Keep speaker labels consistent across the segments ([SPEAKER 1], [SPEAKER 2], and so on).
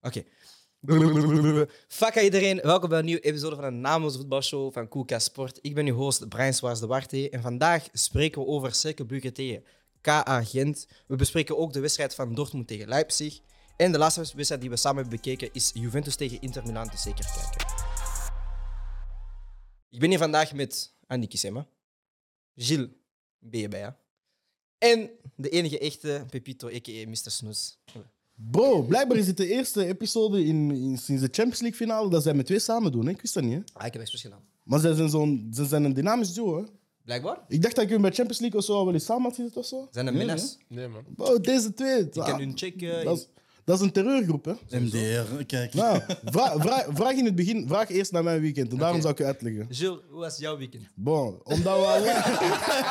[SPEAKER 1] Oké. Fuck aan iedereen, welkom bij een nieuwe episode van de Naamloze Voetbalshow van Koelka Sport. Ik ben uw host Brian Swaars de Warte en vandaag spreken we over Cercle Brugge tegen KA Gent. We bespreken ook de wedstrijd van Dortmund tegen Leipzig. En de laatste wedstrijd die we samen hebben bekeken is Juventus tegen Inter Milan, dus zeker kijken. Ik ben hier vandaag met Andy Kissema, Gilles Beebeja en de enige echte Pepito, a.k.a. Mr. Snoes.
[SPEAKER 2] Bro, blijkbaar is dit de eerste episode in, in- sinds de Champions League finale dat zij met twee samen doen. Hè? Ik wist dat niet. Hè?
[SPEAKER 1] Ah, ik heb expres gedaan.
[SPEAKER 2] Maar zij zijn, zo'n, ze zijn een dynamisch duo. Hè?
[SPEAKER 1] Blijkbaar?
[SPEAKER 2] Ik dacht dat ik hun bij Champions League of zo wel eens samen had gezet of zo.
[SPEAKER 1] Zijn er
[SPEAKER 2] Nee,
[SPEAKER 1] minnaars?
[SPEAKER 3] Nee, man.
[SPEAKER 2] Bro, deze twee. ah,
[SPEAKER 1] Ik kan hun checken.
[SPEAKER 2] dat, is, dat is een terreurgroep, hè?
[SPEAKER 4] Dus MDR, kijk.
[SPEAKER 2] Nou, vra- vra- vraag in het begin, vraag eerst naar mijn weekend. En daarom
[SPEAKER 1] Oké.
[SPEAKER 2] zou ik je uitleggen.
[SPEAKER 1] Jules, hoe was jouw weekend?
[SPEAKER 2] Bon, omdat we al lang...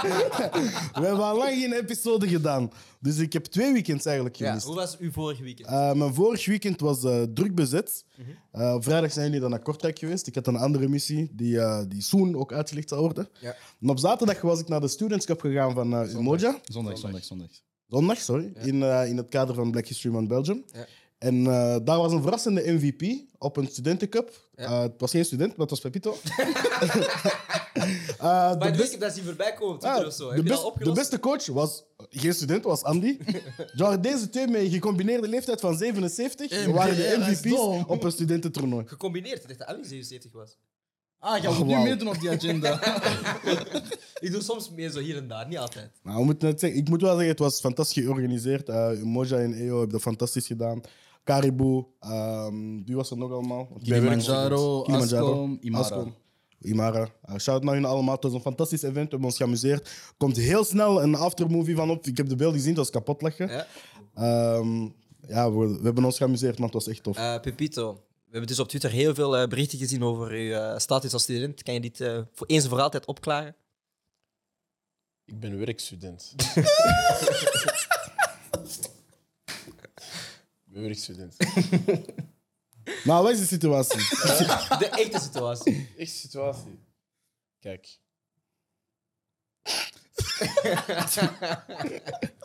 [SPEAKER 2] we hebben al lang geen episode gedaan. Dus ik heb twee weekends eigenlijk
[SPEAKER 1] Ja,
[SPEAKER 2] gemist.
[SPEAKER 1] hoe was uw vorige weekend?
[SPEAKER 2] Eh, mijn vorig weekend was eh, druk bezet. Eh, vrijdag zijn jullie dan naar Kortrijk geweest. Ik had een andere missie die, eh, die soon ook uitgelegd zal worden.
[SPEAKER 1] Ja.
[SPEAKER 2] En op zaterdag was ik naar de Students Cup gegaan van eh Umoja.
[SPEAKER 4] Zondag, zondag, zondag.
[SPEAKER 2] Zondag, sorry. In, eh, in het kader van Black History Month Belgium.
[SPEAKER 1] Ja.
[SPEAKER 2] En eh, daar was een verrassende MVP op een studentencup. Eh, het was geen student, maar het was Pepito. Eh, de
[SPEAKER 1] Bij de
[SPEAKER 2] beste-
[SPEAKER 1] week heb dat zien voorbij komen op Twitter
[SPEAKER 2] Ah,
[SPEAKER 1] of zo.
[SPEAKER 2] de,
[SPEAKER 1] Heb je
[SPEAKER 2] best-
[SPEAKER 1] dat
[SPEAKER 2] de
[SPEAKER 1] opgelost?
[SPEAKER 2] beste coach was geen student, was Andy. Genre, deze twee met een gecombineerde leeftijd van 77
[SPEAKER 4] Hey,
[SPEAKER 2] waren
[SPEAKER 4] hey,
[SPEAKER 2] de
[SPEAKER 4] hij is dom.
[SPEAKER 2] MVP's op een studententoernooi.
[SPEAKER 1] Gecombineerd, ik dacht dat Alvin 77 was.
[SPEAKER 4] Ah, ga
[SPEAKER 2] Ach,
[SPEAKER 4] opnieuw
[SPEAKER 2] wauw.
[SPEAKER 4] meedoen op die agenda.
[SPEAKER 1] Ik doe soms meer zo hier en daar, niet altijd.
[SPEAKER 2] Nou, we moeten het zeggen, ik moet wel zeggen, het was fantastisch georganiseerd. Eh Moja en EO hebben dat fantastisch gedaan. Caribou, ehm, wie was er nog allemaal? Want ik ben weer niet
[SPEAKER 4] Kilimanjaro,
[SPEAKER 2] goed. Kilimanjaro,
[SPEAKER 4] Ascom, Imara.
[SPEAKER 2] Imara. Eh, shout naar hun allemaal. Het was een fantastisch event. We hebben ons geamuseerd. Er komt heel snel een aftermovie van op. Ik heb de beelden gezien, dat was kapot lachen.
[SPEAKER 1] Ja.
[SPEAKER 2] Ehm, ja, we, we hebben ons geamuseerd, maar het was echt tof.
[SPEAKER 1] Eh, Pepito, we hebben dus op Twitter heel veel eh, berichten gezien over uw eh, status als student. Kan je dit eh, voor eens en voor altijd opklaren?
[SPEAKER 3] Ik ben werkstudent. ik ben werkstudent.
[SPEAKER 2] Maar wat is de situatie?
[SPEAKER 1] De echte situatie.
[SPEAKER 3] Echt situatie. Kijk,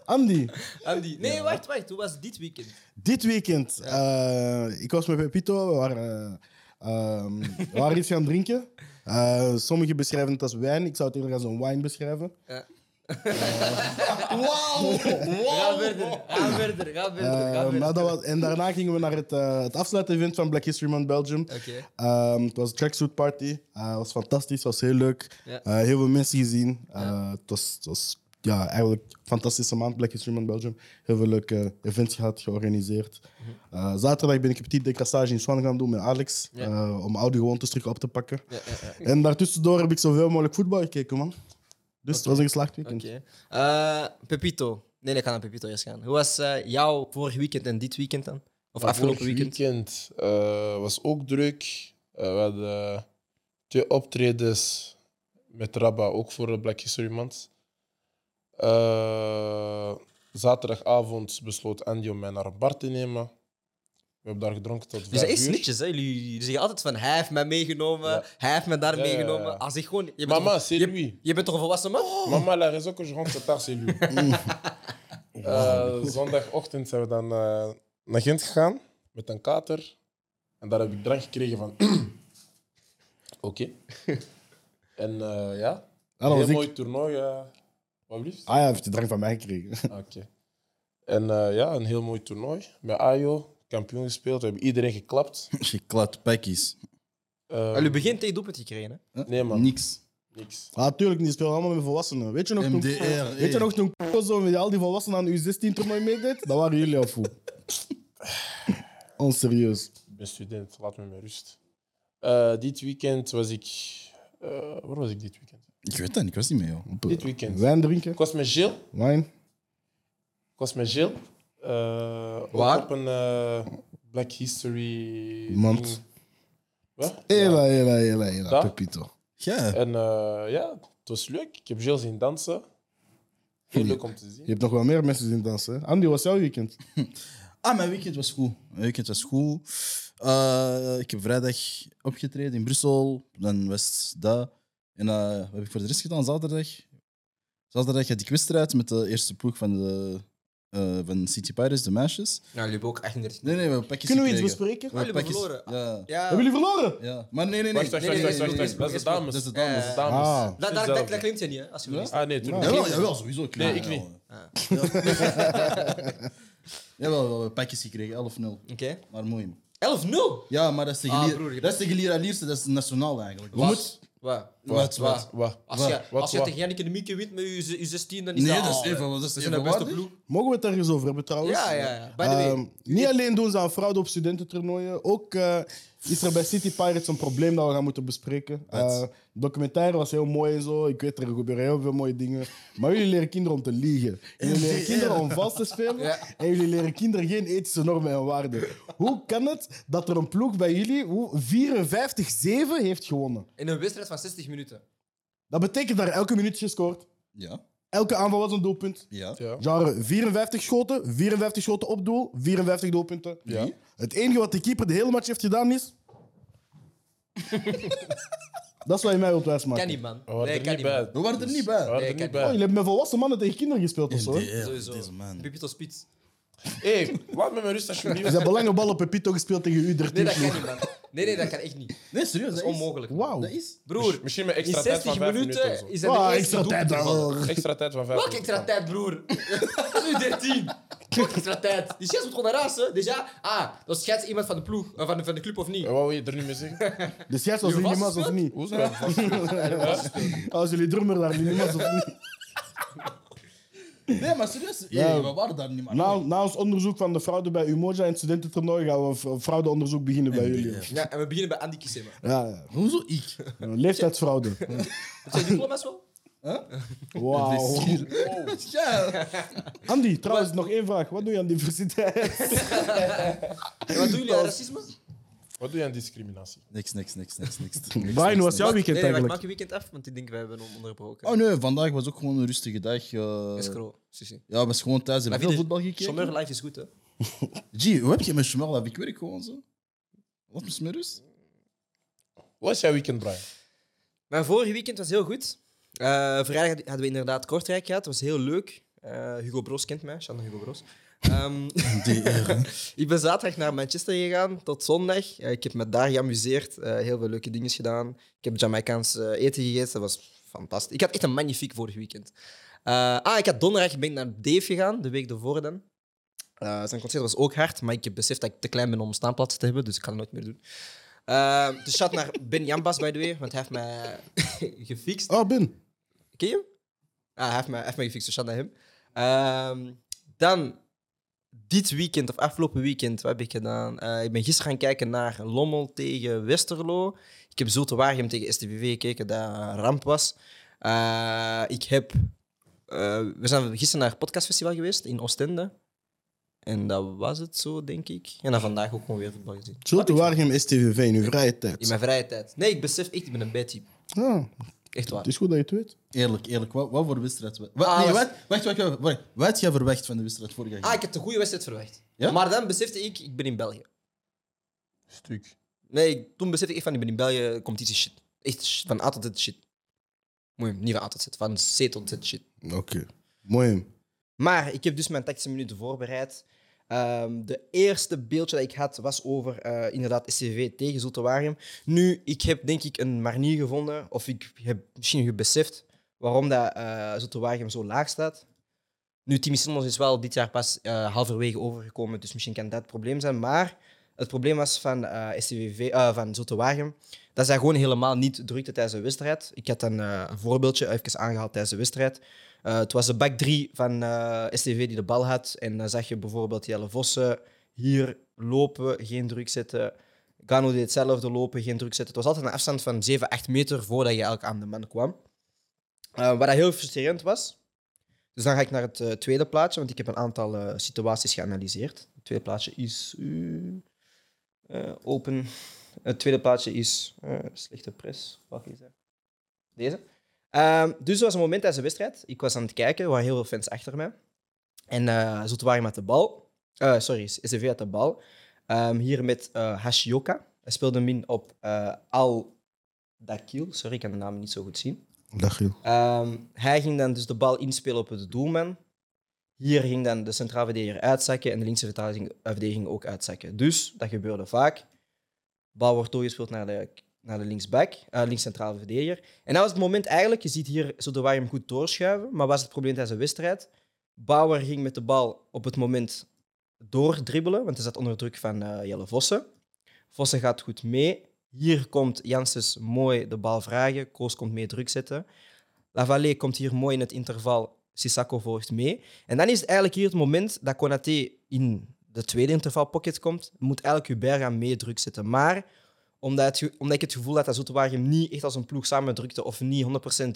[SPEAKER 2] Andy,
[SPEAKER 1] Andy. Nee, wacht, wacht. Hoe was dit weekend?
[SPEAKER 2] dit weekend, eh, ik was met Pepito, we waren, eh, ehm, we waren iets gaan drinken. Eh, sommigen beschrijven het als wijn, ik zou het eerder als een wine beschrijven.
[SPEAKER 4] Wauw!
[SPEAKER 1] Ga verder, ga verder, ga verder.
[SPEAKER 2] Eh,
[SPEAKER 1] ga verder.
[SPEAKER 2] maar dat was, en daarna gingen we naar het, eh het afsluitevent van Black History Month Belgium.
[SPEAKER 1] Oké.
[SPEAKER 2] Ehm, het was een tracksuit party. Eh, het was fantastisch, het was heel leuk.
[SPEAKER 1] Ja.
[SPEAKER 2] Eh, heel veel mensen gezien. Eh, Het was, het was ja, eigenlijk een fantastische maand, Black History Month Belgium. Heel veel leuke events gehad, georganiseerd. Eh, zaterdag ben ik een petite decrassage in Swan gaan doen met Alex.
[SPEAKER 1] Mhm. Ja.
[SPEAKER 2] eh, om oude gewoontes terug op te pakken.
[SPEAKER 1] Ja, ja, ja.
[SPEAKER 2] En daartussendoor heb ik zoveel mogelijk voetbal gekeken, man. Dus het was een geslaagd weekend.
[SPEAKER 1] Oké. Eh, Pepito. Nee, ik ga naar Pepito eerst gaan. Hoe was eh, jouw vorig weekend en dit weekend dan? Of afgelopen
[SPEAKER 3] vorig
[SPEAKER 1] weekend?
[SPEAKER 3] weekend eh, was ook druk. Eh, we hadden twee optredens met Rabba, ook voor de Black History Month. Eh, zaterdagavond besloot Andy om mij naar een bar te nemen. We hebben daar gedronken tot vijf
[SPEAKER 1] Dus dat is
[SPEAKER 3] uur.
[SPEAKER 1] netjes, hè? Jullie, jullie zeggen altijd van hij heeft mij meegenomen,
[SPEAKER 3] Ja.
[SPEAKER 1] hij heeft mij daar
[SPEAKER 3] Ja, ja, ja.
[SPEAKER 1] meegenomen. Als ik gewoon. Je bent
[SPEAKER 3] Mama,
[SPEAKER 1] toch-
[SPEAKER 3] c'est
[SPEAKER 1] je,
[SPEAKER 3] lui.
[SPEAKER 1] je bent toch een volwassen man?
[SPEAKER 3] Maman, la raison que je rentre tard, c'est lui.
[SPEAKER 2] Mm.
[SPEAKER 3] Eh, zondagochtend zijn we dan eh, naar Gent gegaan met een kater. En daar heb ik drank gekregen van. Oké. En eh, ja,
[SPEAKER 2] Ah, dat
[SPEAKER 3] een
[SPEAKER 2] was
[SPEAKER 3] heel
[SPEAKER 2] ik.
[SPEAKER 3] mooi toernooi. eh, wat liefst? Ah,
[SPEAKER 2] Ah ja, hij heeft de drank van mij gekregen.
[SPEAKER 3] Oké. En eh, ja, een heel mooi toernooi. Met Ajo, kampioen gespeeld. We hebben iedereen geklapt.
[SPEAKER 4] Geklat, pakjes.
[SPEAKER 3] Eh,
[SPEAKER 1] Jullie Ah, begint tegen doelpunt gekregen, hè?
[SPEAKER 3] Nee, man.
[SPEAKER 4] Niks.
[SPEAKER 3] Niks.
[SPEAKER 2] Ah, tuurlijk niet. Die spelen allemaal met volwassenen. Weet je nog toen,
[SPEAKER 4] MDR, hey.
[SPEAKER 2] weet je nog toen Koos zo met al die volwassenen aan de U16-toernooi meedeed? Dat waren jullie af. Onserieus.
[SPEAKER 3] Ik ben student, laat me met rust. Eh, dit weekend was ik. eh, waar was ik dit weekend?
[SPEAKER 4] Ik weet dat niet, ik was niet mee, joh.
[SPEAKER 3] Dit weekend.
[SPEAKER 2] eh, Wijn drinken,
[SPEAKER 3] Ik was met Gilles.
[SPEAKER 2] wijn.
[SPEAKER 3] Ik was met Gilles. eh, ook
[SPEAKER 1] Waar?
[SPEAKER 3] Op een eh, Black History...
[SPEAKER 2] Mand.
[SPEAKER 3] ding. Wat?
[SPEAKER 2] Hela, hela, hela, hela,
[SPEAKER 3] Dat?
[SPEAKER 2] Pepito.
[SPEAKER 4] Ja.
[SPEAKER 3] En eh, ja, het was leuk. Ik heb Gilles zien dansen. Heel leuk om te zien.
[SPEAKER 2] Je hebt nog wel meer mensen zien dansen. hè? Andy, wat was jouw weekend?
[SPEAKER 4] Ah, mijn weekend was goed. Mijn weekend was goed. Eh, ik heb vrijdag opgetreden in Brussel. Dan was dat. En eh, wat heb ik voor de rest gedaan? Zaterdag. Zaterdag had ik wedstrijd met de eerste ploeg van de eh, van City Pirates, de meisjes.
[SPEAKER 1] Nou, jullie hebben ook 38
[SPEAKER 4] Nee, nee, we hebben pakjes
[SPEAKER 2] Kunnen we iets
[SPEAKER 4] gekregen.
[SPEAKER 2] bespreken?
[SPEAKER 4] We hebben
[SPEAKER 1] jullie
[SPEAKER 4] pakjes-
[SPEAKER 1] verloren?
[SPEAKER 4] Ja.
[SPEAKER 1] Ja,
[SPEAKER 2] Hebben jullie verloren?
[SPEAKER 4] ja. Maar nee, nee, nee.
[SPEAKER 3] Wacht, wacht,
[SPEAKER 4] nee, nee,
[SPEAKER 3] wacht, wacht,
[SPEAKER 4] nee,
[SPEAKER 3] wacht,
[SPEAKER 4] nee,
[SPEAKER 3] wacht. Dat is de dames.
[SPEAKER 4] Dat is de
[SPEAKER 3] Dat
[SPEAKER 4] dames.
[SPEAKER 3] is de
[SPEAKER 2] Ah.
[SPEAKER 3] dames.
[SPEAKER 1] daar, daar, daar, daar klimt je niet, hè? Als je verliest.
[SPEAKER 3] Ah, nee, toen
[SPEAKER 4] Jawel, jawel, sowieso.
[SPEAKER 3] Nee, ik niet.
[SPEAKER 1] Ah,
[SPEAKER 4] Jawel, we hebben pakjes gekregen, 11-0.
[SPEAKER 1] Oké.
[SPEAKER 4] Maar mooi. man.
[SPEAKER 1] 11-0?
[SPEAKER 4] Ja, maar dat is de
[SPEAKER 1] Ah,
[SPEAKER 4] gelier-
[SPEAKER 1] broer, je
[SPEAKER 4] dat is de gelier aan Lierse, dat is nationaal eigenlijk. We
[SPEAKER 1] Wat?
[SPEAKER 4] moeten-
[SPEAKER 1] Wat? Wat?
[SPEAKER 4] Wat, wat?
[SPEAKER 3] Wat?
[SPEAKER 1] Als je,
[SPEAKER 3] Wat,
[SPEAKER 1] als je
[SPEAKER 3] wat?
[SPEAKER 1] tegen Jannik en de Mieke wint met je, z- je 16, dan is
[SPEAKER 4] Nee,
[SPEAKER 1] dat...
[SPEAKER 4] dat is
[SPEAKER 1] al,
[SPEAKER 4] even,
[SPEAKER 1] hè.
[SPEAKER 4] want dat is
[SPEAKER 1] We zijn de beste
[SPEAKER 4] evenwaardig.
[SPEAKER 1] ploeg.
[SPEAKER 2] Mogen we het ergens over hebben trouwens?
[SPEAKER 1] Ja, ja, ja. By the way.
[SPEAKER 2] Ehm, niet alleen doen ze aan fraude op studententoernooien, ook eh, is er bij City Pirates een probleem dat we gaan moeten bespreken. Eh, de documentaire was heel mooi en zo. Ik weet, er gebeuren heel veel mooie dingen. Maar jullie leren kinderen om te liegen. Jullie leren kinderen om vast te spelen. En jullie leren kinderen geen ethische normen en waarden. Hoe kan het dat er een ploeg bij jullie hoe- 54-7 heeft gewonnen?
[SPEAKER 1] In een wedstrijd van 60 minuten.
[SPEAKER 2] Dat betekent dat er elke minuut is gescoord.
[SPEAKER 4] Ja,
[SPEAKER 2] Elke aanval was een doelpunt.
[SPEAKER 4] ja.
[SPEAKER 3] Ja.
[SPEAKER 2] Genre 54 schoten, 54 schoten op doel, 54 doelpunten.
[SPEAKER 3] Ja.
[SPEAKER 2] Het enige wat de keeper de hele match heeft gedaan is. dat is wat je mij wilt wijsmaken.
[SPEAKER 1] Kan niet, man.
[SPEAKER 3] We waren
[SPEAKER 1] Nee,
[SPEAKER 3] er
[SPEAKER 1] kan
[SPEAKER 3] niet
[SPEAKER 1] niet, man.
[SPEAKER 3] bij.
[SPEAKER 4] We waren er niet
[SPEAKER 3] We
[SPEAKER 4] bij.
[SPEAKER 3] waren
[SPEAKER 1] Nee, kan
[SPEAKER 3] er niet
[SPEAKER 1] niet.
[SPEAKER 2] Oh,
[SPEAKER 3] bij.
[SPEAKER 2] jullie hebben met volwassen mannen tegen kinderen gespeeld of zo. hè?
[SPEAKER 4] NDR,
[SPEAKER 1] Sowieso.
[SPEAKER 4] Deze man.
[SPEAKER 1] Pepito Spits.
[SPEAKER 3] Hé, laat me met rust alsjeblieft.
[SPEAKER 2] Ze hebben lange ballen op Pepito gespeeld tegen u
[SPEAKER 1] Nee, dat
[SPEAKER 2] 13
[SPEAKER 1] kan niet, man. Nee, nee, dat kan echt niet.
[SPEAKER 4] Nee, serieus,
[SPEAKER 1] Dat
[SPEAKER 4] dat
[SPEAKER 1] is
[SPEAKER 4] is
[SPEAKER 1] onmogelijk. man.
[SPEAKER 2] Wauw.
[SPEAKER 4] Dat is.
[SPEAKER 1] Broer,
[SPEAKER 3] Misschien met
[SPEAKER 1] in
[SPEAKER 3] extra tijd van
[SPEAKER 1] 60
[SPEAKER 3] 5 minuten. of
[SPEAKER 1] minuten
[SPEAKER 3] zo.
[SPEAKER 1] is er
[SPEAKER 2] Ah,
[SPEAKER 1] de eerste
[SPEAKER 2] extra tijd.
[SPEAKER 1] doelpunt.
[SPEAKER 2] ah.
[SPEAKER 3] Extra tijd van 5
[SPEAKER 1] Welke extra tijd, broer? Het is nu 13. Welke extra tijd? Die chef moet gewoon naar huis, hè? Dus ja, ah, dat scheidt iemand van de ploeg, eh, van de, van de club of niet.
[SPEAKER 3] Wat wil je er nu mee zeggen?
[SPEAKER 2] De scheids was
[SPEAKER 1] Je was
[SPEAKER 2] Linimas of niet?
[SPEAKER 3] Hoe is dat?
[SPEAKER 2] Als jullie drummer daar Linimas of niet?
[SPEAKER 4] Nee, maar serieus, hey,
[SPEAKER 2] Ja.
[SPEAKER 4] we waren daar niet maar.
[SPEAKER 1] Nou.
[SPEAKER 2] Na, na ons onderzoek van de fraude bij Umoja en het studententoernooi gaan we een fra- fraudeonderzoek beginnen bij jullie.
[SPEAKER 4] NDR.
[SPEAKER 1] Ja, en we beginnen bij Andy Kissema.
[SPEAKER 2] Ja, ja.
[SPEAKER 4] Hoezo ik?
[SPEAKER 2] Leeftijdsfraude.
[SPEAKER 1] Heb je diploma's wel?
[SPEAKER 2] Wauw.
[SPEAKER 3] Oh,
[SPEAKER 4] Ja.
[SPEAKER 2] Andy, trouwens, nog één vraag. Wat doe je aan de universiteit?
[SPEAKER 1] En wat doen jullie aan racisme?
[SPEAKER 3] Wat doe je aan discriminatie?
[SPEAKER 4] Niks, niks, niks, niks, niks.
[SPEAKER 2] Brian, was jouw
[SPEAKER 1] Wacht,
[SPEAKER 2] weekend
[SPEAKER 1] nee, wacht,
[SPEAKER 2] eigenlijk?
[SPEAKER 1] maak je weekend af, want ik denk wij hebben hem onderbroken.
[SPEAKER 4] Oh nee, vandaag was ook gewoon een rustige dag. eh.
[SPEAKER 1] Escro, Sissi.
[SPEAKER 4] ja, was gewoon thuis. Heb
[SPEAKER 1] Maar
[SPEAKER 4] je veel
[SPEAKER 1] wie-
[SPEAKER 4] voetbal gekeken?
[SPEAKER 1] Sommer life is goed, hè?
[SPEAKER 4] Gee, hoe heb je met Jamal? Heb ik werk gewoon zo? Wat is met rust?
[SPEAKER 3] Hoe was jouw weekend, Brian?
[SPEAKER 1] Mijn vorige weekend was heel goed. Eh, vrijdag hadden we inderdaad Kortrijk gehad. Het was heel leuk. Eh, Hugo Bros kent mij. Shannon Hugo Bros. Ehm, ik ben zaterdag naar Manchester gegaan tot zondag. Eh, ik heb me daar geamuseerd. eh, heel veel leuke dingen gedaan. Ik heb Jamaicaans eh, eten gegeten. Dat was fantastisch. Ik had echt een magnifiek vorig weekend. Eh, ah, ik had donderdag ben ik naar Dave gegaan, de week ervoor dan. Eh, zijn concert was ook hard, maar ik heb beseft dat ik te klein ben om een staanplaats te hebben, dus ik kan het nooit meer doen. Eh, dus shout naar Ben Jambas, by the way, want hij heeft mij gefixt.
[SPEAKER 2] Oh, Ben.
[SPEAKER 1] Ken je hem? Ah, hij heeft mij, hij heeft mij gefixt, dus shout naar hem. Ehm, dan, dit weekend of afgelopen weekend, wat heb ik gedaan? Eh, ik ben gisteren gaan kijken naar Lommel tegen Westerlo. Ik heb Zulte Waregem tegen STVV gekeken, dat een ramp was. Eh, ik heb... eh, we zijn gisteren naar het podcastfestival geweest in Oostende. En dat was het zo, denk ik. En dan vandaag ook gewoon weer voetbal gezien.
[SPEAKER 2] Zulte Waregem STVV in uw vrije
[SPEAKER 1] In
[SPEAKER 2] tijd.
[SPEAKER 1] mijn vrije tijd. Nee, ik besef echt, ik ben een bad-type.
[SPEAKER 2] Ja,
[SPEAKER 1] Echt waar.
[SPEAKER 2] Ah, het is goed dat je het weet.
[SPEAKER 4] Eerlijk, eerlijk, wat, wat voor wedstrijd? we- Wat,
[SPEAKER 1] Ah,
[SPEAKER 4] nee,
[SPEAKER 1] was-
[SPEAKER 4] wat, wacht, wacht, wacht, wacht. Wat had jij verwacht van de wedstrijd vorig jaar?
[SPEAKER 1] Ah, ik had een goede wedstrijd verwacht.
[SPEAKER 4] Ja?
[SPEAKER 1] Maar dan besefte ik, ik ben in België.
[SPEAKER 3] Stuk.
[SPEAKER 1] Nee, ik- toen besefte ik echt van, ik ben in België, competitie shit. Echt shit, van A tot Z shit. Moet je hem niet van A tot Z, van C tot Z shit.
[SPEAKER 2] Ah. Oké. Mooi.
[SPEAKER 1] Maar ik heb dus mijn tactische minuten voorbereid. Ehm, de eerste beeldje dat ik had was over eh, inderdaad SCV tegen Zulte Waregem. Nu, ik heb denk ik een manier gevonden, of ik heb misschien gebeseft waarom dat, eh Zulte Waregem zo laag staat. Nu, Timmy Simmons is wel dit jaar pas eh, halverwege overgekomen, dus misschien kan dat het probleem zijn. Maar het probleem was van, eh SCVV, eh, van Zulte Waregem dat zij gewoon helemaal niet drukte tijdens de wedstrijd. Ik had een, eh, een voorbeeldje even aangehaald tijdens de wedstrijd. Eh, het was de back 3 van eh STV die de bal had. En dan zag je bijvoorbeeld Jelle Vossen hier lopen, geen druk zetten. Gano deed hetzelfde lopen, geen druk zetten. Het was altijd een afstand van 7, 8 meter voordat je eigenlijk aan de man kwam. Eh, wat dat heel frustrerend was. Dus dan ga ik naar het eh, tweede plaatje, want ik heb een aantal eh, situaties geanalyseerd. Het tweede plaatje is eh, eh, open. Het tweede plaatje is eh, slechte press. Welke is dat? Deze. Ehm, dus er was een moment tijdens de wedstrijd. Ik was aan het kijken, er waren heel veel fans achter mij. En eh Zulte waren met de bal. Eh, sorry, SCV had de bal. Ehm, hier met eh, Hashioka. Hij speelde hem in op eh, Al Dakil. Sorry, ik kan de naam niet zo goed zien.
[SPEAKER 2] Dag, Giel.
[SPEAKER 1] Ehm, hij ging dan dus de bal inspelen op de doelman. Hier ging dan de centraal verdediger uitzakken en de linkse verdediging- verdediging ook uitzakken. Dus dat gebeurde vaak. Bal wordt doorgespeeld naar de, naar de linksback, eh, linkscentrale verdediger. En dat was het moment eigenlijk, je ziet hier Zodewaar hem goed doorschuiven, maar was het probleem tijdens de wedstrijd. Bauer ging met de bal op het moment doordribbelen, want hij zat onder druk van eh, Jelle Vossen. Vossen gaat goed mee. Hier komt Janssens mooi de bal vragen. Koos komt mee druk zetten. Lavallée komt hier mooi in het interval. Sissako volgt mee. En dan is het eigenlijk hier het moment dat Konaté in de tweede interval pocket komt. Moet eigenlijk Hubert gaan mee druk zetten. Maar omdat, het ge- omdat ik het gevoel had dat Zoetewaar hem niet echt als een ploeg samen drukte of niet 100%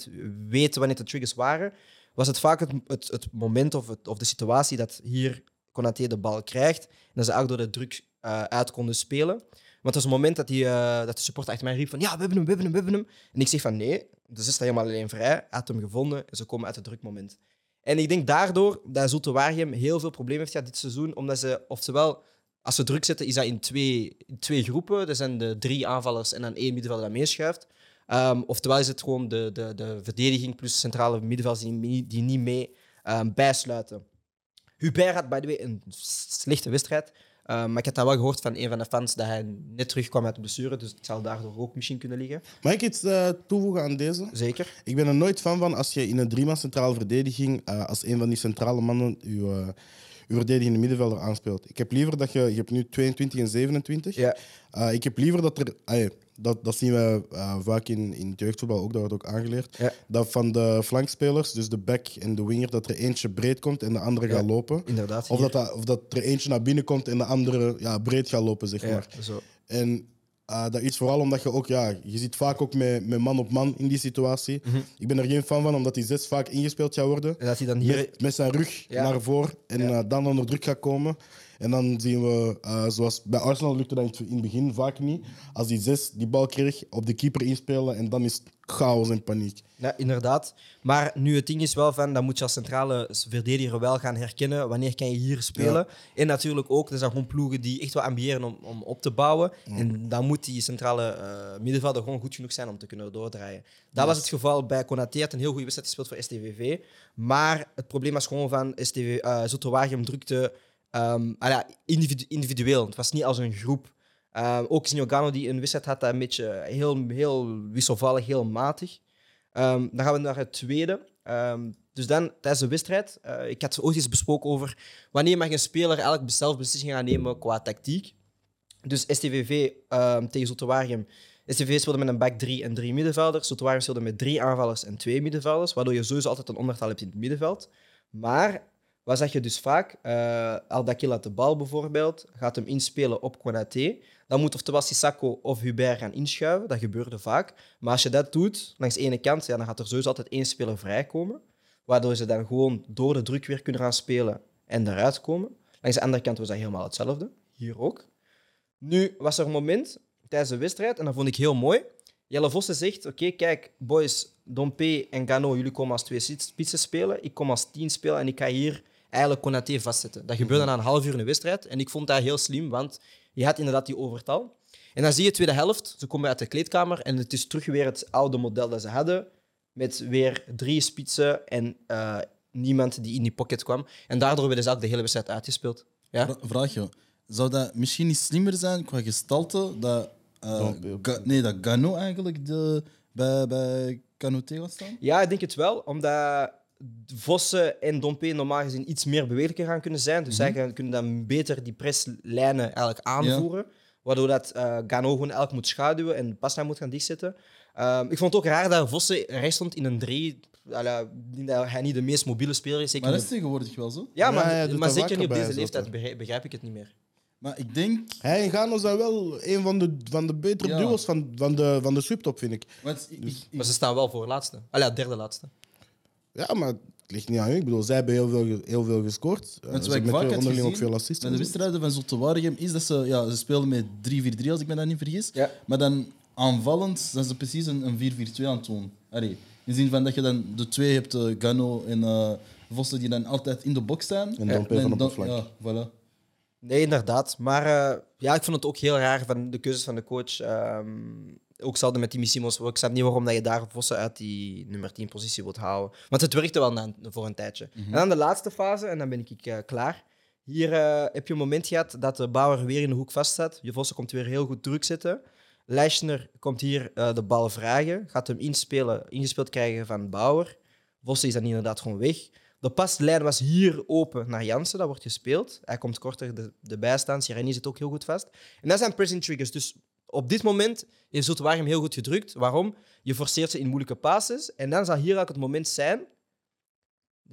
[SPEAKER 1] weet wanneer de triggers waren, was het vaak het, het, het moment of, het, of de situatie dat hier Konaté de bal krijgt en dat ze ook door de druk eh, uit konden spelen. Want het was het moment dat, die, eh, dat de supporter achter mij riep van ja, we hebben hem, we hebben hem, we hebben hem. En ik zeg van nee, de zes staat helemaal alleen vrij. Hij had hem gevonden en ze komen uit het drukmoment. En ik denk daardoor dat Zulte Waregem heel veel problemen heeft gehad dit seizoen. Omdat ze, oftewel, als ze druk zetten, is dat in twee, in twee groepen. Er zijn de drie aanvallers en dan één middenvelder dat meeschuift. Ehm, oftewel is het gewoon de, de, de verdediging plus centrale middenvelders die, niet- die niet mee ehm, bijsluiten. Hubert had, by the way, een s- slechte wedstrijd. Ehm, maar ik had dat wel gehoord van een van de fans dat hij net terugkwam uit de blessure. Dus het zal daardoor ook misschien kunnen liggen.
[SPEAKER 2] Mag ik iets eh, toevoegen aan deze?
[SPEAKER 1] Zeker.
[SPEAKER 2] Ik ben er nooit fan van als je in een driemaal centrale verdediging eh, als een van die centrale mannen je, eh, je verdedigende middenvelder aanspeelt. Ik heb liever dat je, je hebt nu 22 en 27.
[SPEAKER 1] Ja.
[SPEAKER 2] Eh, ik heb liever dat er, ah, ja, dat, dat zien we eh, vaak in, in het jeugdvoetbal ook, dat wordt ook aangeleerd,
[SPEAKER 1] Ja.
[SPEAKER 2] dat van de flankspelers, dus de back en de winger, dat er eentje breed komt en de andere gaat lopen.
[SPEAKER 1] Inderdaad.
[SPEAKER 2] Of
[SPEAKER 1] hier.
[SPEAKER 2] dat, dat- of dat er eentje naar binnen komt en de andere ja, breed gaat lopen, zeg maar.
[SPEAKER 1] ja, zo.
[SPEAKER 2] En eh, dat is vooral omdat je ook, ja, je zit vaak ook met, met man op man in die situatie. Ik ben er geen fan van, omdat die zes vaak ingespeeld gaat worden.
[SPEAKER 1] Mhm. En dat hij dan hier
[SPEAKER 2] Met, met zijn rug
[SPEAKER 1] Ja.
[SPEAKER 2] naar voren en
[SPEAKER 1] Ja.
[SPEAKER 2] eh, dan onder druk gaat komen. En dan zien we, eh, zoals bij Arsenal lukte dat in het- in het begin vaak niet. Als die zes die bal kreeg, op de keeper inspelen en dan is het chaos en paniek.
[SPEAKER 1] Ja, inderdaad. Maar nu het ding is wel van, dan moet je als centrale verdediger wel gaan herkennen wanneer kan je hier spelen. En natuurlijk ook, er zijn gewoon ploegen die echt wel ambiëren om, om op te bouwen. En dan moet die centrale eh middenvelder gewoon goed genoeg zijn om te kunnen doordraaien. Dat was het geval bij Konaté. Hij had een heel goede wedstrijd gespeeld voor STVV. Maar het probleem was gewoon van, STV, eh Zoete Waregem drukte ehm, ah ja, individu- individueel. Het was niet als een groep. Ehm, ook Sinogano die een wedstrijd had, dat een beetje heel, heel wisselvallig, heel matig. Ehm, dan gaan we naar het tweede. Ehm, dus dan, tijdens de wedstrijd, eh, ik had ooit eens besproken over wanneer mag een speler eigenlijk zelf beslissingen gaan nemen qua tactiek. Dus STVV ehm, tegen Zotowarium. STVV speelde met een back 3 en 3 middenvelders. Zotowarium speelde met drie aanvallers en twee middenvelders, waardoor je sowieso altijd een ondertal hebt in het middenveld. Maar wat zag je dus vaak? Eh Aldakil had de bal bijvoorbeeld, gaat hem inspelen op Konaté. Dan moet oftewel Sissako of Hubert gaan inschuiven. Dat gebeurde vaak. Maar als je dat doet, langs de ene kant, ja, dan gaat er sowieso altijd één speler vrijkomen. Waardoor ze dan gewoon door de druk weer kunnen gaan spelen en eruit komen. Langs de andere kant was dat helemaal hetzelfde. Hier ook. Nu was er een moment tijdens de wedstrijd, en dat vond ik heel mooi. Jelle Vossen zegt, oké, kijk, boys, Dompe en Gano, jullie komen als twee spitsen spelen. Ik kom als tien spelen en ik ga hier eigenlijk Konaté vastzetten. Dat gebeurde na een half uur in de wedstrijd. En ik vond dat heel slim, want je had inderdaad die overtal. En dan zie je de tweede helft, ze komen uit de kleedkamer en het is terug weer het oude model dat ze hadden. Met weer drie spitsen en eh, niemand die in die pocket kwam. En daardoor werden ze ook de hele wedstrijd uitgespeeld. Ja?
[SPEAKER 4] Vra- Vraag je, zou dat misschien niet slimmer zijn qua gestalte dat, eh,
[SPEAKER 2] Dompe.
[SPEAKER 4] Ga- nee, dat Gano eigenlijk de, bij, bij Canoté gaat staan?
[SPEAKER 1] Ja, ik denk het wel, omdat Vossen en Dompe normaal gezien iets meer bewegelijker gaan kunnen zijn. Dus zij gaan, kunnen dan beter die presslijnen eigenlijk aanvoeren. Waardoor dat eh Gano gewoon elk moet schaduwen en Pasna moet gaan dichtzetten. Ehm, ik vond het ook raar dat Vossen rechts stond in een 3. dat hij niet de meest mobiele speler is. Zeker
[SPEAKER 4] Maar dat
[SPEAKER 1] niet-
[SPEAKER 4] is tegenwoordig wel zo.
[SPEAKER 1] Ja, maar,
[SPEAKER 2] Ja, hij doet
[SPEAKER 1] maar
[SPEAKER 2] dat
[SPEAKER 1] zeker niet op
[SPEAKER 2] vaker
[SPEAKER 1] deze
[SPEAKER 2] bij
[SPEAKER 1] leeftijd
[SPEAKER 2] Zotte.
[SPEAKER 1] begrijp, begrijp ik het niet meer.
[SPEAKER 4] Maar ik denk,
[SPEAKER 2] Hij en Gano zijn wel een van de, van de betere
[SPEAKER 4] Ja.
[SPEAKER 2] duels van, van de, van de subtop, vind ik.
[SPEAKER 4] want ik,
[SPEAKER 2] Dus-
[SPEAKER 4] ik- ik-
[SPEAKER 1] Maar ze staan wel voor laatste. Allee, ja, derde laatste.
[SPEAKER 2] Ja, maar het ligt niet aan hun. Ik bedoel, zij hebben heel veel, ge- heel veel gescoord. Eh,
[SPEAKER 4] Want
[SPEAKER 2] ze
[SPEAKER 4] wat ik
[SPEAKER 2] hebben
[SPEAKER 4] vaak had
[SPEAKER 2] met onderling ook
[SPEAKER 4] gezien
[SPEAKER 2] veel assists.
[SPEAKER 4] Bij
[SPEAKER 2] en
[SPEAKER 4] de
[SPEAKER 2] zo.
[SPEAKER 4] wedstrijden van Zulte Waregem is dat ze, ja, ze spelen met 3-4-3, als ik me dat niet vergis.
[SPEAKER 1] Ja.
[SPEAKER 4] Maar dan aanvallend zijn ze precies een, een 4-4-2 aan het doen. Allee, in de zin van dat je dan de twee hebt, eh, Gano en eh, Vossen, die dan altijd in de box staan.
[SPEAKER 2] En Dompe van op
[SPEAKER 4] dan-
[SPEAKER 2] de flank.
[SPEAKER 4] Ja, voilà.
[SPEAKER 1] Nee, inderdaad. Maar eh, ja, ik vond het ook heel raar van de keuzes van de coach. ehm, Ook hetzelfde met die Missimos. Ik snap niet waarom dat je daar Vossen uit die nummer 10 positie wilt houden. Want het werkte wel na, voor een tijdje. En dan de laatste fase, en dan ben ik eh, klaar. Hier eh, heb je een moment gehad dat de Bauer weer in de hoek vast zat. Je Vossen komt weer heel goed druk zitten. Leijsner komt hier eh, de bal vragen. Gaat hem inspelen, ingespeeld krijgen van Bauer. Vossen is dan inderdaad gewoon weg. De paslijn was hier open naar Jansen, dat wordt gespeeld. Hij komt korter de, de bijstand. Sireni zit ook heel goed vast. En dat zijn pressing triggers. Dus op dit moment heeft Zoetewar hem heel goed gedrukt. Waarom? Je forceert ze in moeilijke passes. En dan zal hier ook het moment zijn.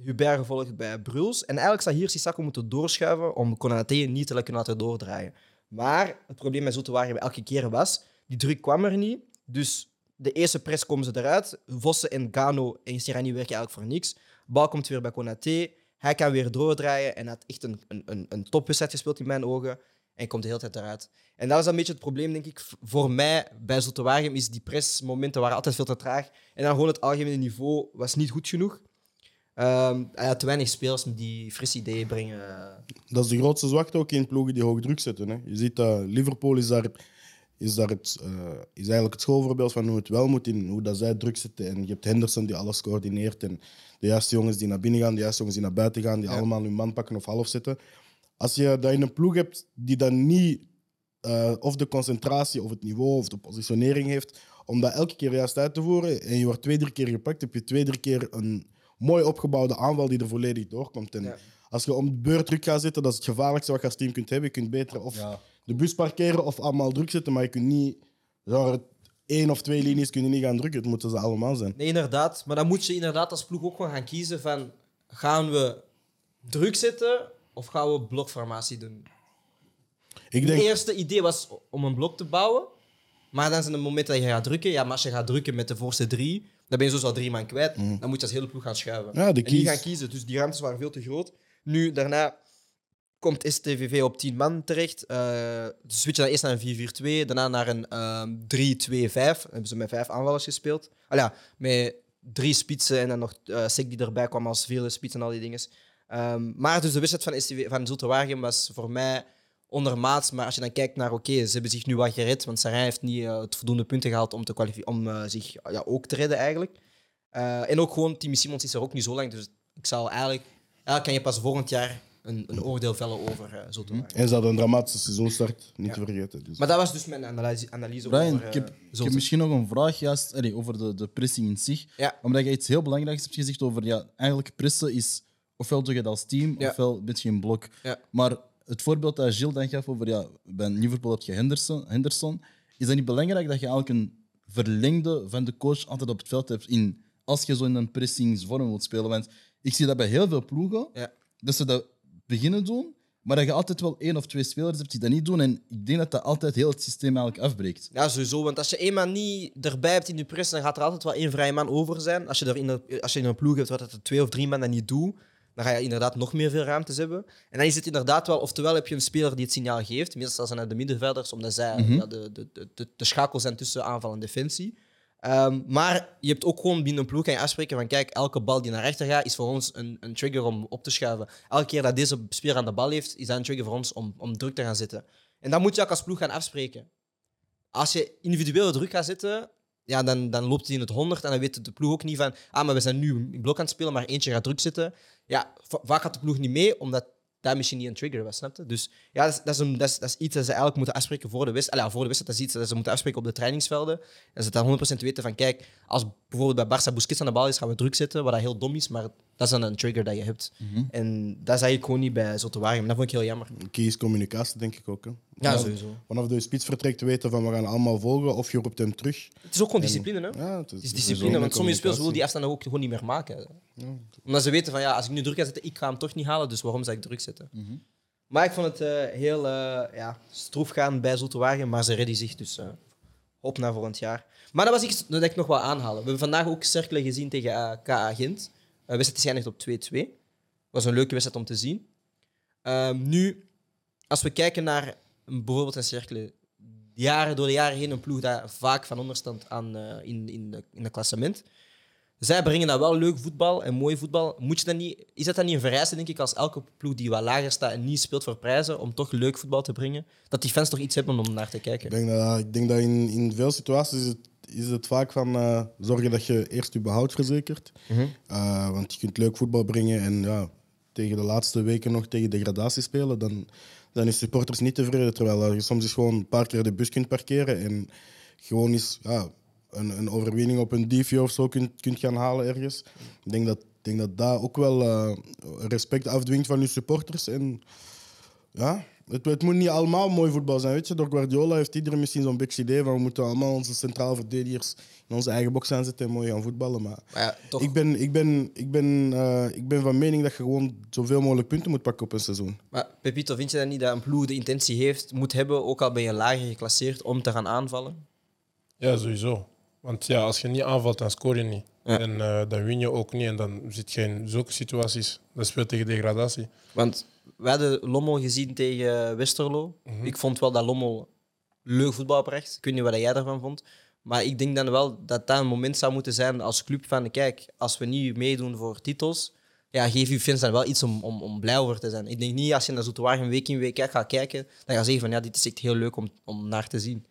[SPEAKER 1] Hubert gevolgd bij Bruls. En eigenlijk zou hier Sissako moeten doorschuiven om Konaté niet te kunnen laten doordraaien. Maar het probleem met Zoetewar elke keer was, die druk kwam er niet. Dus de eerste press komen ze eruit. Vossen en Gano en Sirani werken eigenlijk voor niks. Bal komt weer bij Konaté. Hij kan weer doordraaien en had echt een, een, een, een topwedstrijd gespeeld in mijn ogen. En komt de hele tijd eruit. En dat was een beetje het probleem, denk ik, v- voor mij bij Zotewagem. Is die pressmomenten waren altijd veel te traag. En dan gewoon het algemene niveau was niet goed genoeg. Ehm, hij had te weinig spelers die fris ideeën brengen.
[SPEAKER 2] Dat is de grootste zwakte ook in ploegen die hoog druk zetten. Hè. Je ziet dat Liverpool is daar, is daar het, eh, is eigenlijk het schoolvoorbeeld van hoe het wel moet in hoe dat zij druk zetten. En je hebt Henderson die alles coördineert en de juiste jongens die naar binnen gaan, de juiste jongens die naar buiten gaan, die allemaal hun man pakken of half zetten. Als je dat in een ploeg hebt die dan niet eh, of de concentratie of het niveau of de positionering heeft om dat elke keer juist uit te voeren en je wordt twee, drie keer gepakt, heb je twee, drie keer een mooi opgebouwde aanval die er volledig doorkomt. En
[SPEAKER 1] Ja.
[SPEAKER 2] als je om de beurt druk gaat zitten, dat is het gevaarlijkste wat je als team kunt hebben. Je kunt beter of de bus parkeren of allemaal druk zitten, maar je kunt niet genre, één of twee linies kun je niet gaan drukken. Het moeten ze allemaal zijn.
[SPEAKER 1] Nee, inderdaad. Maar dan moet je inderdaad als ploeg ook gewoon gaan kiezen van... Gaan we druk zitten of gaan we blokformatie doen?
[SPEAKER 2] Ik
[SPEAKER 1] Het
[SPEAKER 2] denk,
[SPEAKER 1] eerste idee was om een blok te bouwen. Maar dan is het moment dat je gaat drukken. Ja, maar als je gaat drukken met de voorste drie, dan ben je sowieso al drie man kwijt. Dan moet je als hele ploeg gaan schuiven.
[SPEAKER 2] Mhm. Ja, de
[SPEAKER 1] en die
[SPEAKER 2] keys.
[SPEAKER 1] gaan kiezen. Dus die ruimtes waren veel te groot. Nu, daarna komt STVV op 10 man terecht. Eh dus switch dan eerst naar een 4-4-2, daarna naar een ehm 3-2-5. Dan hebben ze met vijf aanvallers gespeeld. Al ja, met drie spitsen en dan nog eh Sek die erbij kwam als vierde spits en al die dingen. Ehm, maar dus de wedstrijd van, STV, van Zulte Waregem was voor mij ondermaats. Maar als je dan kijkt naar, oké, ze hebben zich nu wat gered, want Sarijn heeft niet eh, het voldoende punten gehaald om, te kwalifi- om eh, zich ja, ook te redden eigenlijk. Eh, en ook gewoon, Timmy Simons is er ook niet zo lang, dus ik zou eigenlijk... Eigenlijk kan je pas volgend jaar een, een oordeel vellen over eh Zulte
[SPEAKER 4] Mhm.
[SPEAKER 1] Waregem.
[SPEAKER 2] en ze hadden een dramatische seizoenstart, niet te vergeten. Dus.
[SPEAKER 1] Maar dat was dus mijn analyse, analyse
[SPEAKER 4] Brian,
[SPEAKER 1] over... eh,
[SPEAKER 4] ik heb, ik heb
[SPEAKER 1] Zulte.
[SPEAKER 4] misschien nog een vraag juist allee, over de, de pressing in zich.
[SPEAKER 1] Ja.
[SPEAKER 4] Omdat je iets heel belangrijks hebt gezegd over ja, eigenlijk pressen is ofwel doe je het als team,
[SPEAKER 1] Ja.
[SPEAKER 4] ofwel ben je een blok.
[SPEAKER 1] Ja.
[SPEAKER 4] Maar het voorbeeld dat Gilles dan gaf over ja, bij Liverpool heb je Henderson, Henderson, is dat niet belangrijk dat je eigenlijk een verlengde van de coach altijd op het veld hebt in, als je zo in een pressingsvorm wilt spelen? Want ik zie dat bij heel veel ploegen,
[SPEAKER 1] Ja.
[SPEAKER 4] dat ze dat beginnen doen, maar dat je altijd wel één of twee spelers hebt die dat niet doen. En ik denk dat dat altijd heel het systeem eigenlijk afbreekt.
[SPEAKER 1] Ja, sowieso. Want als je eenmaal niet erbij hebt in de press, dan gaat er altijd wel één vrije man over zijn. Als je, er in een, als je in een ploeg hebt wat het er twee of drie man dat niet doet, dan ga je inderdaad nog meer veel ruimtes hebben. En dan is het inderdaad wel, oftewel heb je een speler die het signaal geeft. Meestal zijn het de middenvelders, omdat zij ja, de, de, de, de, de schakel zijn tussen aanval en defensie. Ehm, maar je hebt ook gewoon binnen een ploeg kan je afspreken van kijk, elke bal die naar rechter gaat, is voor ons een, een trigger om op te schuiven. Elke keer dat deze speler aan de bal heeft, is dat een trigger voor ons om, om druk te gaan zetten. En dat moet je ook als ploeg gaan afspreken als je individueel druk gaat zetten, ja, dan, dan loopt hij in het 100 en dan weet de ploeg ook niet van, ah, maar we zijn nu in blok aan het spelen, maar eentje gaat druk zitten. Ja, va- vaak gaat de ploeg niet mee, omdat daar misschien niet een trigger was, snapte? Dus ja, dat is, dat, is een, dat, is, dat is iets dat ze eigenlijk moeten afspreken voor de wedstrijd. Ah, ja, voor de wedstrijd, dat is iets dat ze moeten afspreken op de trainingsvelden. En ze dan 100% weten van, kijk, als bijvoorbeeld bij Barça Busquets aan de bal is, gaan we druk zetten, wat dat heel dom is, maar dat is dan een trigger dat je hebt. En dat zag ik gewoon niet bij Zotewarium. Dat vond ik heel jammer.
[SPEAKER 2] Kies communicatie, denk ik ook. Hè.
[SPEAKER 1] Ja, sowieso.
[SPEAKER 2] Vanaf de spits vertrekt weten van we gaan allemaal volgen of je roept hem terug.
[SPEAKER 1] Het is ook gewoon discipline, hè?
[SPEAKER 2] Ja, het is,
[SPEAKER 1] Het is discipline, want sommige spelers willen die afstanden ook gewoon niet meer maken. Omdat ze weten van ja, als ik nu druk ga zetten, ik ga hem toch niet halen, dus waarom zou ik druk zetten? Maar ik vond het eh, heel eh, ja, stroef gaan bij Zulte Waregem, maar ze redden zich dus eh, op naar volgend jaar. Maar dat was iets dat ik nog wel aanhalen. We hebben vandaag ook cirkelen gezien tegen eh, KA Gent. Eh, wedstrijd is geëindigd op 2-2. was een leuke wedstrijd om te zien. Ehm, nu, als we kijken naar een- bijvoorbeeld een cirkel, jaren door de jaren heen een ploeg dat vaak van onderstand aan eh, in, in, de, in het klassement. zij brengen dat wel leuk voetbal en mooi voetbal. Moet je dat niet, is dat dan niet een vereiste, denk ik, als elke ploeg die wat lager staat en niet speelt voor prijzen, om toch leuk voetbal te brengen? Dat die fans toch iets hebben om naar te
[SPEAKER 2] Ik
[SPEAKER 1] kijken.
[SPEAKER 2] denk dat, ik denk dat in, in veel situaties is het, is het vaak van eh, zorgen dat je eerst je behoud verzekert.
[SPEAKER 1] Mhm.
[SPEAKER 2] Eh, want je kunt leuk voetbal brengen en ja, tegen de laatste weken nog tegen degradatie spelen. Dan, dan is supporters niet tevreden. Terwijl eh, je soms eens gewoon een paar keer de bus kunt parkeren en gewoon eens ja, een, een overwinning op een DVO of zo kunt, kunt gaan halen ergens. Ik denk dat ik denk dat, dat ook wel eh, respect afdwingt van je supporters. En ja, het, het moet niet allemaal mooi voetbal zijn. Weet je? Door Guardiola heeft iedereen misschien zo'n beetje idee van we moeten allemaal onze centraal verdedigers in onze eigen box aanzetten en mooi gaan voetballen. Maar
[SPEAKER 1] Maar ja, toch.
[SPEAKER 2] ik, ben, ik, ben, ik, ben, eh, ik ben van mening dat je gewoon zoveel mogelijk punten moet pakken op een seizoen.
[SPEAKER 1] Maar Pepito, vind je dan niet dat een ploeg de intentie heeft, moet hebben, ook al ben je lager geclasseerd, om te gaan aanvallen?
[SPEAKER 3] Ja, sowieso. Want ja, als je niet aanvalt, dan scoor je niet.
[SPEAKER 1] Ja.
[SPEAKER 3] En eh, dan win je ook niet. En dan zit je in zulke situaties. Dan speelt tegen degradatie.
[SPEAKER 1] Want we hadden Lommel gezien tegen Westerlo. Ik vond wel dat Lommel leuk voetbal bracht. Ik weet niet wat jij daarvan vond. Maar ik denk dan wel dat dat een moment zou moeten zijn als club van... Kijk, als we niet meedoen voor titels... Ja, geef je fans dan wel iets om, om, om blij over te zijn. Ik denk niet als je naar Zoeterwagen week in week uit gaat kijken... Dan ga je zeggen van ja, dit is echt heel leuk om, om naar te zien.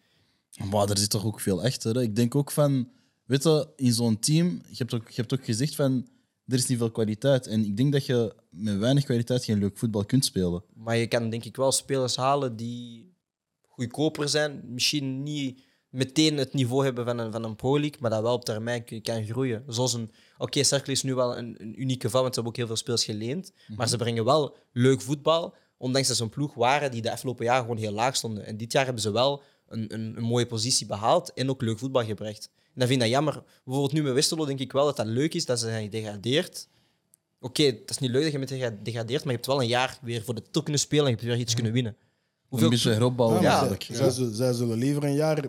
[SPEAKER 4] Maar er zit toch ook veel echter. Hè? Ik denk ook van, weet je, in zo'n team, je hebt, ook, je hebt ook gezegd van, er is niet veel kwaliteit. En ik denk dat je met weinig kwaliteit geen leuk voetbal kunt spelen.
[SPEAKER 1] Maar je kan denk ik wel spelers halen die goedkoper zijn. Misschien niet meteen het niveau hebben van een, van een pro-league, maar dat wel op termijn kun- kan groeien. Zoals een... Oké, Cercle is nu wel een, een unieke geval, want ze hebben ook heel veel spelers geleend. Maar ze brengen wel leuk voetbal, ondanks dat ze een ploeg waren die de afgelopen jaar gewoon heel laag stonden. En dit jaar hebben ze wel een, een, een mooie positie behaald en ook leuk voetbal gebracht. En dat vind ik dat jammer. Bijvoorbeeld nu met Westerlo denk ik wel dat dat leuk is dat ze zijn gedegradeerd. Oké, het is niet leuk dat je met degradeert, maar je hebt wel een jaar weer voor de titel kunnen spelen en je hebt weer iets kunnen winnen. Hoeveel
[SPEAKER 4] een beetje heropbouwen.
[SPEAKER 2] Ja, maar
[SPEAKER 4] eigenlijk.
[SPEAKER 2] zij, zij zullen- zij zullen liever een jaar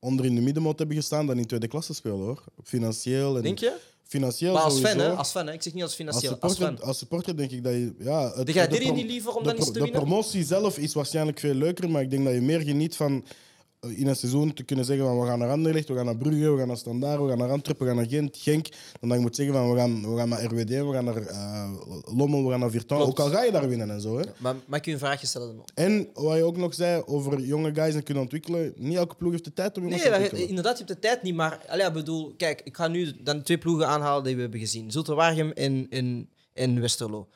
[SPEAKER 2] onder in de middenmoot hebben gestaan dan in tweede klasse spelen hoor. Financieel en
[SPEAKER 1] Denk je?
[SPEAKER 2] financieel
[SPEAKER 1] Maar als fan,
[SPEAKER 2] sowieso.
[SPEAKER 1] hè? Als fan, hè? Ik zeg niet als
[SPEAKER 2] Als
[SPEAKER 1] financieel, als
[SPEAKER 2] supporter,
[SPEAKER 1] fan.
[SPEAKER 2] als supporter denk ik dat je. Ja, het,
[SPEAKER 1] Degradeer je
[SPEAKER 2] pro-
[SPEAKER 1] niet liever om
[SPEAKER 2] de
[SPEAKER 1] dan iets
[SPEAKER 2] pro-
[SPEAKER 1] te
[SPEAKER 2] De
[SPEAKER 1] winnen?
[SPEAKER 2] promotie zelf is waarschijnlijk veel leuker, maar ik denk dat je meer geniet van eh, in een seizoen te kunnen zeggen van we gaan naar Anderlecht, we gaan naar Brugge, we gaan naar Standaard, we gaan naar Antwerpen, we gaan naar Gent, Genk. Dan dat je moet zeggen van we gaan, we gaan naar RWD, we gaan naar eh, Lommel, we gaan naar Virton.
[SPEAKER 1] Klopt.
[SPEAKER 2] Ook al ga je daar winnen en zo. Hè.
[SPEAKER 1] Maar mag ik u een vraagje stellen? dan?
[SPEAKER 2] En wat je ook nog zei over jonge guys en kunnen ontwikkelen. Niet elke ploeg heeft de tijd om jongens
[SPEAKER 1] Nee,
[SPEAKER 2] te
[SPEAKER 1] dat-
[SPEAKER 2] ontwikkelen.
[SPEAKER 1] inderdaad, je hebt de tijd niet, maar allee, ik bedoel, kijk, ik ga nu dan twee ploegen aanhalen die we hebben gezien. Zulterwaargem en, en, en Westerlo.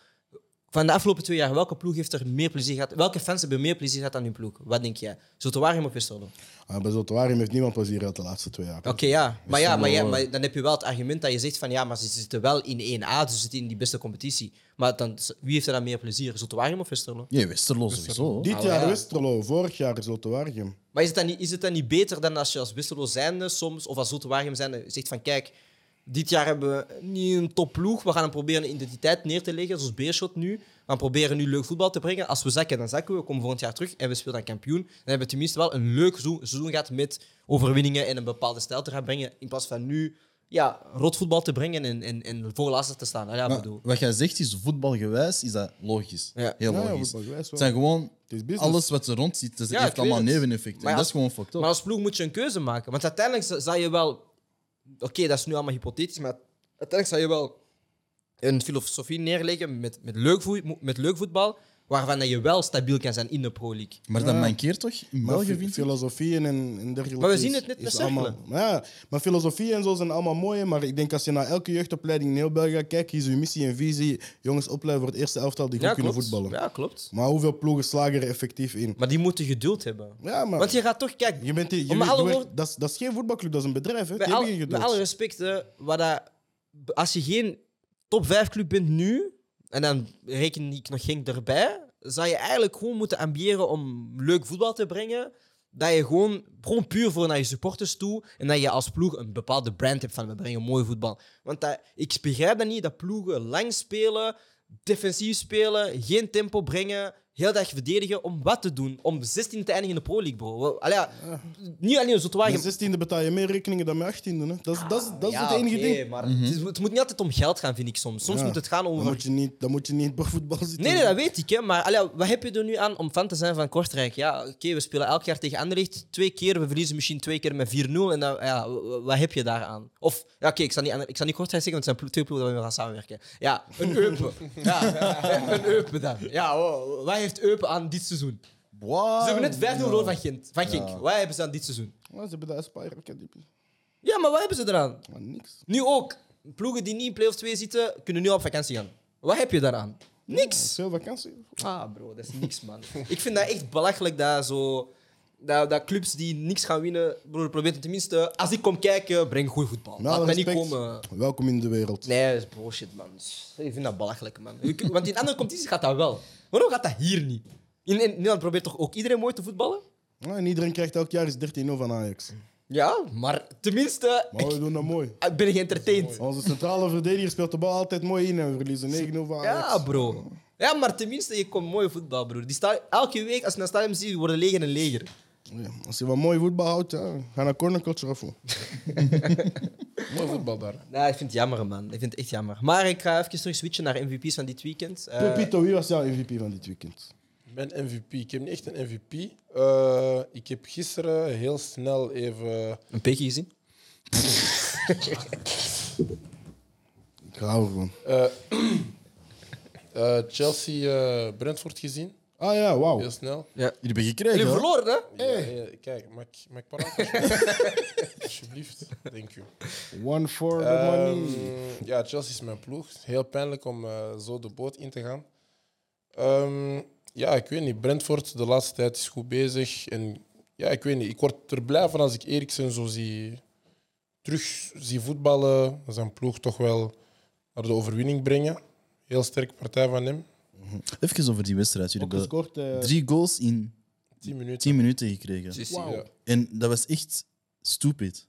[SPEAKER 1] Van de afgelopen twee jaar, welke ploeg heeft er meer plezier gehad? Welke fans hebben meer plezier gehad aan hun ploeg? Wat denk jij? Zulterwaargem of Westerlo?
[SPEAKER 2] Ah, bij Zotowarium heeft niemand plezier uit de laatste twee jaar.
[SPEAKER 1] Oké, ja. eh. Maar, ja, maar, ja, maar dan heb je wel het argument dat je zegt van ja, maar ze zitten wel in 1A, ze zitten in die beste competitie. Maar dan, wie heeft er dan meer plezier? Zulterwaargem of Westerlo?
[SPEAKER 4] Nee, Westerlo sowieso.
[SPEAKER 2] Dit
[SPEAKER 1] Ah,
[SPEAKER 2] jaar
[SPEAKER 1] ja.
[SPEAKER 2] Westerlo, vorig jaar Zotowarium.
[SPEAKER 1] Maar is het, dan niet, is het dan niet beter dan als je als Westerlo zijnde soms, of als Zultewaargem zijnde, zegt van kijk, dit jaar hebben we niet een topploeg, we gaan hem proberen een identiteit neer te leggen, zoals Beerschot nu. We gaan proberen nu leuk voetbal te brengen. Als we zakken, dan zakken we. We komen volgend jaar terug en we spelen dan kampioen. Dan hebben we tenminste wel een leuk seizoen seizoen gehad met overwinningen en een bepaalde stijl te gaan brengen, in plaats van nu ja, rotvoetbal te brengen en, en, en voorlaatste te staan. Ah, Ja,
[SPEAKER 4] Maar
[SPEAKER 1] bedoel.
[SPEAKER 4] wat jij zegt is, voetbalgewijs is dat logisch.
[SPEAKER 1] Ja.
[SPEAKER 4] Heel
[SPEAKER 2] Ja, ja,
[SPEAKER 4] logisch.
[SPEAKER 2] voetbalgewijs
[SPEAKER 4] het
[SPEAKER 2] wel.
[SPEAKER 4] zijn gewoon
[SPEAKER 2] Het is business.
[SPEAKER 4] alles wat er rond zit, dus
[SPEAKER 1] Ja,
[SPEAKER 4] het
[SPEAKER 1] ik
[SPEAKER 4] heeft
[SPEAKER 1] weet
[SPEAKER 4] allemaal
[SPEAKER 1] het.
[SPEAKER 4] neveneffecten.
[SPEAKER 1] Maar
[SPEAKER 4] En dat
[SPEAKER 1] als-
[SPEAKER 4] is gewoon fucked up.
[SPEAKER 1] Maar als ploeg moet je een keuze maken. Want uiteindelijk za- zou je wel. Oké, dat is nu allemaal hypothetisch, maar uiteindelijk zou je wel een filosofie neerleggen met, met, leuk, voe- met leuk voetbal, waarvan dat je wel stabiel kan zijn in de Pro League.
[SPEAKER 4] Maar dat mankeert toch? In
[SPEAKER 2] Maar
[SPEAKER 4] België
[SPEAKER 2] fi-
[SPEAKER 4] vind ik.
[SPEAKER 2] filosofieën en, en dergelijke.
[SPEAKER 1] Maar we
[SPEAKER 2] is-
[SPEAKER 1] zien het net
[SPEAKER 2] is
[SPEAKER 1] met
[SPEAKER 2] allemaal-
[SPEAKER 1] cirkelen.
[SPEAKER 2] Maar Ja, maar filosofieën en zo zijn allemaal mooi. Maar ik denk als je naar elke jeugdopleiding in heel België kijkt, hier is uw missie en visie. Jongens opleiden voor het eerste elftal die goed kunnen voetballen.
[SPEAKER 1] Ja, klopt.
[SPEAKER 2] Maar hoeveel ploegen slagen er effectief in?
[SPEAKER 1] Maar die moeten geduld hebben.
[SPEAKER 2] Ja, maar
[SPEAKER 1] Want je gaat toch, kijk,
[SPEAKER 2] je bent die- je
[SPEAKER 1] om
[SPEAKER 2] bent-
[SPEAKER 1] alle
[SPEAKER 2] je wordt-
[SPEAKER 1] woorden-
[SPEAKER 2] dat, is, dat is geen voetbalclub, dat is een bedrijf. Hè?
[SPEAKER 1] met,
[SPEAKER 2] Die
[SPEAKER 1] al-
[SPEAKER 2] hebben geen
[SPEAKER 1] met
[SPEAKER 2] geduld.
[SPEAKER 1] alle respect, hè, wat dat, als je geen top 5 club bent nu, en dan reken ik nog geen erbij, zou je eigenlijk gewoon moeten ambiëren om leuk voetbal te brengen. Dat je gewoon, gewoon puur voor naar je supporters toe en dat je als ploeg een bepaalde brand hebt van we brengen mooi voetbal. Want dat, ik begrijp dat niet, dat ploegen lang spelen, defensief spelen, geen tempo brengen, heel dag verdedigen om wat te doen? Om 16 te eindigen in de Pro League, bro. Wel, allee, ja, Niet alleen zo te wagen.
[SPEAKER 2] Met 16e betaal je meer rekeningen dan met 18e. Hè. Dat is, dat is, dat is het enige
[SPEAKER 1] oké,
[SPEAKER 2] ding.
[SPEAKER 1] Maar het, is- het moet niet altijd om geld gaan, vind ik soms. Soms
[SPEAKER 2] Ja.
[SPEAKER 1] moet het gaan
[SPEAKER 2] Dan
[SPEAKER 1] over
[SPEAKER 2] moet je niet, dan moet je niet bij voetbal zitten.
[SPEAKER 1] Nee, nee, dat weet ik. Hè. Maar allee, wat heb je er nu aan om fan te zijn van Kortrijk? Ja, oké, we spelen elk jaar tegen Anderlecht twee keer. We verliezen misschien twee keer met 4-0. En dan, ja, w- w- wat heb je daaraan? Of, ja, oké, ik zal niet, Ander- ik zal niet Kortrijk zeggen, want het zijn plo- twee ploegen waar we mee gaan samenwerken. Ja, een Eupen. ja, een Eupen dan. Ja, wow, wat heeft Eupen aan dit seizoen? Ze hebben net 5-0 verloren van Gent. Van Gink. Wat hebben ze aan dit seizoen?
[SPEAKER 2] Maar ze hebben de Aspire Academy.
[SPEAKER 1] Ja, maar wat hebben ze eraan?
[SPEAKER 2] Maar niks.
[SPEAKER 1] Nu ook. Ploegen die niet in play-off 2 zitten, kunnen nu op vakantie gaan. Wat heb je daaraan? Niks.
[SPEAKER 2] Veel vakantie.
[SPEAKER 1] Ah, bro, dat is niks, man. ik vind dat echt belachelijk dat zo. Dat, dat clubs die niks gaan winnen, broer, probeer het tenminste. Als ik kom kijken, breng goed voetbal.
[SPEAKER 2] Met alle
[SPEAKER 1] Laat mij niet
[SPEAKER 2] Nou, respect,
[SPEAKER 1] komen.
[SPEAKER 2] Welkom in de wereld.
[SPEAKER 1] Nee, dat is bullshit, man. Ik vind dat belachelijk, man. Je kunt- Want in andere competities gaat dat wel. Waarom gaat dat hier niet? In, in Nederland probeert toch ook iedereen mooi te voetballen?
[SPEAKER 2] Ja, en iedereen krijgt elk jaar eens 13-0 van Ajax.
[SPEAKER 1] Ja, maar tenminste,
[SPEAKER 2] Maar we
[SPEAKER 1] ik,
[SPEAKER 2] doen dat mooi.
[SPEAKER 1] ik ben geëntertaind.
[SPEAKER 2] Onze centrale verdediger speelt de bal altijd mooi in en we verliezen 9-0 van Ajax.
[SPEAKER 1] Ja, bro. Ja, maar tenminste, je komt mooi voetbal, broer. Die sta, elke week, als je naar het stadion ziet, worden leger en leger.
[SPEAKER 2] Ja, als je wat mooi voetbal houdt, ja, ga naar Corner Culture af. hoor.
[SPEAKER 3] Mooi voetbal daar.
[SPEAKER 1] Nou, ik vind het jammer, man. Ik vind het echt jammer. Maar ik ga even terug switchen naar MVP's van dit weekend. Eh,
[SPEAKER 2] Pepito, wie was jouw MVP van dit weekend?
[SPEAKER 3] Mijn MVP. Ik heb niet echt een MVP. Eh, ik heb gisteren heel snel even.
[SPEAKER 1] een peekje gezien.
[SPEAKER 2] Ik hou ervan.
[SPEAKER 3] eh, eh, Chelsea eh Brentford gezien.
[SPEAKER 2] Ah ja, wauw.
[SPEAKER 3] Heel snel.
[SPEAKER 4] Jullie hebben
[SPEAKER 1] Jullie
[SPEAKER 4] gekregen. hoor.
[SPEAKER 1] verloren, hè?
[SPEAKER 3] Ja, ja, kijk, maak ik paraat? alsjeblieft? Alsjeblieft. Thank you.
[SPEAKER 2] One for the money.
[SPEAKER 3] Ehm, ja, Chelsea is mijn ploeg. Heel pijnlijk om eh, zo de boot in te gaan. Ehm, ja, ik weet niet. Brentford de laatste tijd is goed bezig. En ja, ik weet niet. Ik word er blij van als ik Eriksen zo zie, terug zie voetballen. Zijn ploeg toch wel naar de overwinning brengen. Heel sterke partij van hem.
[SPEAKER 4] Even over die wedstrijd. Jullie
[SPEAKER 2] Ook
[SPEAKER 4] hebben
[SPEAKER 2] gescoord. eh,
[SPEAKER 4] drie goals in
[SPEAKER 3] 10 minuten.
[SPEAKER 4] 10 minuten gekregen.
[SPEAKER 3] Wauw. Ja.
[SPEAKER 4] En dat was echt stupid.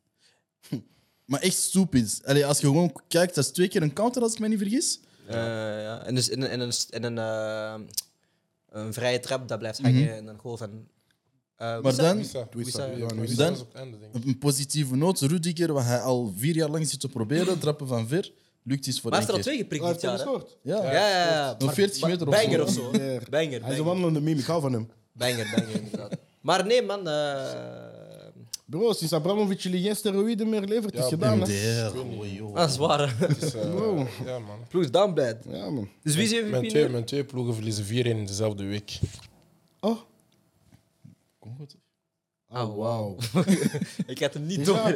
[SPEAKER 4] maar echt stupid. Allee, als je gewoon kijkt, dat is twee keer een counter, als ik me niet vergis.
[SPEAKER 1] Eh, ja. En, dus, en, en, een- en een, eh, een vrije trap, dat blijft hangen. En een goal van... eh,
[SPEAKER 4] Maar
[SPEAKER 1] Wissa.
[SPEAKER 4] dan,
[SPEAKER 3] Wissa.
[SPEAKER 1] Wissa.
[SPEAKER 3] Ja, maar Wissa
[SPEAKER 4] Dan-
[SPEAKER 3] was op het einde, denk ik.
[SPEAKER 4] op een positieve noot, Rudiger, wat hij al vier jaar lang zit te proberen, trappen van ver, lukt iets voor
[SPEAKER 1] Maar hij
[SPEAKER 4] één
[SPEAKER 1] heeft er al
[SPEAKER 4] keer.
[SPEAKER 1] twee geprikt
[SPEAKER 2] Hij
[SPEAKER 1] dit
[SPEAKER 2] heeft hem
[SPEAKER 1] jaar, hè?
[SPEAKER 2] gescoord.
[SPEAKER 4] Ja.
[SPEAKER 1] Ja, ja, ja.
[SPEAKER 4] Nog 40
[SPEAKER 1] maar-
[SPEAKER 4] meter of
[SPEAKER 1] banger
[SPEAKER 4] zo.
[SPEAKER 1] of zo.
[SPEAKER 2] Ja.
[SPEAKER 1] Banger, banger.
[SPEAKER 2] Hij is
[SPEAKER 1] Banger,
[SPEAKER 2] een wandelende meme, ik hou van hem.
[SPEAKER 1] banger, inderdaad. Maar nee, man. eh
[SPEAKER 2] Bro, sinds Abramovic jullie geen steroïden meer levert, is
[SPEAKER 3] Ja,
[SPEAKER 2] gedaan. hè.
[SPEAKER 4] Der, oei, oei.
[SPEAKER 1] dat is waar. ah, hè.
[SPEAKER 3] Het is, eh,
[SPEAKER 2] Wow.
[SPEAKER 3] Ja, man.
[SPEAKER 1] Ploeg is down bad.
[SPEAKER 2] Ja, man.
[SPEAKER 1] Dus wie is je
[SPEAKER 3] Mijn
[SPEAKER 1] MVP
[SPEAKER 3] twee,
[SPEAKER 1] nu?
[SPEAKER 3] mijn twee ploegen verliezen 4-1 in dezelfde week.
[SPEAKER 2] Oh.
[SPEAKER 4] Kom goed.
[SPEAKER 1] Ah,
[SPEAKER 2] wauw.
[SPEAKER 1] Ik had hem niet
[SPEAKER 2] Ja,
[SPEAKER 1] door.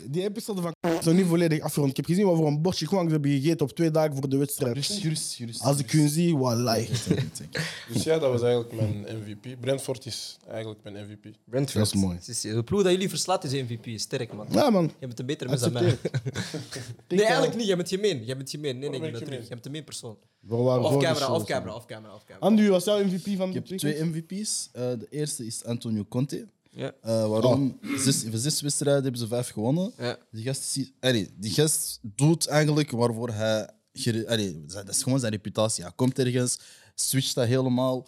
[SPEAKER 2] die- die episode van is nog niet volledig afgerond. Ik heb gezien wat voor een bosje kwang ze hebben gegeten op twee dagen voor de
[SPEAKER 4] Gerust,
[SPEAKER 1] Oh,
[SPEAKER 2] wedstrijd.
[SPEAKER 4] gerust, gerust.
[SPEAKER 2] Als ik hun zie, wallahi.
[SPEAKER 3] Dus ja, dat was eigenlijk mijn MVP. Brentford is eigenlijk mijn MVP.
[SPEAKER 1] Brentford.
[SPEAKER 2] Dat is mooi.
[SPEAKER 1] Het is- De ploeg dat jullie verslaat is MVP. Sterk, man.
[SPEAKER 2] Ja, man.
[SPEAKER 1] Je bent een betere mens dan mij. Nee, eigenlijk niet. Je bent gemeen. Je bent gemeen. Nee, nee,
[SPEAKER 3] ben
[SPEAKER 1] je
[SPEAKER 3] ik
[SPEAKER 1] bent terug.
[SPEAKER 3] gemeen?
[SPEAKER 1] Je bent een persoon.
[SPEAKER 2] We waren
[SPEAKER 1] Off
[SPEAKER 2] voor de
[SPEAKER 1] camera,
[SPEAKER 2] show,
[SPEAKER 1] off
[SPEAKER 2] zo.
[SPEAKER 1] camera, off camera, off camera.
[SPEAKER 2] Andu, wie was jouw MVP van
[SPEAKER 4] Ik
[SPEAKER 2] de
[SPEAKER 4] heb twee MVP's. Eh, de eerste is Antonio Conte.
[SPEAKER 1] Ja.
[SPEAKER 4] Eh, waarom? Zes, van zes wedstrijden hebben ze vijf gewonnen.
[SPEAKER 1] Oh. Ja.
[SPEAKER 4] Die, gast, zie- allee, die gast doet eigenlijk waarvoor hij. gere- Allee, dat is gewoon zijn reputatie. Hij komt ergens, switcht dat helemaal.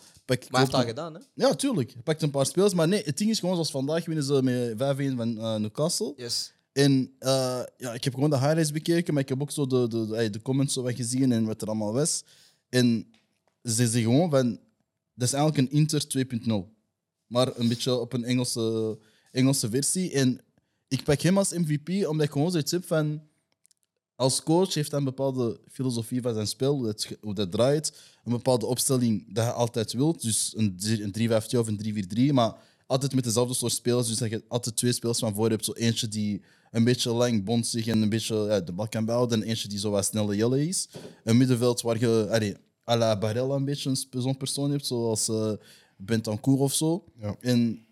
[SPEAKER 1] Maar
[SPEAKER 4] Pakt,
[SPEAKER 1] hij heeft dat
[SPEAKER 4] koopt-
[SPEAKER 1] gedaan, hè?
[SPEAKER 4] Ja, tuurlijk. Hij pakt een paar speels. Maar nee, het ding is gewoon zoals vandaag winnen ze met 5-1 van eh, Newcastle.
[SPEAKER 1] Yes.
[SPEAKER 4] En eh, ja, ik heb gewoon de highlights bekeken, maar ik heb ook zo de, de, de, ey, de comments zo wat gezien en wat er allemaal was. En ze zeggen gewoon van, dat is eigenlijk een Inter 2.0. Maar een beetje op een Engelse, Engelse versie. En ik pak hem als MVP omdat ik gewoon zoiets heb van... Als coach heeft hij een bepaalde filosofie van zijn spel, hoe dat, hoe dat draait. Een bepaalde opstelling dat hij altijd wil. Dus een, drie- een 3-5-2 of een 3-4-3. Maar altijd met dezelfde soort spelers. Dus dat je altijd twee spelers van voor hebt. Zo eentje die een beetje lang bonzig en een beetje ja, de bal kan behouden. En eentje die zo wat snelle jelle is. Een middenveld waar je allee, à la Barella een beetje een sp- zo'n persoon hebt. Zoals eh Bentancur of zo.
[SPEAKER 2] Ja.
[SPEAKER 4] En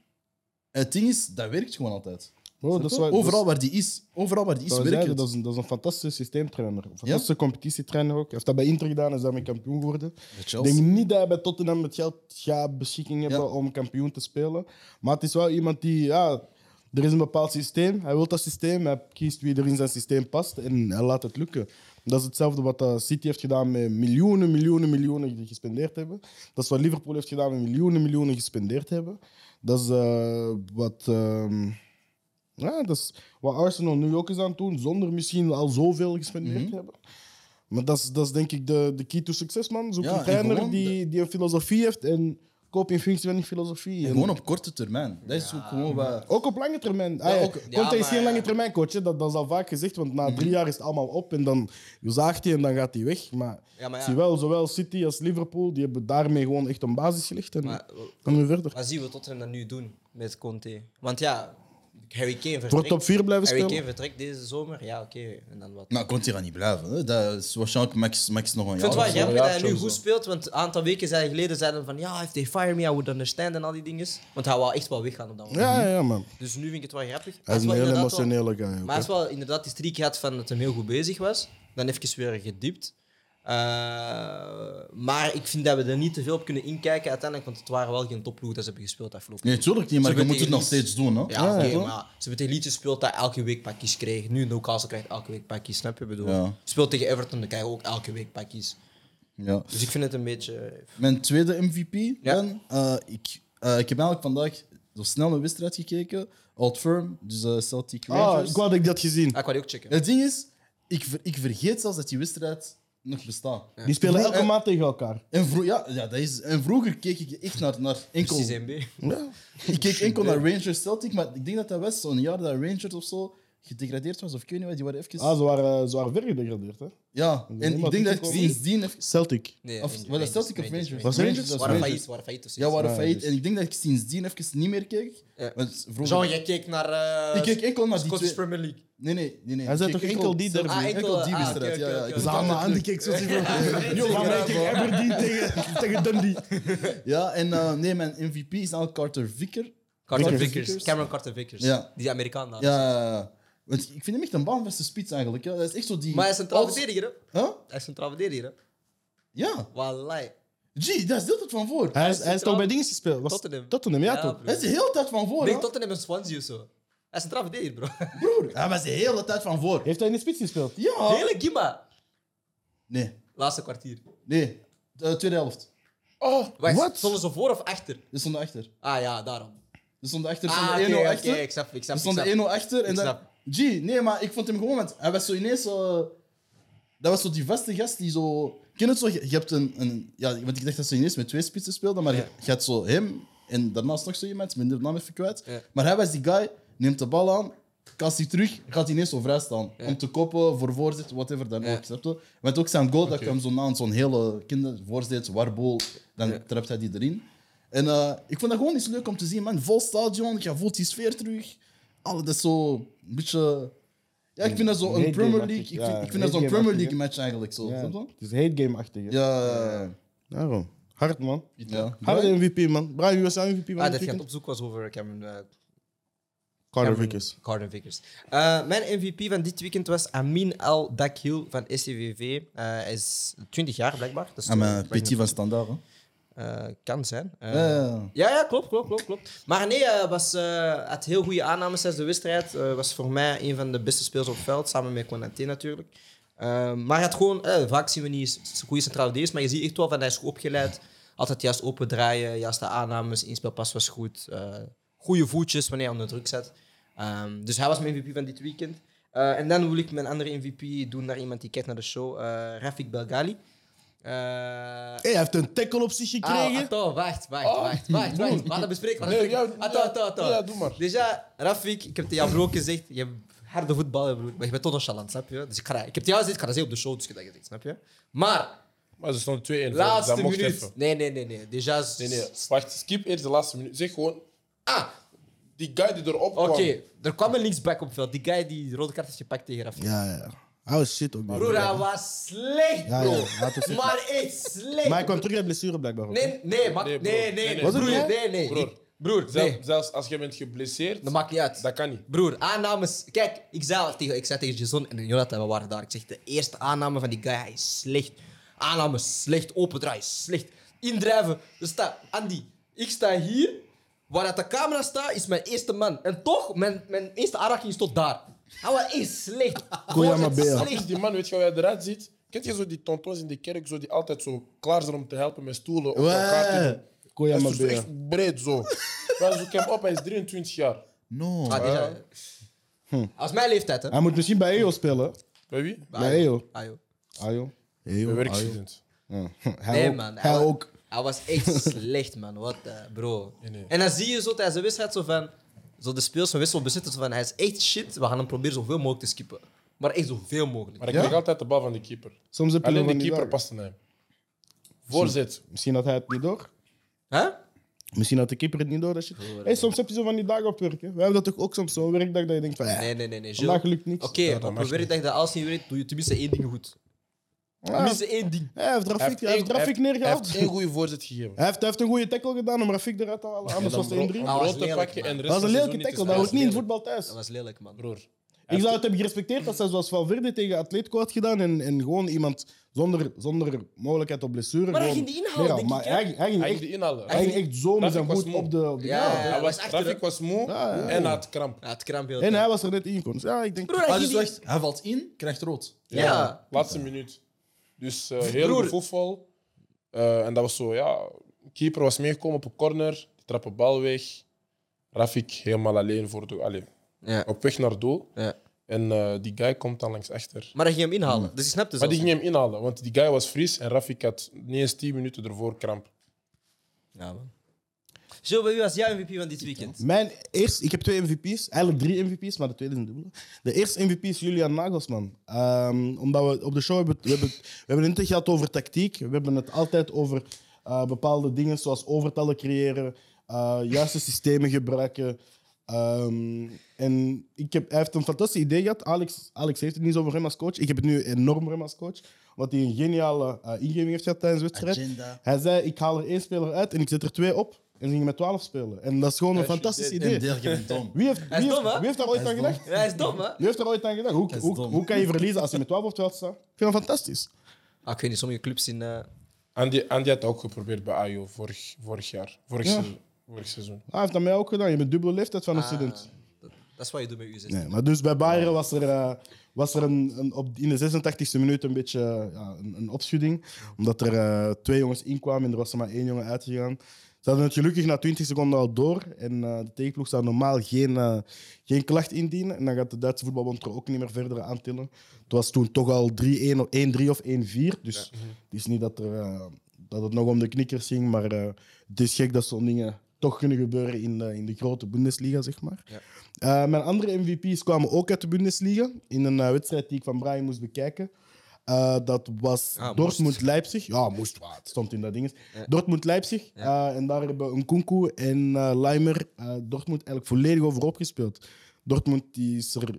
[SPEAKER 4] het ding is, dat werkt gewoon altijd.
[SPEAKER 2] Oh, dat is waar-
[SPEAKER 4] overal
[SPEAKER 2] dat
[SPEAKER 4] waar die is, overal waar die
[SPEAKER 2] is-
[SPEAKER 4] is,
[SPEAKER 2] dat we
[SPEAKER 4] werkt
[SPEAKER 2] zeiden,
[SPEAKER 4] het.
[SPEAKER 2] dat is een, dat is een fantastische systeemtrainer. Een fantastische competitietrainer ook. Hij heeft dat bij Inter gedaan en is daarmee kampioen geworden. Ik
[SPEAKER 4] Chelsea.
[SPEAKER 2] denk niet dat hij bij Tottenham het geld gaat beschikking hebben
[SPEAKER 4] Ja.
[SPEAKER 2] om kampioen te spelen. Maar het is wel iemand die... Ja, er is een bepaald systeem. Hij wil dat systeem. Hij kiest wie er in zijn systeem past. En hij laat het lukken. Dat is hetzelfde wat eh, City heeft gedaan met miljoenen, miljoenen, miljoenen die gespendeerd hebben. Dat is wat Liverpool heeft gedaan met miljoenen, miljoenen gespendeerd hebben. Dat is eh, wat... ehm, ja, dat is wat Arsenal nu ook is aan het doen, zonder misschien al zoveel gespendeerd te hebben. Maar dat is, dat is denk ik de, de key to success, man. Zoek
[SPEAKER 4] Ja,
[SPEAKER 2] een
[SPEAKER 4] en
[SPEAKER 2] trainer
[SPEAKER 4] gewoon
[SPEAKER 2] die, die een filosofie heeft en koop in functie van die filosofie. En
[SPEAKER 4] Gewoon op korte termijn. Dat is ook gewoon wat...
[SPEAKER 2] Ook op lange termijn. Ah,
[SPEAKER 4] Ja,
[SPEAKER 2] ja,
[SPEAKER 4] ook-
[SPEAKER 2] Conte
[SPEAKER 1] Ja,
[SPEAKER 2] is
[SPEAKER 1] maar-
[SPEAKER 2] geen lange termijn coach, hè. dat, dat is al vaak gezegd, want na drie jaar is het allemaal op en dan zaagt hij en dan gaat hij weg. Maar,
[SPEAKER 1] Ja, maar ja.
[SPEAKER 2] zie wel, zowel City als Liverpool, die hebben daarmee gewoon echt een basis gelegd en
[SPEAKER 1] Maar-
[SPEAKER 2] gaan we verder.
[SPEAKER 1] Wat zien we Tottenham dan nu doen met Conte? Want ja, Harry Kane vertrekt.
[SPEAKER 2] Wordt top 4 blijven
[SPEAKER 1] Harry Kane
[SPEAKER 2] spelen.
[SPEAKER 1] vertrekt deze zomer. Ja, oké. En dan wat?
[SPEAKER 4] Nou, Conte gaat niet blijven. Hè. Dat is waarschijnlijk max, max nog een
[SPEAKER 1] Ik vind
[SPEAKER 4] jaar.
[SPEAKER 1] het wel
[SPEAKER 4] of zo.
[SPEAKER 1] jammer
[SPEAKER 3] ja,
[SPEAKER 1] dat hij nu
[SPEAKER 3] sowieso.
[SPEAKER 1] goed speelt, want een aantal weken zijn geleden zeiden we van ja, if they fire me, I would understand en al die dingen. Want hij wou echt wel weggaan op dat moment.
[SPEAKER 2] Ja, ja, ja, man.
[SPEAKER 1] Dus nu vind ik het wel grappig. Maar
[SPEAKER 2] Hij
[SPEAKER 1] het
[SPEAKER 2] is een
[SPEAKER 1] wel
[SPEAKER 2] heel
[SPEAKER 1] inderdaad wel-
[SPEAKER 2] emotionele guy. ook,
[SPEAKER 1] Maar
[SPEAKER 2] hè.
[SPEAKER 1] als wel inderdaad die streak had van dat hij heel goed bezig was, dan even weer gediept. Eh, maar ik vind dat we er niet te veel op kunnen inkijken uiteindelijk, want het waren wel geen topploeg dat ze hebben gespeeld afgelopen
[SPEAKER 4] Nee, tuurlijk niet, maar
[SPEAKER 1] Zo
[SPEAKER 4] je
[SPEAKER 1] met
[SPEAKER 4] moet
[SPEAKER 1] die
[SPEAKER 4] het nog
[SPEAKER 1] Elise.
[SPEAKER 4] steeds doen. Hè.
[SPEAKER 1] Ja, oké,
[SPEAKER 4] toch?
[SPEAKER 1] maar ze hebben tegen Leeds gespeeld dat elke week pakjes kreeg. Nu Newcastle krijgt elke week pakjes, snap je? Ik Bedoel.
[SPEAKER 4] Ja.
[SPEAKER 1] Speelt tegen Everton, dan krijg je ook elke week pakjes.
[SPEAKER 4] Ja.
[SPEAKER 1] Dus ik vind het een beetje...
[SPEAKER 4] Mijn tweede MVP,
[SPEAKER 1] Ja.
[SPEAKER 4] ben, eh, ik, eh, ik heb eigenlijk vandaag zo snel een wedstrijd gekeken. Old Firm, dus eh, Celtic
[SPEAKER 2] Ah,
[SPEAKER 4] Rangers.
[SPEAKER 2] ik wou dat ik dat gezien.
[SPEAKER 1] Ah, ik wou die ook checken.
[SPEAKER 4] het ding is, ik, ver- ik vergeet zelfs dat die wedstrijd nog bestaat.
[SPEAKER 2] Die spelen
[SPEAKER 4] Vroeger-
[SPEAKER 2] elke maand tegen elkaar.
[SPEAKER 4] En, vro- ja, ja, dat is, en vroeger keek ik echt naar, naar enkel...
[SPEAKER 1] Precies MB.
[SPEAKER 4] Ik keek enkel naar Rangers Celtic, maar ik denk dat dat was zo'n jaar dat Rangers of zo gedegradeerd was, of ik weet niet wat, die waren even...
[SPEAKER 2] Ah, ze waren, ze waren ver gedegradeerd, hè?
[SPEAKER 4] ja,
[SPEAKER 2] is
[SPEAKER 4] en ik
[SPEAKER 2] niemand
[SPEAKER 4] denk dat ik
[SPEAKER 2] toegekomen.
[SPEAKER 4] sinds die... even-
[SPEAKER 2] Celtic.
[SPEAKER 1] Nee,
[SPEAKER 4] Of-
[SPEAKER 1] Rangers,
[SPEAKER 4] was dat Celtic of
[SPEAKER 1] Rangers?
[SPEAKER 4] Rangers?
[SPEAKER 2] Was Rangers?
[SPEAKER 4] dat was
[SPEAKER 1] Waren
[SPEAKER 4] Rangers.
[SPEAKER 1] failliet, waren failliet of
[SPEAKER 4] Ja,
[SPEAKER 1] zoiets.
[SPEAKER 4] waren
[SPEAKER 2] Ja,
[SPEAKER 4] failliet.
[SPEAKER 2] dus-
[SPEAKER 4] En ik denk dat ik sindsdien even niet meer keek.
[SPEAKER 1] Ja.
[SPEAKER 4] Want vroeger...
[SPEAKER 1] Jean, jij keek naar... eh,
[SPEAKER 4] Ik keek enkel naar die
[SPEAKER 1] Scottish
[SPEAKER 4] twee-
[SPEAKER 1] Premier League.
[SPEAKER 4] Nee, nee, nee. nee.
[SPEAKER 2] Hij zei
[SPEAKER 4] Ik
[SPEAKER 2] toch
[SPEAKER 4] keek
[SPEAKER 2] enkel die derby?
[SPEAKER 4] Ah,
[SPEAKER 1] Ah,
[SPEAKER 4] enkel
[SPEAKER 1] enkel,
[SPEAKER 4] die
[SPEAKER 1] ah,
[SPEAKER 4] wedstrijd,
[SPEAKER 1] oké,
[SPEAKER 4] ja.
[SPEAKER 1] oké,
[SPEAKER 4] ja.
[SPEAKER 1] oké.
[SPEAKER 4] Ik zag
[SPEAKER 2] Zama
[SPEAKER 4] het
[SPEAKER 2] aan de
[SPEAKER 4] terug.
[SPEAKER 2] kijk zo tegen Aberdeen tegen, tegen Dundee.
[SPEAKER 4] Ja, en eh, nee, mijn MVP is eigenlijk Carter Vicker.
[SPEAKER 1] Ah, Carter
[SPEAKER 4] Vickers.
[SPEAKER 1] Vickers. Cameron Carter Vickers.
[SPEAKER 4] Ja.
[SPEAKER 1] Die Amerikaan daar.
[SPEAKER 4] Ja, ja, ja. Want ik vind hem echt een baanvaste spits eigenlijk. Ja. Dat is echt zo die...
[SPEAKER 1] Maar hij is centraal
[SPEAKER 4] Als-
[SPEAKER 1] verdediger, hè?
[SPEAKER 4] Huh?
[SPEAKER 1] Hij is centraal verdediger, hè?
[SPEAKER 4] Ja.
[SPEAKER 1] Wallahi.
[SPEAKER 4] Gee, daar is de hele tijd van voor.
[SPEAKER 2] Hij is, hij is toch bij dingen gespeeld? Was
[SPEAKER 1] Tottenham.
[SPEAKER 2] Tottenham, ja,
[SPEAKER 1] Ja,
[SPEAKER 2] toch?
[SPEAKER 1] bro.
[SPEAKER 4] Hij is de hele tijd van voor,
[SPEAKER 1] Nee,
[SPEAKER 4] hè?
[SPEAKER 1] Tottenham en Swansea of zo. Hij is centraal verdediger, bro.
[SPEAKER 4] broer. Hij was de hele tijd van voor.
[SPEAKER 2] Heeft hij in de spits gespeeld?
[SPEAKER 4] Ja.
[SPEAKER 1] Hele Gimma.
[SPEAKER 4] Nee,
[SPEAKER 1] Laatste kwartier.
[SPEAKER 4] nee. De tweede helft.
[SPEAKER 2] Oh,
[SPEAKER 1] Wacht,
[SPEAKER 2] wat?
[SPEAKER 1] stonden ze voor of achter?
[SPEAKER 4] Er stond achter.
[SPEAKER 1] Ah ja, daarom.
[SPEAKER 4] Er stond achter. Er
[SPEAKER 1] Ah,
[SPEAKER 4] stond
[SPEAKER 1] oké,
[SPEAKER 4] 1-0
[SPEAKER 1] oké,
[SPEAKER 4] achter.
[SPEAKER 1] ik snap, ik snap.
[SPEAKER 4] Er
[SPEAKER 1] ik
[SPEAKER 4] stond
[SPEAKER 1] snap. Ah,
[SPEAKER 4] 1-0 achter en
[SPEAKER 1] Ik
[SPEAKER 4] dan...
[SPEAKER 1] snap.
[SPEAKER 4] G, nee, maar ik vond hem gewoon... want Hij was zo ineens zo... Dat was zo die vaste gast die zo... Ken het zo? Je, je hebt een, een... Ja, want ik dacht dat ze ineens met twee spitsen speelden, maar je, je had zo hem en daarnaast nog zo iemand. Ik ben de naam even kwijt.
[SPEAKER 1] Ja.
[SPEAKER 4] Maar hij was die guy, neemt de bal aan, kast die terug, gaat ineens zo vrij staan. Om te koppen, voor voorzet, whatever dan
[SPEAKER 1] Ja.
[SPEAKER 4] ook. Snap je? Want ook zijn goal, dat kwam zo na aan zo'n hele kinder, voorzet, warboel. Dan trapt hij die erin. En eh, ik vond dat gewoon iets leuk om te zien, man. Vol stadion, je voelt die sfeer terug. Alle, dat is zo een beetje... Ja, ik vind dat zo een
[SPEAKER 2] Meegeven
[SPEAKER 4] Premier
[SPEAKER 2] mag
[SPEAKER 4] League... Ik
[SPEAKER 2] ik-
[SPEAKER 4] vind,
[SPEAKER 2] ja,
[SPEAKER 4] ik vind dat zo'n
[SPEAKER 2] meegeven
[SPEAKER 4] Premier
[SPEAKER 2] mag ik,
[SPEAKER 4] League match eigenlijk, zo.
[SPEAKER 2] Ja,
[SPEAKER 4] Snap je?
[SPEAKER 2] het is hate game-achtig. hè?
[SPEAKER 4] Ja, ja,
[SPEAKER 2] Daarom. Hard, man.
[SPEAKER 4] ja.
[SPEAKER 2] Hard MVP, man. Brian, wie was jouw MVP?
[SPEAKER 1] Ah, dat
[SPEAKER 2] van dit
[SPEAKER 1] je aan het
[SPEAKER 2] weekend?
[SPEAKER 1] op zoek was over Cameron, eh,
[SPEAKER 2] Carter
[SPEAKER 1] Cameron-
[SPEAKER 2] Vickers.
[SPEAKER 1] Carter Vickers. Eh, mijn MVP van dit weekend was Amin Al Dakhil van SCVV. Eh, hij is 20 jaar blijkbaar. Dat is eh,
[SPEAKER 4] Ah, maar
[SPEAKER 1] toch-
[SPEAKER 4] Petit van standaard, hè.
[SPEAKER 1] Eh, kan zijn. Eh,
[SPEAKER 4] Ja, ja, ja.
[SPEAKER 1] Ja, ja, klopt, klopt, klopt. klopt. Maar nee, hij was, eh, had heel goede aannames tijdens de wedstrijd. Eh, was voor mij een van de beste spelers op het veld, samen met Konaté natuurlijk. Eh, maar hij had gewoon, eh, vaak zien we niet s- goede centrale verdedigers, maar je ziet echt wel van hij is goed opgeleid. Altijd juist open draaien, juist de aannames, inspelpas was goed. eh goede voetjes wanneer hij onder druk zet. Ehm, dus hij was mijn MVP van dit weekend. Eh, en dan wil ik mijn andere MVP doen naar iemand die kijkt naar de show, eh Rafik Belgali. Eh,
[SPEAKER 2] Hey, hij heeft een tackle op zich
[SPEAKER 1] Ah,
[SPEAKER 2] gekregen.
[SPEAKER 1] attends, wacht, wacht, wacht, wacht, wacht. We gaan dat bespreken. we gaan
[SPEAKER 3] Oh, Nee,
[SPEAKER 1] dat Ah, bespreken.
[SPEAKER 3] ja,
[SPEAKER 1] Attends,
[SPEAKER 3] ja,
[SPEAKER 1] attends, attends.
[SPEAKER 3] ja, doe maar.
[SPEAKER 1] Déjà, Dus Rafik, ik heb tegen jou ook gezegd, je hebt harde voetballer, broer. Maar je bent toch nonchalant, snap je? Dus ik, ga, ik heb jou gezegd, ik ga dat zeggen op de show, dus ik heb dat gezegd, snap je? Maar,
[SPEAKER 3] Maar ze stonden 2-1. voor, dus
[SPEAKER 1] laatste
[SPEAKER 3] dat mocht
[SPEAKER 1] minuut.
[SPEAKER 3] even.
[SPEAKER 1] Nee, nee, nee, nee. Déjà, s-
[SPEAKER 3] Nee, nee. Wacht, skip eerst de laatste minuut. Zeg gewoon,
[SPEAKER 1] Ah,
[SPEAKER 3] die guy die erop kwam.
[SPEAKER 1] oké. Er kwam een linksback op het veld. Die guy die de rode kaart heeft gepakt tegen Rafik.
[SPEAKER 2] Ja, ja. Hij was shit ook, man.
[SPEAKER 1] Broer, hij was slecht,
[SPEAKER 2] Ja, ja,
[SPEAKER 1] bro.
[SPEAKER 2] laat het zitten.
[SPEAKER 1] maar echt slecht.
[SPEAKER 2] Maar hij kwam terug uit blessure, blijkbaar. ook, hè?
[SPEAKER 1] Nee, nee, maar, nee,
[SPEAKER 3] Nee, broer.
[SPEAKER 1] nee,
[SPEAKER 3] Nee, nee.
[SPEAKER 1] broer,
[SPEAKER 3] Was
[SPEAKER 2] het
[SPEAKER 1] nee,
[SPEAKER 2] niet?
[SPEAKER 1] nee, nee.
[SPEAKER 3] Broer.
[SPEAKER 1] Ik- Broer,
[SPEAKER 3] Zelf-
[SPEAKER 1] nee.
[SPEAKER 3] Zelfs als je bent geblesseerd,
[SPEAKER 1] Dat maakt niet uit.
[SPEAKER 3] dat kan niet.
[SPEAKER 1] Broer, aannames. Kijk, ik zei, al tegen, ik zei tegen Jason en Jonathan, we waren daar. Ik zeg, de eerste aanname van die guy, hij is slecht. Aanname slecht, opendraaien slecht. Indrijven, dus sta, Andy, ik sta hier. Waar dat de camera staat, is mijn eerste man. En toch, mijn, mijn eerste aanraking is tot daar. Houwe is slecht.
[SPEAKER 2] Koyama
[SPEAKER 1] Wordt het
[SPEAKER 2] Bea.
[SPEAKER 1] slecht.
[SPEAKER 3] Die man, weet je hoe hij eruit ziet? Kent je zo die tontons in de kerk zo, die altijd zo klaar zijn om te helpen met stoelen op elkaar te doen? Hij
[SPEAKER 2] Koyama
[SPEAKER 1] dus
[SPEAKER 3] is zo
[SPEAKER 2] Bea.
[SPEAKER 3] echt breed zo. Wij zoeken hem op, hij is 23 jaar.
[SPEAKER 4] No.
[SPEAKER 1] Ah, die zijn-
[SPEAKER 3] Hm.
[SPEAKER 1] Als mijn leeftijd, hè?
[SPEAKER 2] Hij moet misschien bij EO spelen.
[SPEAKER 3] Bij wie?
[SPEAKER 2] Bij EO.
[SPEAKER 1] Ah, joh.
[SPEAKER 2] Ayo.
[SPEAKER 4] Hey,
[SPEAKER 3] Bij
[SPEAKER 4] joh, ah, joh.
[SPEAKER 3] werkstudent.
[SPEAKER 2] Hij
[SPEAKER 1] Nee,
[SPEAKER 2] ook.
[SPEAKER 1] man.
[SPEAKER 2] Hij
[SPEAKER 1] wa-
[SPEAKER 2] ook.
[SPEAKER 1] Hij was echt slecht, man. Wat, eh, bro.
[SPEAKER 3] nee.
[SPEAKER 1] En dan zie je zo tijdens de wedstrijd zo van... Zo de speels van Wissel bezitten zo van... Hij is echt shit. We gaan hem proberen zoveel mogelijk te skippen. Maar echt zoveel mogelijk.
[SPEAKER 3] Maar ik
[SPEAKER 2] Ja?
[SPEAKER 3] kreeg altijd de bal van de keeper.
[SPEAKER 2] Soms heb je
[SPEAKER 3] Alleen
[SPEAKER 2] nog
[SPEAKER 3] de
[SPEAKER 2] niet
[SPEAKER 3] keeper
[SPEAKER 2] daar.
[SPEAKER 3] paste naar hem. Voorzet.
[SPEAKER 2] Misschien had hij het niet door.
[SPEAKER 1] Hè?
[SPEAKER 2] Misschien had de keeper het niet door. Dat shit. hey, soms heb je zo van die dagen op het werk. Hè. We hebben dat toch ook soms zo'n werkdag dat je denkt van... eh,
[SPEAKER 1] Nee, nee, nee. nee. Gilles.
[SPEAKER 2] Vandaag lukt niks.
[SPEAKER 1] Oké,
[SPEAKER 3] dat
[SPEAKER 1] op
[SPEAKER 3] mag
[SPEAKER 1] een werkdag dat alles niet werkt, doe je tenminste één ding goed. Tenminste één ding.
[SPEAKER 2] ah, Hij heeft Rafik, hij heeft Rafik
[SPEAKER 3] één- hij heeft- hij
[SPEAKER 2] neergehaald.
[SPEAKER 3] heeft één goede voorzet gegeven.
[SPEAKER 2] Hij heeft, hij heeft een goede tackle gedaan om Rafik eruit te halen. Anders was het 1-3.
[SPEAKER 1] Ah,
[SPEAKER 2] Dat
[SPEAKER 1] was
[SPEAKER 3] Rood te
[SPEAKER 1] lelijk,
[SPEAKER 3] pakken
[SPEAKER 1] man.
[SPEAKER 3] en de rest
[SPEAKER 2] was een
[SPEAKER 3] van het
[SPEAKER 2] lelijke
[SPEAKER 3] seizoen
[SPEAKER 2] tackle.
[SPEAKER 3] te
[SPEAKER 2] Dat hoort
[SPEAKER 1] was
[SPEAKER 2] niet in
[SPEAKER 1] lelijk.
[SPEAKER 2] voetbal thuis.
[SPEAKER 1] Dat was lelijk, man.
[SPEAKER 3] Broer.
[SPEAKER 2] Ik zou het hebben gerespecteerd als hij zoals Valverde tegen Atletico had gedaan en, en gewoon iemand zonder, zonder mogelijkheid op blessure.
[SPEAKER 1] Maar hij
[SPEAKER 2] gewoon
[SPEAKER 1] ging die inhalen,
[SPEAKER 2] neerhaalt.
[SPEAKER 1] denk ik,
[SPEAKER 2] Maar
[SPEAKER 1] hè?
[SPEAKER 2] hij, hij ging
[SPEAKER 3] Hij ging
[SPEAKER 2] echt,
[SPEAKER 3] die inhalen.
[SPEAKER 2] hij ging echt zo met
[SPEAKER 3] Rafik
[SPEAKER 2] zijn
[SPEAKER 3] was
[SPEAKER 2] voet
[SPEAKER 3] moe.
[SPEAKER 2] op de... Op de
[SPEAKER 1] Ja,
[SPEAKER 2] ja.
[SPEAKER 1] hij was
[SPEAKER 3] Hij was,
[SPEAKER 1] achter-
[SPEAKER 3] Rafik was moe
[SPEAKER 2] Ja, ja.
[SPEAKER 3] en had kramp.
[SPEAKER 1] Ja, het krampbeeld.
[SPEAKER 2] En hij was er net in. kon. Dus ja, ik denk...
[SPEAKER 1] Broer, hij
[SPEAKER 4] Ah,
[SPEAKER 1] ging
[SPEAKER 4] dus
[SPEAKER 1] die-
[SPEAKER 4] wacht, hij valt in, krijgt rood.
[SPEAKER 1] Ja.
[SPEAKER 3] Laatste minuut. Dus eh, heel
[SPEAKER 1] Broer.
[SPEAKER 3] gevoelvol. Eh, en dat was zo, ja. Keeper was meegekomen op een corner. Die trappen bal weg. Rafik helemaal alleen voor doel. Allee,
[SPEAKER 1] Ja.
[SPEAKER 3] op weg naar doel.
[SPEAKER 1] Ja.
[SPEAKER 3] En eh, die guy komt dan langs achter.
[SPEAKER 1] Maar hij ging hem inhalen. Dus je snapt het
[SPEAKER 3] Maar die
[SPEAKER 1] zelfs
[SPEAKER 3] ging hem inhalen, want die guy was Fries en Rafik had niet eens 10 minuten ervoor kramp.
[SPEAKER 1] niet. Ja, man. Gilles, bij wie was jouw MVP van dit weekend?
[SPEAKER 2] Mijn eerste, ik heb twee MVP's, eigenlijk drie MVP's, maar de tweede is een dubbele. De eerste MVP is Julian Nagelsman. Ehm, omdat we op de show hebben, we hebben, we hebben het niet gehad over tactiek. We hebben het altijd over eh, bepaalde dingen zoals overtallen creëren, eh, juiste systemen gebruiken. Ehm, en ik heb, hij heeft een fantastisch idee gehad. Alex, Alex heeft het niet zo over hem als coach. Ik heb het nu enorm voor hem als coach. Omdat hij een geniale eh, ingeving heeft gehad tijdens de wedstrijd.
[SPEAKER 4] Agenda.
[SPEAKER 2] Hij zei, ik haal er één speler uit en ik zet er twee op. En ze gingen met 12 spelen. En dat is gewoon een fantastisch idee.
[SPEAKER 4] En deel, je bent dom.
[SPEAKER 2] Wie heeft,
[SPEAKER 1] Hij is
[SPEAKER 2] wie,
[SPEAKER 1] dom,
[SPEAKER 2] heeft,
[SPEAKER 1] hè?
[SPEAKER 2] wie heeft daar ooit aan gedacht?
[SPEAKER 1] Ja, hij is dom, hè?
[SPEAKER 2] Wie heeft daar ooit aan gedacht?
[SPEAKER 4] Hij
[SPEAKER 2] Hoe,
[SPEAKER 4] is
[SPEAKER 2] hoe,
[SPEAKER 4] dom.
[SPEAKER 2] hoe kan je verliezen als je met 12 of 12 staat? Ik vind dat fantastisch.
[SPEAKER 1] Ah, ik weet niet, sommige clubs in... eh,
[SPEAKER 3] Andy, Andy had dat ook geprobeerd bij AJO vorig, vorig jaar. Vorig, seizoen, vorig seizoen.
[SPEAKER 2] Hij heeft dat mij ook gedaan. Je bent dubbele leeftijd van een
[SPEAKER 1] Ah.
[SPEAKER 2] student.
[SPEAKER 1] Dat, dat is wat je doet met U16.
[SPEAKER 2] Nee, maar dus bij Bayern was er, eh, was er een, een, op, in de 86e minuut een beetje eh, ja, een, een opschudding. Omdat er eh, twee jongens inkwamen en er was er maar één jongen uitgegaan. Ze hadden het gelukkig na 20 seconden al door. En eh, de tegenploeg zou normaal geen, eh, geen klacht indienen. En dan gaat de Duitse voetbalbond er ook niet meer verder aantillen. Het was toen toch al 3-1 of 1-3 of 1-4. Dus het is niet dat, er, eh, dat het nog om de knikkers ging. Maar eh, het is gek dat zo'n dingen toch kunnen gebeuren in, eh, in de grote Bundesliga, zeg maar. Eh, mijn andere MVP's kwamen ook uit de Bundesliga. In een eh, wedstrijd die ik van Brian moest bekijken. Eh, dat was
[SPEAKER 1] Ah,
[SPEAKER 2] Dortmund-Leipzig. Ja, moest wat. Stond in dat ding. Dortmund-Leipzig. Eh, en daar hebben Nkunku en eh, Leimer eh, Dortmund eigenlijk volledig overop gespeeld. Dortmund die is er,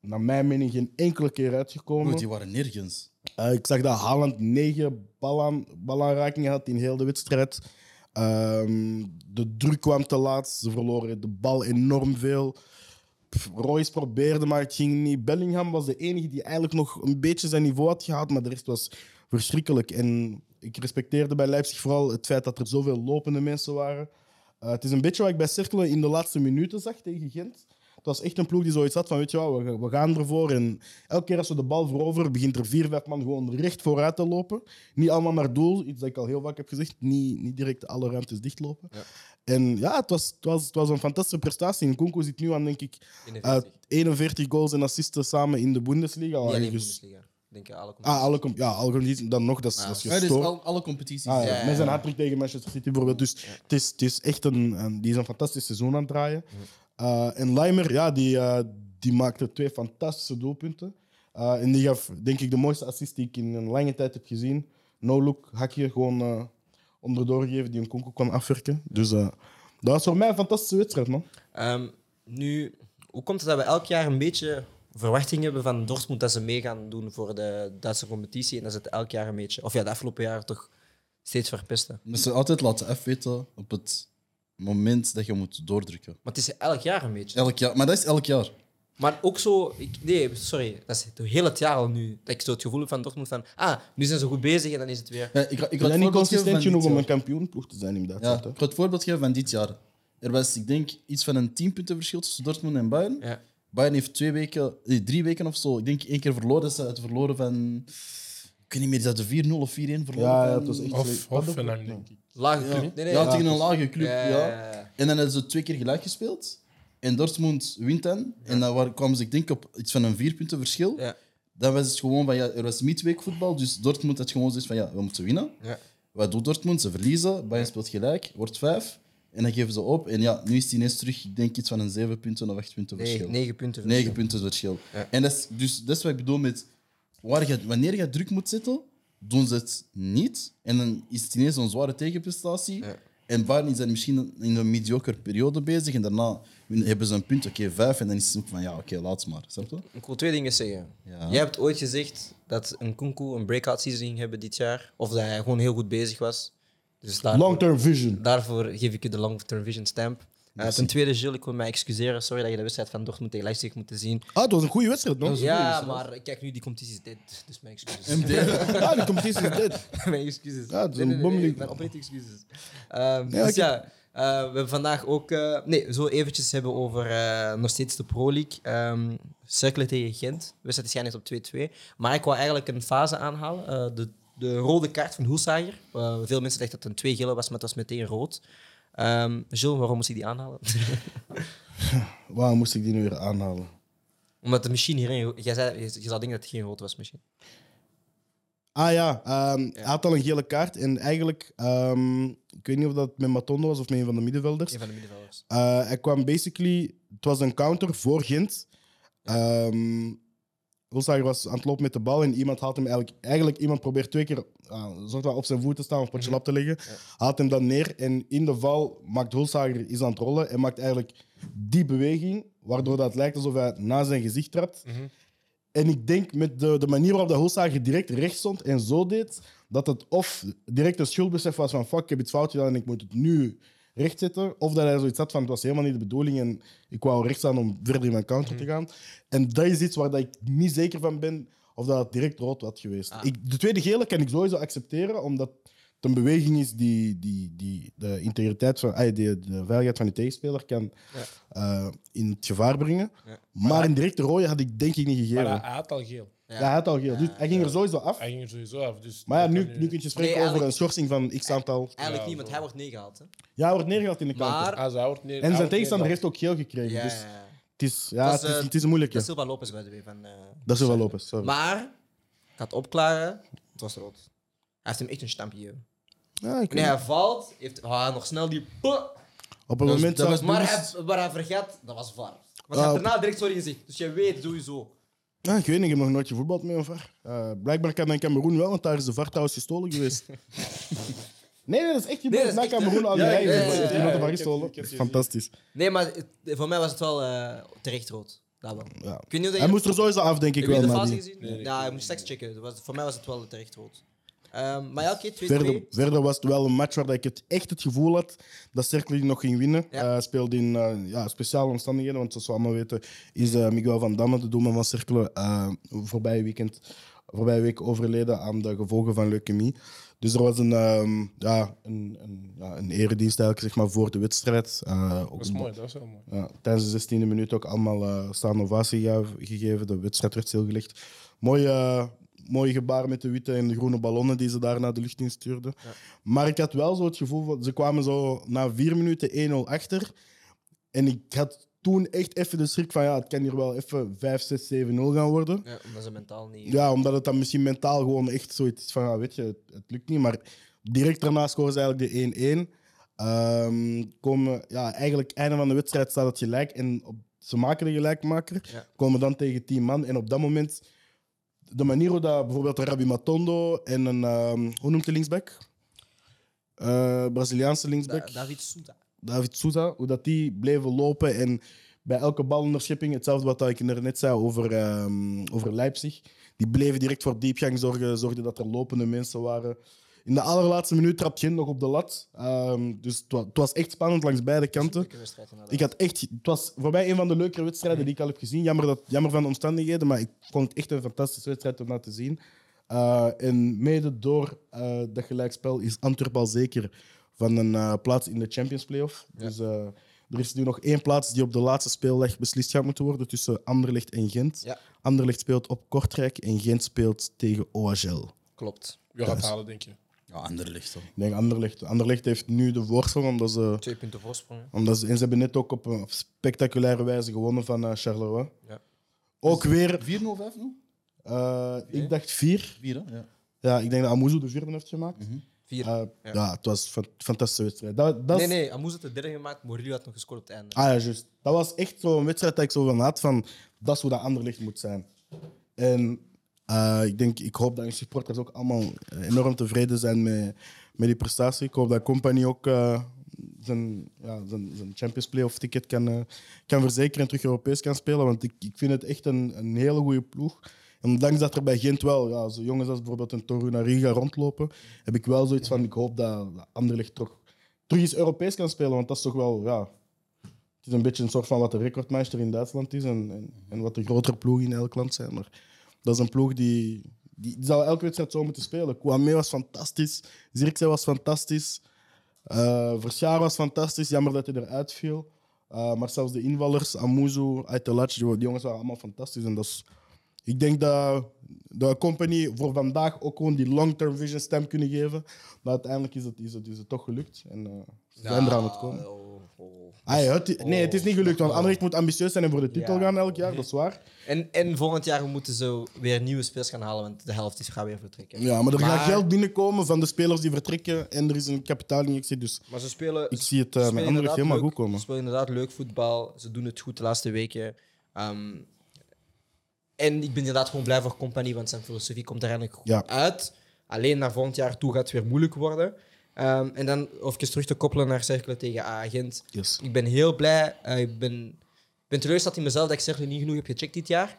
[SPEAKER 2] naar mijn mening, geen enkele keer uitgekomen.
[SPEAKER 4] Broer, die waren nergens.
[SPEAKER 2] Eh, ik zag dat Haaland negen balaan- balaanrakingen had in heel de wedstrijd. Ehm, de druk kwam te laat. Ze verloren de bal enorm veel. Pff, Royce probeerde, maar het ging niet. Bellingham was de enige die eigenlijk nog een beetje zijn niveau had gehaald, maar de rest was verschrikkelijk. En ik respecteerde bij Leipzig vooral het feit dat er zoveel lopende mensen waren. Eh, het is een beetje wat ik bij Cerkelen in de laatste minuten zag tegen Gent. Het was echt een ploeg die zoiets had van, weet je wat, we, ga- we gaan ervoor. En elke keer als we de bal veroveren, begint er vier, vijf man gewoon recht vooruit te lopen. Niet allemaal naar doel, iets dat ik al heel vaak heb gezegd. Niet, niet direct alle ruimtes dichtlopen. En ja, het was, het, was, het was een fantastische prestatie. En Kunko zit nu aan, denk ik, eh,
[SPEAKER 1] 41.
[SPEAKER 2] 41 goals en assisten samen in de Bundesliga.
[SPEAKER 1] Niet
[SPEAKER 2] Waar
[SPEAKER 1] alleen
[SPEAKER 2] je dus-
[SPEAKER 1] Bundesliga. Ik Denk aan alle
[SPEAKER 2] Ah,
[SPEAKER 1] competities.
[SPEAKER 2] alle com- ja, alle competities, dan nog, dat is,
[SPEAKER 1] Ja.
[SPEAKER 2] dat is
[SPEAKER 4] Ja, dus
[SPEAKER 2] gestoord.
[SPEAKER 4] al- alle competities.
[SPEAKER 2] Ah,
[SPEAKER 1] Ja,
[SPEAKER 2] ja.
[SPEAKER 1] ja,
[SPEAKER 2] Met zijn
[SPEAKER 1] ja.
[SPEAKER 2] hat tegen Manchester City bijvoorbeeld. Dus het, is, het is echt een, een- die is een fantastisch seizoen aan het draaien. Eh, en Leimer, ja, die, eh, die maakte twee fantastische doelpunten. Eh, en die gaf, denk ik, de mooiste assist die ik in een lange tijd heb gezien. No-look, hakje, gewoon eh, onderdoor geven die een konkel kon afwerken. Dus eh, dat was voor mij een fantastische wedstrijd, man.
[SPEAKER 1] Ehm, nu, hoe komt het dat we elk jaar een beetje verwachting hebben van Dortmund dat ze mee gaan doen voor de Duitse competitie en dat ze het elk jaar een beetje, of ja, de afgelopen jaren toch steeds verpesten.
[SPEAKER 4] Dus ze altijd laten afweten op het moment dat je moet doordrukken.
[SPEAKER 1] Maar het is elk jaar een beetje.
[SPEAKER 4] Elk jaar. Maar dat is elk jaar.
[SPEAKER 1] Maar ook zo, ik, nee, sorry, dat is het heel het jaar al nu dat ik zo het gevoel heb van Dortmund van, ah, nu zijn ze goed bezig en dan is het weer.
[SPEAKER 4] Ja, ik, ga- ik
[SPEAKER 2] We
[SPEAKER 4] ga het
[SPEAKER 2] zijn niet
[SPEAKER 4] voorbeeld geven
[SPEAKER 2] consistent
[SPEAKER 4] van
[SPEAKER 2] genoeg
[SPEAKER 4] dit
[SPEAKER 2] om
[SPEAKER 4] jaar.
[SPEAKER 2] een kampioenploeg te zijn in
[SPEAKER 4] Ja,
[SPEAKER 2] Duitsland.
[SPEAKER 4] ik ga het voorbeeld geven van dit jaar. Er was, ik denk, iets van een 10 punten verschil tussen Dortmund en Bayern.
[SPEAKER 1] Ja.
[SPEAKER 4] Bayern heeft twee weken, eh, drie weken of zo, ik denk één keer verloren. Dat ze het verloren van. Ik weet niet meer, is dat de 4-0 of 4-1 verloren?
[SPEAKER 2] Ja, ja,
[SPEAKER 4] van-
[SPEAKER 2] het was echt
[SPEAKER 3] Of Hoffenheim, denk ik.
[SPEAKER 1] Laag.
[SPEAKER 4] Ja,
[SPEAKER 1] Nee, nee.
[SPEAKER 4] ja,
[SPEAKER 1] ja.
[SPEAKER 4] tegen een lage club.
[SPEAKER 1] Ja,
[SPEAKER 4] Ja,
[SPEAKER 1] ja, ja.
[SPEAKER 4] En dan hebben ze twee keer gelijk gespeeld. En Dortmund wint dan. En dan waar- kwamen ze, ik denk, op iets van een vier punten verschil.
[SPEAKER 1] Ja.
[SPEAKER 4] Dan was het gewoon van, ja, er was midweekvoetbal. Dus Dortmund had gewoon zoiets van, ja, we moeten winnen.
[SPEAKER 1] Ja.
[SPEAKER 4] Wat doet Dortmund? Ze verliezen. Bayern speelt gelijk, wordt vijf. En dan geven ze op. En ja, nu is het ineens terug, ik denk, iets van een zeven punten of acht punten
[SPEAKER 1] Nee,
[SPEAKER 4] verschil.
[SPEAKER 1] negen punten.
[SPEAKER 4] Negen punten verschil. En dat is, dus dat is wat ik bedoel met waar je, wanneer je druk moet zetten, doen ze het niet. En dan is het ineens een zware tegenprestatie.
[SPEAKER 1] Ja.
[SPEAKER 4] En Bayern is dan misschien in een mediocre periode bezig. En daarna hebben ze een punt, oké, vijf. En dan is het ook van, ja, oké, laat maar. Snap je?
[SPEAKER 1] Ik wil twee dingen zeggen.
[SPEAKER 4] Ja.
[SPEAKER 1] Jij hebt ooit gezegd dat een Kunku een breakout season ging hebben dit jaar. Of dat hij gewoon heel goed bezig was. Dus daarvoor,
[SPEAKER 2] Long-term vision.
[SPEAKER 1] daarvoor geef ik je de long-term vision stamp. Eh, ten tweede, Gilles, ik wil mij excuseren. Sorry dat je de wedstrijd van Dortmund tegen Leipzig moet zien.
[SPEAKER 2] Ah, het was een goede wedstrijd, nog.
[SPEAKER 1] Ja, maar kijk nu, die competitie is dit. Dus mijn excuses.
[SPEAKER 2] Ja, de competitie is dit.
[SPEAKER 1] mijn excuses.
[SPEAKER 2] Ja, het is
[SPEAKER 1] Nee, nee, nee,
[SPEAKER 2] een
[SPEAKER 1] nee,
[SPEAKER 2] bommeling.
[SPEAKER 1] Mijn oprechte excuses. Ehm, dus
[SPEAKER 2] ik-
[SPEAKER 1] ja, eh, we hebben vandaag ook... eh, nee, zo eventjes hebben over eh, nog steeds de Pro League. Ehm Cercle tegen Gent. We zetten schijn net op 2-2. Maar ik wou eigenlijk een fase aanhalen. Eh, de, de rode kaart van Hoelsager. Eh, veel mensen dachten dat het een twee gele was, maar het was meteen rood. Ehm Jules, waarom moest ik die aanhalen?
[SPEAKER 2] Waarom moest ik die nu weer aanhalen?
[SPEAKER 1] Omdat de machine hierin... Jij, zei, je, je zou denken dat het geen rood was, misschien.
[SPEAKER 2] Ah ja, ehm, hij had al een gele kaart. En eigenlijk, ehm, ik weet niet of dat met Matondo was of met een van de middenvelders.
[SPEAKER 1] Een van de middenvelders.
[SPEAKER 2] Eh, hij kwam basically, het was een counter voor Gent. Ehm Hulsager was aan het lopen met de bal en iemand haalt hem eigenlijk, eigenlijk iemand probeert twee keer ah, soort van op zijn voet te staan of potje lap te leggen. Haalt hem dan neer en in de val maakt Hulsager is aan het rollen en maakt eigenlijk die beweging, waardoor dat lijkt alsof hij na zijn gezicht trapt. En ik denk met de, de manier waarop dat Hulsager direct recht stond en zo deed, dat het of direct een schuldbesef was van fuck, ik heb iets fout gedaan en ik moet het nu rechtzetten. Of dat hij zoiets had van het was helemaal niet de bedoeling en ik wou recht staan om verder in mijn
[SPEAKER 3] Mhm.
[SPEAKER 2] counter te gaan. En dat is iets waar dat ik niet zeker van ben of dat het direct rood had geweest.
[SPEAKER 3] Ah.
[SPEAKER 2] Ik, de tweede gele kan ik sowieso accepteren, omdat het een beweging is die, die, die de integriteit van, ah, de, de veiligheid van de tegenspeler kan eh, in het gevaar brengen. Maar een directe rode had ik denk ik niet gegeven.
[SPEAKER 3] Maar hij, hij had al geel.
[SPEAKER 2] ja. hij had al geel. Dus hij ging er sowieso af.
[SPEAKER 3] Hij ging er sowieso af. Dus
[SPEAKER 2] Maar ja,
[SPEAKER 3] dat
[SPEAKER 2] nu,
[SPEAKER 3] kan
[SPEAKER 2] nu kun je
[SPEAKER 1] Nee,
[SPEAKER 2] spreken over
[SPEAKER 1] eigenlijk-
[SPEAKER 2] een schorsing van x aantal.
[SPEAKER 1] Eigenlijk
[SPEAKER 3] Ja,
[SPEAKER 1] niet, want hij wordt neergehaald. Hè?
[SPEAKER 2] Ja, hij wordt neergehaald in de counter.
[SPEAKER 1] Maar...
[SPEAKER 3] Ah, ze houdt neer-
[SPEAKER 2] En
[SPEAKER 3] hij
[SPEAKER 2] zijn
[SPEAKER 3] houdt
[SPEAKER 2] tegenstander
[SPEAKER 3] neer-
[SPEAKER 2] heeft ook geel gekregen.
[SPEAKER 1] Ja,
[SPEAKER 2] Dus
[SPEAKER 1] ja, ja.
[SPEAKER 2] het is, ja,
[SPEAKER 1] Dat is,
[SPEAKER 2] het, is,
[SPEAKER 1] eh,
[SPEAKER 2] het is een moeilijke.
[SPEAKER 1] Dat is Silva Lopez, bij de way. Van, eh,
[SPEAKER 2] Dat is wel Lopez, sorry.
[SPEAKER 1] Maar, ik had opklaren, het was rood. Hij heeft hem echt een stampje gegeven.
[SPEAKER 2] Ja, ik weet
[SPEAKER 1] Wanneer
[SPEAKER 2] niet.
[SPEAKER 1] hij valt, heeft oh, hij nog snel die... puh.
[SPEAKER 2] Op een
[SPEAKER 4] dat
[SPEAKER 2] moment
[SPEAKER 4] was-
[SPEAKER 2] zelfs-
[SPEAKER 1] Maar hij, waar hij vergat, dat was VAR. Want hij
[SPEAKER 2] Ah,
[SPEAKER 1] had
[SPEAKER 2] oké.
[SPEAKER 1] daarna direct sorry gezegd. Dus je weet sowieso.
[SPEAKER 2] Ah, ik weet niet, ik heb nog nooit gevoetbald mee of VAR. Eh, blijkbaar kan dat in Cameroen wel, want daar is de VAR trouwens gestolen geweest. nee, nee, dat is echt
[SPEAKER 1] Nee,
[SPEAKER 2] gebeurd.
[SPEAKER 1] dat is
[SPEAKER 2] Na
[SPEAKER 1] echt-
[SPEAKER 2] Cameroen al die
[SPEAKER 1] Ja,
[SPEAKER 2] rijden.
[SPEAKER 1] ja, ja,
[SPEAKER 2] heeft
[SPEAKER 1] ja, ja,
[SPEAKER 2] iemand de
[SPEAKER 3] ik
[SPEAKER 2] VAR
[SPEAKER 3] heb-
[SPEAKER 2] gestolen.
[SPEAKER 3] ik heb gezien.
[SPEAKER 2] Fantastisch.
[SPEAKER 1] Nee, maar het- voor mij was het wel eh, terecht rood. Dat wel.
[SPEAKER 2] Ja.
[SPEAKER 1] Ik weet niet of
[SPEAKER 2] Hij
[SPEAKER 1] je-
[SPEAKER 2] moest er sowieso af, denk ik
[SPEAKER 1] Heb je
[SPEAKER 2] wel.
[SPEAKER 1] de
[SPEAKER 2] maar
[SPEAKER 1] fase
[SPEAKER 2] die-
[SPEAKER 1] gezien? ja, ik moest straks checken. Dat was- voor mij was het wel terecht rood. Ehm, maar ja, oké, 2-2.
[SPEAKER 2] Verder, verder was het wel een match waar ik het echt het gevoel had dat Cercle die nog ging winnen.
[SPEAKER 1] Ja.
[SPEAKER 2] Eh, speelde in eh, ja, speciale omstandigheden, want zoals we allemaal weten is eh, Miguel van Damme, de doelman van Cercle, eh voorbije, weekend, voorbije week overleden aan de gevolgen van leukemie. Dus er was een, ehm, ja, een, een, ja, een eredienst eigenlijk, zeg maar, voor de wedstrijd. Eh, ook
[SPEAKER 3] Dat is mooi, dat is wel mooi.
[SPEAKER 2] ja, tijdens de 16e minuut ook allemaal eh staan ovatie ge- gegeven. De wedstrijd werd stilgelegd. Mooi, eh, mooi gebaar met de witte en de groene ballonnen die ze daar naar de lucht in stuurden. Maar ik had wel zo het gevoel, van- ze kwamen zo na vier minuten 1-0 achter. En ik had toen echt even de schrik van, ja, het kan hier wel even 5, 6, 7-0 gaan worden.
[SPEAKER 1] Ja, omdat ze mentaal niet...
[SPEAKER 2] Ja, omdat het dan misschien mentaal gewoon echt zoiets is van, ja, weet je, het, het lukt niet. Maar direct daarna scoren ze eigenlijk de 1-1. Ehm, komen, ja, eigenlijk einde van de wedstrijd staat het gelijk. En op, ze maken de gelijkmaker.
[SPEAKER 1] Ja.
[SPEAKER 2] Komen dan tegen 10 man. En op dat moment, de manier hoe dat bijvoorbeeld Rabi Matondo en een, ehm, hoe noemt de linksback? Eh, Braziliaanse
[SPEAKER 1] Da-
[SPEAKER 2] linksback.
[SPEAKER 1] David Souza.
[SPEAKER 2] David Souza, hoe dat die bleven lopen en bij elke balonderschepping, hetzelfde wat ik er net zei over, ehm, over Leipzig, die bleven direct voor diepgang zorgen, zorgden dat er lopende mensen waren. In de allerlaatste minuut trapt Gent nog op de lat. Ehm, dus het wa- het was echt spannend langs beide kanten.
[SPEAKER 1] Leuke wedstrijd inderdaad.
[SPEAKER 2] Ik had echt, het was voor mij een van de leukere wedstrijden die ik al heb gezien. Jammer, dat, jammer van de omstandigheden, maar ik vond het echt een fantastische wedstrijd om naar te zien. Eh, en mede door eh, dat gelijkspel is Antwerpen al zeker van een eh, plaats in de Champions Playoff. Dus eh, Er is nu nog één plaats die op de laatste speeldag beslist gaat moeten worden tussen Anderlecht en Gent.
[SPEAKER 1] Ja.
[SPEAKER 2] Anderlecht speelt op Kortrijk en Gent speelt tegen OHL.
[SPEAKER 1] Klopt.
[SPEAKER 3] Wie gaat het halen, denk je?
[SPEAKER 4] Ja, ander licht toch.
[SPEAKER 2] Ik denk Anderlecht. Anderlecht heeft nu de voorsprong omdat ze
[SPEAKER 1] Twee punten voorsprong. hè.
[SPEAKER 2] Omdat ze, en ze hebben net ook op een spectaculaire wijze gewonnen van eh, Charleroi.
[SPEAKER 1] Ja.
[SPEAKER 2] Ook weer,
[SPEAKER 4] 4-0, 5-0?
[SPEAKER 2] eh, ik dacht vier.
[SPEAKER 4] 4, hè? Ja.
[SPEAKER 2] Ja, ik denk dat Amuzu de vierde heeft gemaakt.
[SPEAKER 1] Vier.
[SPEAKER 2] Eh, ja. het was een fan- fantastische wedstrijd. Dat, dat
[SPEAKER 1] nee,
[SPEAKER 2] is-
[SPEAKER 1] nee, Amoes had de derde gemaakt, Morillo had nog gescoord op het einde.
[SPEAKER 2] Ah ja, juist. Dat was echt zo'n wedstrijd dat ik zo van had van dat is hoe dat Anderlecht moet zijn. En eh, ik denk, ik hoop dat hun supporters ook allemaal eh, enorm tevreden zijn met, met die prestatie. Ik hoop dat Company ook eh, zijn, ja, zijn, zijn Champions Playoff ticket kan, eh, kan verzekeren en terug Europees kan spelen. Want ik, ik vind het echt een, een hele goede ploeg. En ondanks dat er bij Gent wel ja, zo jongens als bijvoorbeeld een Torunariga rondlopen, heb ik wel zoiets van, ik hoop dat dat Anderlecht terug, terug eens Europees kan spelen. Want dat is toch wel... Ja, het is een beetje een soort van wat de recordmeester in Duitsland is en, en, en wat de grotere ploegen in elk land zijn. Maar dat is een ploeg die, die, die zou elke wedstrijd zo moeten spelen. Kouame was fantastisch, Zirkzee was fantastisch, eh Verschaar was fantastisch, jammer dat hij eruit viel. Eh, maar zelfs de invallers, Amuzu, Aitelac, die, die jongens waren allemaal fantastisch. En dat is, ik denk dat de company voor vandaag ook gewoon die long-term vision stem kunnen geven. Maar uiteindelijk is het, is het, is het toch gelukt en eh, ze zijn er aan het komen.
[SPEAKER 1] Oh, oh.
[SPEAKER 2] Ah, ja, het- nee, het is niet gelukt, want Anderlecht moet ambitieus zijn en voor de titel
[SPEAKER 1] Ja.
[SPEAKER 2] gaan elk jaar, dat is waar.
[SPEAKER 1] En, en volgend jaar moeten ze weer nieuwe speels gaan halen, want de helft is gaan weer vertrekken.
[SPEAKER 2] Ja, maar er
[SPEAKER 1] Maar-
[SPEAKER 2] gaat geld binnenkomen van de spelers die vertrekken en er is een kapitaalinjectie, dus
[SPEAKER 1] Maar ze spelen.
[SPEAKER 2] ik zie het
[SPEAKER 1] ze
[SPEAKER 2] eh,
[SPEAKER 1] spelen
[SPEAKER 2] met Anderlecht
[SPEAKER 1] inderdaad
[SPEAKER 2] helemaal
[SPEAKER 1] leuk.
[SPEAKER 2] goed komen.
[SPEAKER 1] Ze spelen inderdaad leuk voetbal. Ze doen het goed de laatste weken. Ehm, en ik ben inderdaad gewoon blij voor Company, want zijn filosofie komt er eigenlijk goed
[SPEAKER 2] Ja.
[SPEAKER 1] uit. Alleen naar volgend jaar toe gaat het weer moeilijk worden. Ehm, en dan even terug te koppelen naar Cercle tegen Agent.
[SPEAKER 2] Yes.
[SPEAKER 1] Ik ben heel blij. Eh, ik ben, ik ben teleurgesteld in mezelf dat ik Cercle niet genoeg heb gecheckt dit jaar.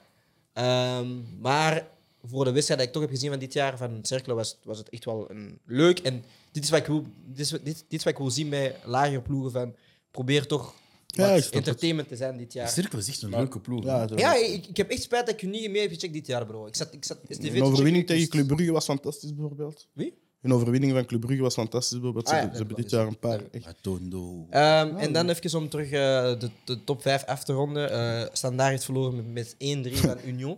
[SPEAKER 1] Ehm, maar voor de wedstrijd die ik toch heb gezien van dit jaar van Cercle was, was het echt wel een leuk. En dit is wat ik wil, dit is, wat- dit, dit is wat ik wil zien bij lagere ploegen. Van, probeer toch
[SPEAKER 2] Ja, ik
[SPEAKER 1] wat
[SPEAKER 2] snap het.
[SPEAKER 1] entertainment te zijn dit jaar.
[SPEAKER 4] Cirkel is echt een leuke ploeg.
[SPEAKER 2] Ja,
[SPEAKER 4] Ja,
[SPEAKER 2] het-
[SPEAKER 1] Ja, ik, ik heb echt spijt dat ik je niet meer heb gecheckt dit jaar, bro. Ik zat, ik zat STV te
[SPEAKER 2] een
[SPEAKER 1] checken.
[SPEAKER 2] overwinning tegen Club Brugge was fantastisch, bijvoorbeeld.
[SPEAKER 1] Wie?
[SPEAKER 2] Een overwinning van Club Brugge was fantastisch, bijvoorbeeld. Ze,
[SPEAKER 1] Ah, ja,
[SPEAKER 2] ze
[SPEAKER 1] dat
[SPEAKER 2] hebben
[SPEAKER 1] is
[SPEAKER 2] dit jaar een paar. echt-
[SPEAKER 4] Tondo.
[SPEAKER 2] Ah,
[SPEAKER 1] Ehm, en dan even om terug eh, de, de top 5 af te ronden. Eh Standaard heeft verloren met, met 1-3 van Union.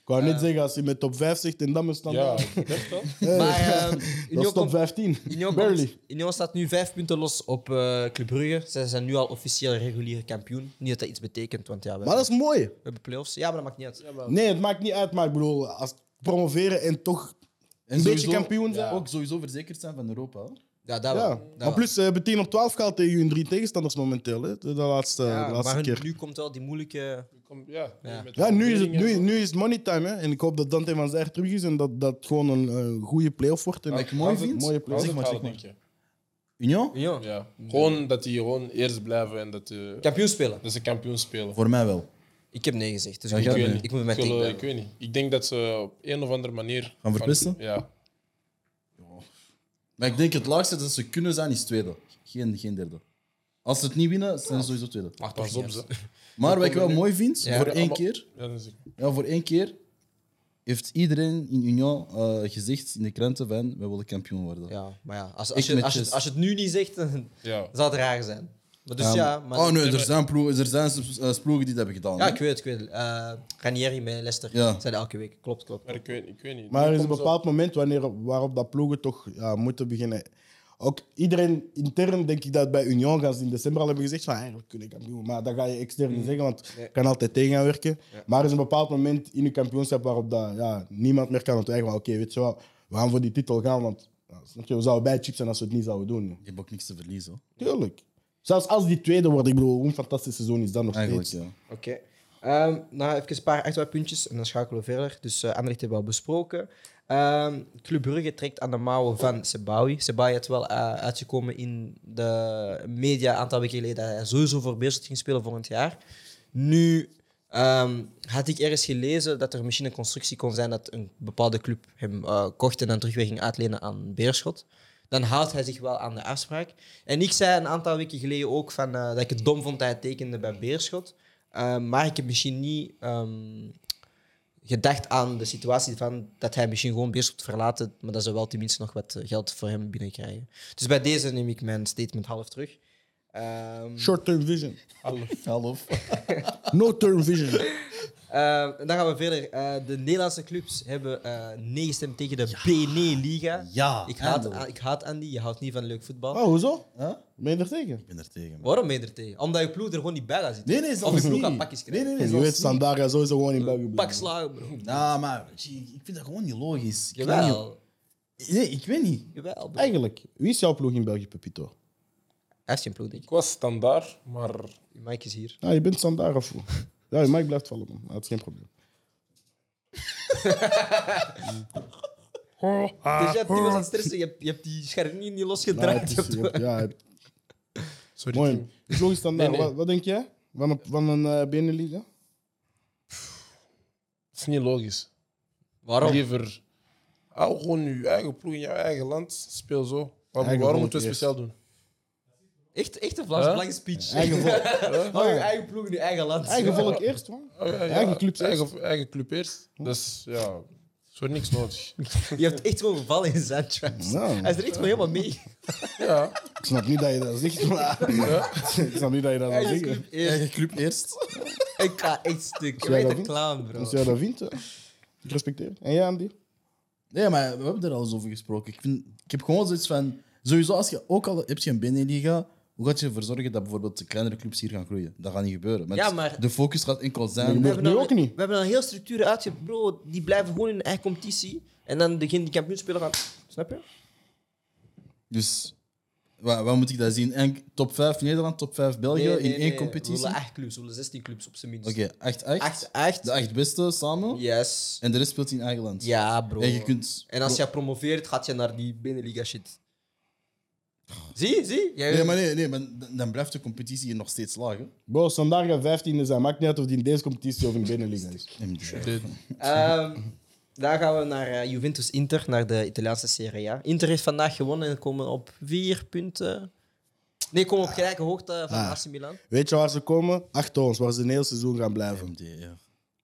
[SPEAKER 2] Ik wou net zeggen, als je met top 5 zegt en dan mijn
[SPEAKER 3] Ja,
[SPEAKER 2] standaard,
[SPEAKER 3] ik denk wel.
[SPEAKER 1] Maar ehm,
[SPEAKER 2] dat
[SPEAKER 1] Union,
[SPEAKER 2] is top
[SPEAKER 1] komt,
[SPEAKER 2] 15.
[SPEAKER 1] Union, komt,
[SPEAKER 2] Barely.
[SPEAKER 1] Union staat nu 5 punten los op eh Club Brugge. Zij zijn nu al officieel reguliere kampioen. Niet dat dat iets betekent, want ja, we,
[SPEAKER 2] Maar dat is mooi.
[SPEAKER 1] we hebben play-offs. Ja, maar dat maakt niet uit.
[SPEAKER 2] Nee, het maakt niet uit, maar ik bedoel, als promoveren en toch
[SPEAKER 4] En
[SPEAKER 2] een beetje kampioen zijn.
[SPEAKER 4] Ook sowieso verzekerd zijn van Europa. hoor.
[SPEAKER 1] Ja, dat wel.
[SPEAKER 2] Ja,
[SPEAKER 1] Dat
[SPEAKER 2] maar
[SPEAKER 1] wel.
[SPEAKER 2] plus, eh, ze hebben 10 op 12 gehaald tegen hun drie tegenstanders momenteel. Hè? De, de laatste,
[SPEAKER 1] Ja,
[SPEAKER 2] de laatste
[SPEAKER 1] maar
[SPEAKER 2] keer.
[SPEAKER 1] nu komt wel die moeilijke...
[SPEAKER 3] Kom, ja,
[SPEAKER 1] Ja.
[SPEAKER 3] met
[SPEAKER 2] Ja, nu is, het,
[SPEAKER 3] overwinningen.
[SPEAKER 2] nu, nu is het money time. Hè? En ik hoop dat Dante van Zijr terug is en dat dat gewoon een eh, goede play-off wordt. En
[SPEAKER 4] Wat
[SPEAKER 2] ik-
[SPEAKER 4] ik mooi
[SPEAKER 3] als het-
[SPEAKER 4] vind.
[SPEAKER 2] mooie
[SPEAKER 3] Als
[SPEAKER 2] play-off.
[SPEAKER 4] zeg
[SPEAKER 3] het
[SPEAKER 4] maar,
[SPEAKER 3] halen,
[SPEAKER 4] zeg maar.
[SPEAKER 3] denk je.
[SPEAKER 4] Union?
[SPEAKER 1] Union.
[SPEAKER 3] Ja. Gewoon dat die gewoon eerst blijven en dat, eh,
[SPEAKER 1] Kampioen spelen.
[SPEAKER 3] dat ze kampioen spelen.
[SPEAKER 4] Voor mij wel.
[SPEAKER 1] Ik heb nee gezegd, dus
[SPEAKER 4] Ja,
[SPEAKER 1] ik,
[SPEAKER 4] jij
[SPEAKER 1] moet-
[SPEAKER 4] hebt nee.
[SPEAKER 1] ik moet met
[SPEAKER 3] ik, wil, eh,
[SPEAKER 1] mijn
[SPEAKER 3] ik weet niet. Ik denk dat ze op een of andere manier...
[SPEAKER 4] Gaan verpesten?
[SPEAKER 3] van- Ja.
[SPEAKER 4] Maar ik denk het laagste dat ze kunnen zijn is tweede. Geen, geen derde. Als ze het niet winnen, zijn ze sowieso tweede.
[SPEAKER 1] Ah,
[SPEAKER 3] Pas op, ze.
[SPEAKER 4] Maar wat ik wel mooi vind,
[SPEAKER 1] Ja.
[SPEAKER 4] voor één
[SPEAKER 3] Allemaal-
[SPEAKER 4] keer,
[SPEAKER 3] Ja, dat is ik.
[SPEAKER 4] ja, voor één keer heeft iedereen in Union eh, gezegd in de kranten van wij willen kampioen worden.
[SPEAKER 1] Ja, maar ja, als,
[SPEAKER 4] Ik
[SPEAKER 1] als, je,
[SPEAKER 4] met
[SPEAKER 1] als, je,
[SPEAKER 4] Chess.
[SPEAKER 1] als je het nu niet zegt, dan
[SPEAKER 3] Ja.
[SPEAKER 1] zou het raar zijn. Maar dus ja, maar...
[SPEAKER 4] oh nee, er zijn, ploegen, er zijn eh, ploegen die dat hebben gedaan.
[SPEAKER 1] Ja,
[SPEAKER 4] hè?
[SPEAKER 1] ik weet, ik weet. Eh Ranieri met Leicester
[SPEAKER 4] Ja.
[SPEAKER 1] zijn elke week. Klopt, klopt.
[SPEAKER 3] Maar ik weet, ik weet niet.
[SPEAKER 2] Maar er
[SPEAKER 3] Nu
[SPEAKER 2] is een
[SPEAKER 3] komen ze-
[SPEAKER 2] bepaald moment wanneer, waarop dat ploegen toch ja, moeten beginnen. Ook iedereen intern, denk ik dat bij Union gaan ze in december al hebben gezegd van eigenlijk kunnen kampioen. Maar dat ga je extern
[SPEAKER 4] Mm.
[SPEAKER 2] niet zeggen, want het kan altijd tegen gaan werken. Maar er is een bepaald moment in je kampioenschap waarop dat, ja, niemand meer kan ontwijken van oké, weet je wel, we gaan voor die titel gaan. Want ja, snap je, we zouden bij chips zijn als we het niet zouden doen.
[SPEAKER 4] Je hebt ook niks te verliezen. hoor.
[SPEAKER 2] Tuurlijk. Zelfs als die tweede wordt, ik bedoel, hoe een fantastisch seizoen is dat nog
[SPEAKER 4] Eigenlijk,
[SPEAKER 2] steeds.
[SPEAKER 4] ja.
[SPEAKER 1] Oké. Ehm, nou, even een paar uitwaarpuntjes en dan schakelen we verder. Dus eh Anderlecht hebben we al besproken. Ehm Club Brugge trekt aan de mouwen van Sebawi. Sebawi had wel eh, uitgekomen in de media een aantal weken geleden dat hij sowieso voor Beerschot ging spelen volgend jaar. Nu ehm, had ik ergens gelezen dat er misschien een constructie kon zijn dat een bepaalde club hem eh, kocht en dan terug weer ging uitlenen aan Beerschot. Dan houdt hij zich wel aan de afspraak. En ik zei een aantal weken geleden ook van, eh, dat ik het dom vond dat hij tekende bij Beerschot. Ehm, maar ik heb misschien niet ehm, gedacht aan de situatie van dat hij misschien gewoon Beerschot verlaten, maar dat ze wel tenminste nog wat eh, geld voor hem binnenkrijgen. Dus bij deze neem ik mijn statement half terug. Ehm, Ehm,
[SPEAKER 2] Short-term vision.
[SPEAKER 4] Hallo.
[SPEAKER 2] No-term vision.
[SPEAKER 1] Eh, en dan gaan we verder. Eh, de Nederlandse clubs hebben eh nee gestemd tegen de BNE-liga.
[SPEAKER 4] Ja,
[SPEAKER 1] Ik haat,
[SPEAKER 4] eindelijk.
[SPEAKER 1] ik haat Andy, je houdt niet van leuk voetbal.
[SPEAKER 2] Oh, hoezo?
[SPEAKER 4] Huh?
[SPEAKER 2] Ben je er tegen?
[SPEAKER 4] Ik ben er tegen. man.
[SPEAKER 1] Waarom ben je er tegen? Omdat je ploeg er gewoon niet bij gaat zitten.
[SPEAKER 4] Nee, nee,
[SPEAKER 1] of
[SPEAKER 4] zelfs
[SPEAKER 1] je ploeg
[SPEAKER 4] niet.
[SPEAKER 1] gaat pakjes
[SPEAKER 4] Nee,
[SPEAKER 1] krijgen.
[SPEAKER 4] nee, nee.
[SPEAKER 2] Je
[SPEAKER 4] zelfs
[SPEAKER 2] weet,
[SPEAKER 4] niet.
[SPEAKER 2] Standaard gaat sowieso gewoon in België
[SPEAKER 1] Pak
[SPEAKER 2] blijven.
[SPEAKER 1] slagen, bro.
[SPEAKER 4] Nou, maar zie, ik vind dat gewoon niet logisch. Ik weet niet.
[SPEAKER 1] Jawel.
[SPEAKER 4] Nee, ik weet niet.
[SPEAKER 1] Jawel, bro.
[SPEAKER 2] Eigenlijk, wie is jouw ploeg in België, Pepito?
[SPEAKER 1] Hij is geen ploeg, denk ik.
[SPEAKER 3] Ik was standaard, maar
[SPEAKER 1] Mike is hier.
[SPEAKER 2] Nou, je bent standaard of hoe? Ja, je mic blijft vallen, man. Ah, Dat is geen probleem.
[SPEAKER 1] Dus je hebt die was aan het stressen, je hebt, je hebt die scharnier niet
[SPEAKER 2] Ah. Nou,
[SPEAKER 1] losgedraaid.
[SPEAKER 2] het is-
[SPEAKER 1] je hebt-
[SPEAKER 2] je hebt- ja, het-
[SPEAKER 3] sorry.
[SPEAKER 2] mooi.
[SPEAKER 3] Tim.
[SPEAKER 2] Je ploeg is standaard.
[SPEAKER 3] Nee, nee.
[SPEAKER 2] Wat, wat denk jij van een, van een eh, binnenliga?
[SPEAKER 3] Het is niet logisch.
[SPEAKER 1] Waarom?
[SPEAKER 3] Liever hou gewoon je eigen ploeg in jouw eigen land. Speel zo. Waarom-
[SPEAKER 2] Eigen
[SPEAKER 3] Waarom,
[SPEAKER 2] volk
[SPEAKER 3] moeten we het
[SPEAKER 2] eerst.
[SPEAKER 3] speciaal doen?
[SPEAKER 1] Echt, echt een Vlaams
[SPEAKER 3] Huh?
[SPEAKER 1] belang speech.
[SPEAKER 2] Eigen volk,
[SPEAKER 1] Hou je eigen ploeg in je eigen land.
[SPEAKER 2] eigen volk eerst, man.
[SPEAKER 3] Oh, ja, ja.
[SPEAKER 2] Eigen club eerst. Hm?
[SPEAKER 3] eigen, eigen club eerst. Dat is ja, is voor niks nodig.
[SPEAKER 1] Je hebt echt gewoon gevallen in zijn traps.
[SPEAKER 2] Nou.
[SPEAKER 1] Hij is er echt gewoon helemaal mee.
[SPEAKER 3] ja.
[SPEAKER 2] Ik snap niet dat je dat zegt, maar... Ik snap niet dat je dat zou
[SPEAKER 1] Eigen
[SPEAKER 2] zeggen.
[SPEAKER 1] club eerst.
[SPEAKER 4] club eerst.
[SPEAKER 1] Ik ga echt stuk. Je bent
[SPEAKER 2] jij dat
[SPEAKER 1] een
[SPEAKER 2] doen?
[SPEAKER 1] clown, bro.
[SPEAKER 2] Als jij dat vindt, eh, ik respecteer. het. En jij, Andy?
[SPEAKER 4] Nee, maar we hebben er al eens over gesproken. Ik, vind, ik heb gewoon zoiets van... Sowieso, als je ook al hebt je een binnenliga, hoe gaat je ervoor zorgen dat bijvoorbeeld de kleinere clubs hier gaan groeien? Dat gaat niet gebeuren. Met-
[SPEAKER 1] Ja, maar-
[SPEAKER 4] De focus gaat enkel zijn...
[SPEAKER 2] Nee,
[SPEAKER 1] We
[SPEAKER 2] maar-
[SPEAKER 4] Nee,
[SPEAKER 1] hebben
[SPEAKER 2] nu
[SPEAKER 1] al-
[SPEAKER 2] ook niet.
[SPEAKER 1] We hebben al heel structuren uitge... Bro, die blijven gewoon in hun eigen competitie. En dan degene die kampioen spelen gaan... Snap je?
[SPEAKER 4] Dus waar, waar moet ik dat zien? En top 5 Nederland, top 5
[SPEAKER 2] Oh,
[SPEAKER 4] België in één
[SPEAKER 1] We
[SPEAKER 4] competitie?
[SPEAKER 1] willen
[SPEAKER 4] Oké,
[SPEAKER 1] acht clubs. We willen 16 clubs op zijn minst.
[SPEAKER 4] 8, 8.
[SPEAKER 1] Acht, acht.
[SPEAKER 4] De 8 beste samen.
[SPEAKER 1] Yes.
[SPEAKER 4] En de rest speelt in eigen land.
[SPEAKER 1] Ja, bro.
[SPEAKER 4] En je kunt...
[SPEAKER 1] En als je promoveert, gaat je naar die binnenliga shit. Zie, zie. Jij...
[SPEAKER 4] Nee, maar nee, nee, maar dan- dan blijft de competitie hier nog steeds laag. Hè?
[SPEAKER 2] Bro, standaard gaat 15e zijn. Maakt niet uit of die in deze competitie of in de binnenliga is.
[SPEAKER 3] Dit-
[SPEAKER 1] Ehm, daar gaan we naar eh, Juventus Inter, naar de Italiaanse Serie A. Inter heeft vandaag gewonnen en komen op vier punten. Nee, komen op gelijke hoogte van AC Milan.
[SPEAKER 2] Weet je waar ze komen? Achter ons, waar ze een heel seizoen gaan blijven.
[SPEAKER 4] ja.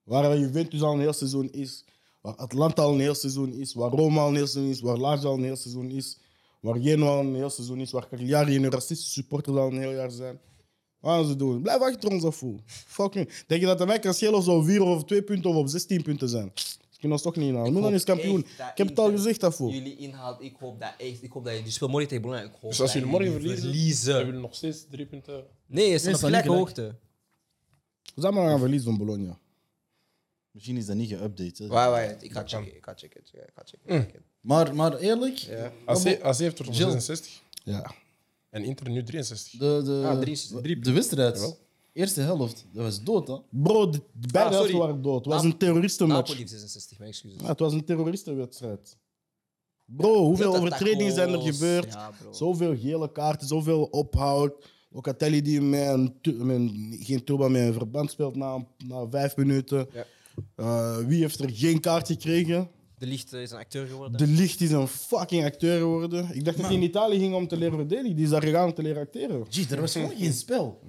[SPEAKER 2] Waar Juventus al een heel seizoen is. Waar Atlanta al een heel seizoen is. Waar Roma al een heel seizoen is. Waar Lazio al een heel seizoen is. Waar Genoa al een heel seizoen is. Waar Cagliari en hun racistische supporters al een heel jaar zijn. Wat gaan ze doen? Blijf achter ons af. hoe? Fuck nu. Denk je dat de mij kan schelen of ze op 4 of op 2 punten of op 16 punten zijn? Ze kunnen ons toch niet halen. Milan
[SPEAKER 1] hoop
[SPEAKER 2] is kampioen.
[SPEAKER 1] echt dat
[SPEAKER 2] Ik heb het al
[SPEAKER 1] Inter
[SPEAKER 2] gezegd daarvoor.
[SPEAKER 1] Jullie inhaalt, ik hoop dat echt. Ik hoop dat je die speelt morgen tegen Bologna. Ik hoop
[SPEAKER 3] Dus als
[SPEAKER 1] dat
[SPEAKER 3] jullie morgen verliezen, hebben
[SPEAKER 1] verliezen.
[SPEAKER 3] jullie nog steeds drie punten.
[SPEAKER 1] Nee, ze zijn
[SPEAKER 4] Nee,
[SPEAKER 1] op
[SPEAKER 4] ze zijn
[SPEAKER 1] gelijke
[SPEAKER 4] niet
[SPEAKER 1] hoogte.
[SPEAKER 2] We zijn maar gaan verliezen van Bologna.
[SPEAKER 4] Misschien is dat niet geüpdate. hè.
[SPEAKER 1] Waar, waar, ik ga checken. Ik ga checken. Ik ga checken. ik ga checken.
[SPEAKER 4] Maar, maar eerlijk,
[SPEAKER 3] AC, AC heeft er nog
[SPEAKER 4] Jill.
[SPEAKER 3] 66
[SPEAKER 2] Ja.
[SPEAKER 3] en Inter nu 63.
[SPEAKER 4] de, de,
[SPEAKER 1] Ah, drie- drie-
[SPEAKER 4] de wedstrijd,
[SPEAKER 3] Jawel.
[SPEAKER 4] eerste helft, dat was dood. Hè?
[SPEAKER 2] Bro, de- de beide
[SPEAKER 1] Ah,
[SPEAKER 2] helften
[SPEAKER 1] sorry.
[SPEAKER 2] waren dood. Het was
[SPEAKER 1] Nap-
[SPEAKER 2] een terroristenmatch.
[SPEAKER 1] Napoli heeft 66, mijn excuses.
[SPEAKER 2] Ja, het was een terroristenwedstrijd. Bro, hoeveel
[SPEAKER 1] Veel
[SPEAKER 2] overtredingen zijn er
[SPEAKER 1] tacos.
[SPEAKER 2] gebeurd?
[SPEAKER 1] Ja, bro.
[SPEAKER 2] Zoveel gele kaarten, zoveel ophoud. Locatelli die met een, tu- met een- geen turba met een verband speelt na, een- na vijf minuten.
[SPEAKER 1] Ja.
[SPEAKER 2] Eh, wie heeft er geen kaart gekregen?
[SPEAKER 1] De Licht eh, is een acteur geworden.
[SPEAKER 2] De Licht is een fucking acteur geworden. Ik dacht dat hij in Italië ging om te leren verdedigen. Die is daar gegaan om te leren acteren.
[SPEAKER 1] Eh,
[SPEAKER 4] Gee, er was gewoon geen spel.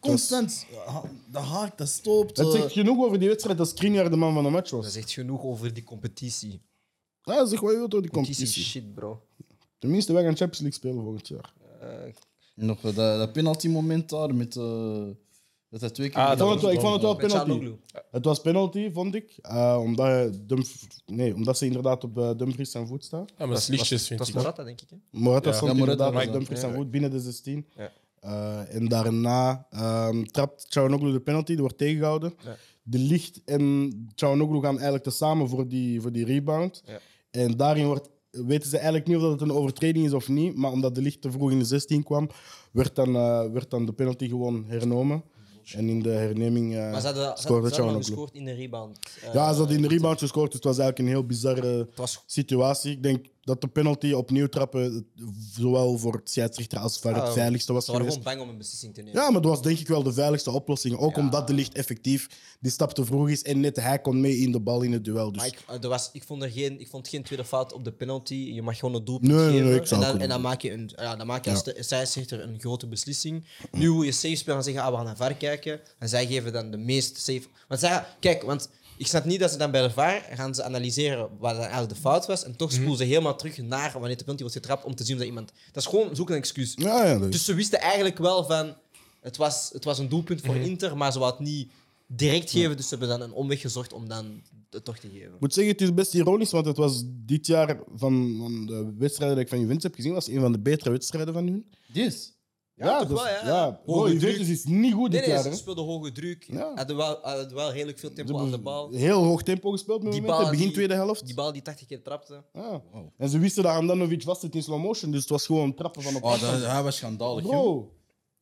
[SPEAKER 4] Constant, eh, ha- de haak, dat stoopt.
[SPEAKER 2] Het
[SPEAKER 4] eh,
[SPEAKER 2] zegt genoeg over die wedstrijd dat Skriniar de man van de match
[SPEAKER 1] Dat
[SPEAKER 2] was. Ah,
[SPEAKER 1] zegt genoeg over die competitie.
[SPEAKER 2] Ja, zeg wat je wilt door die
[SPEAKER 1] Competitie is
[SPEAKER 2] competitie.
[SPEAKER 1] shit, bro.
[SPEAKER 2] Tenminste, wij gaan Champions League spelen volgend jaar.
[SPEAKER 1] Eh,
[SPEAKER 4] Nog dat, dat penalty moment daar met... eh, dat hij twee keer...
[SPEAKER 3] Ah,
[SPEAKER 2] Ik vond het wel, ik vond het wel
[SPEAKER 1] met
[SPEAKER 2] penalty.
[SPEAKER 1] Çalhanoğlu.
[SPEAKER 2] Het was penalty, vond ik. eh, omdat, je Dumf- nee, omdat ze inderdaad op eh, Dumfries zijn voet staat.
[SPEAKER 3] Ja, maar dat is lichtjes, vind
[SPEAKER 1] Dat is
[SPEAKER 3] ik.
[SPEAKER 1] Morata, denk ik. Hè?
[SPEAKER 2] Morata
[SPEAKER 3] Ja.
[SPEAKER 2] stond
[SPEAKER 4] Ja, Morata was
[SPEAKER 2] inderdaad op
[SPEAKER 4] dat.
[SPEAKER 2] Dumfries zijn voet binnen de 16.
[SPEAKER 1] Ja.
[SPEAKER 2] Eh, en daarna ehm trapt Çalhanoğlu de penalty, die wordt tegengehouden.
[SPEAKER 1] Ja.
[SPEAKER 2] De Licht en Çalhanoğlu gaan eigenlijk tezamen voor die, voor die rebound.
[SPEAKER 1] Ja.
[SPEAKER 2] En daarin wordt, weten ze eigenlijk niet of dat het een overtreding is of niet. Maar omdat de Licht te vroeg in de 16 kwam, werd dan, eh, werd dan de penalty gewoon hernomen. En in de herneming eh,
[SPEAKER 1] Maar ze hadden, ze
[SPEAKER 2] scoorde
[SPEAKER 1] hadden, ze hadden
[SPEAKER 2] Çalhanoğlu.
[SPEAKER 1] gescoord in de rebound. Eh,
[SPEAKER 2] Ja, ze had in de rebound gescoord, dus het was eigenlijk een heel bizarre
[SPEAKER 1] Het was
[SPEAKER 2] situatie. Ik denk dat de penalty opnieuw trappen, eh, zowel voor het scheidsrechter als voor
[SPEAKER 1] Ah,
[SPEAKER 2] het veiligste was
[SPEAKER 1] Ze waren
[SPEAKER 2] geweest.
[SPEAKER 1] gewoon bang om een beslissing te nemen.
[SPEAKER 2] Ja, maar dat was denk ik wel de veiligste oplossing. Ook
[SPEAKER 1] Ja.
[SPEAKER 2] omdat de licht effectief die stap te vroeg is en net hij kon mee in de bal in het duel. Dus
[SPEAKER 1] Maar ik, eh, er was, ik, vond er geen, ik vond geen tweede fout op de penalty. Je mag gewoon het doelpunt
[SPEAKER 2] Nee, nee, nee,
[SPEAKER 1] geven.
[SPEAKER 2] ik zou
[SPEAKER 1] en, dan, en
[SPEAKER 2] kunnen
[SPEAKER 1] dan maak je, een, ja, dan maak je als de scheidsrechter een grote beslissing. Nu wil je safe spelen en zeggen, ah, we gaan naar VAR kijken. En zij geven dan de meest safe... Want zij, kijk, want Ik snap niet dat ze dan bij de VAR gaan ze analyseren wat dan eigenlijk de fout was. En toch spoelen ze helemaal terug naar wanneer de penalty wordt getrapt om te zien of dat iemand... Dat is gewoon zoeken een excuus.
[SPEAKER 2] Ja, ja, dat is-
[SPEAKER 1] Dus ze wisten eigenlijk wel van... Het was, het was een doelpunt voor Inter, maar ze wou het niet direct geven. Dus ze hebben dan een omweg gezocht om dan het toch te geven.
[SPEAKER 2] Ik moet zeggen, het is best ironisch, want het was dit jaar van, van de wedstrijden die ik van Juventus heb gezien, was een van de betere wedstrijden van hun.
[SPEAKER 4] Yes.
[SPEAKER 2] Ja,
[SPEAKER 1] toch
[SPEAKER 2] dus-
[SPEAKER 1] wel, ja.
[SPEAKER 2] ja.
[SPEAKER 1] Hoge
[SPEAKER 2] Bro,
[SPEAKER 1] druk.
[SPEAKER 2] Juventus is niet goed
[SPEAKER 1] Nee,
[SPEAKER 2] dit
[SPEAKER 1] nee,
[SPEAKER 2] jaar.
[SPEAKER 1] ze
[SPEAKER 2] hè.
[SPEAKER 1] speelden hoge druk.
[SPEAKER 2] Ja.
[SPEAKER 1] Hadden, wel, hadden wel redelijk veel
[SPEAKER 2] Ze
[SPEAKER 1] tempo aan de
[SPEAKER 2] hebben
[SPEAKER 1] bal.
[SPEAKER 2] heel hoog tempo gespeeld met
[SPEAKER 1] Die
[SPEAKER 2] momenten,
[SPEAKER 1] bal
[SPEAKER 2] begin
[SPEAKER 1] die-
[SPEAKER 2] tweede helft.
[SPEAKER 1] Die bal die 80 keer trapte.
[SPEAKER 2] Ja.
[SPEAKER 4] Wow.
[SPEAKER 2] Ah. En ze wisten dat Handanovic was het in slow motion, dus het was gewoon trappen van op
[SPEAKER 3] Ah,
[SPEAKER 4] Oh, dat,
[SPEAKER 2] afstand.
[SPEAKER 4] hij was schandalig, joh.
[SPEAKER 2] Bro,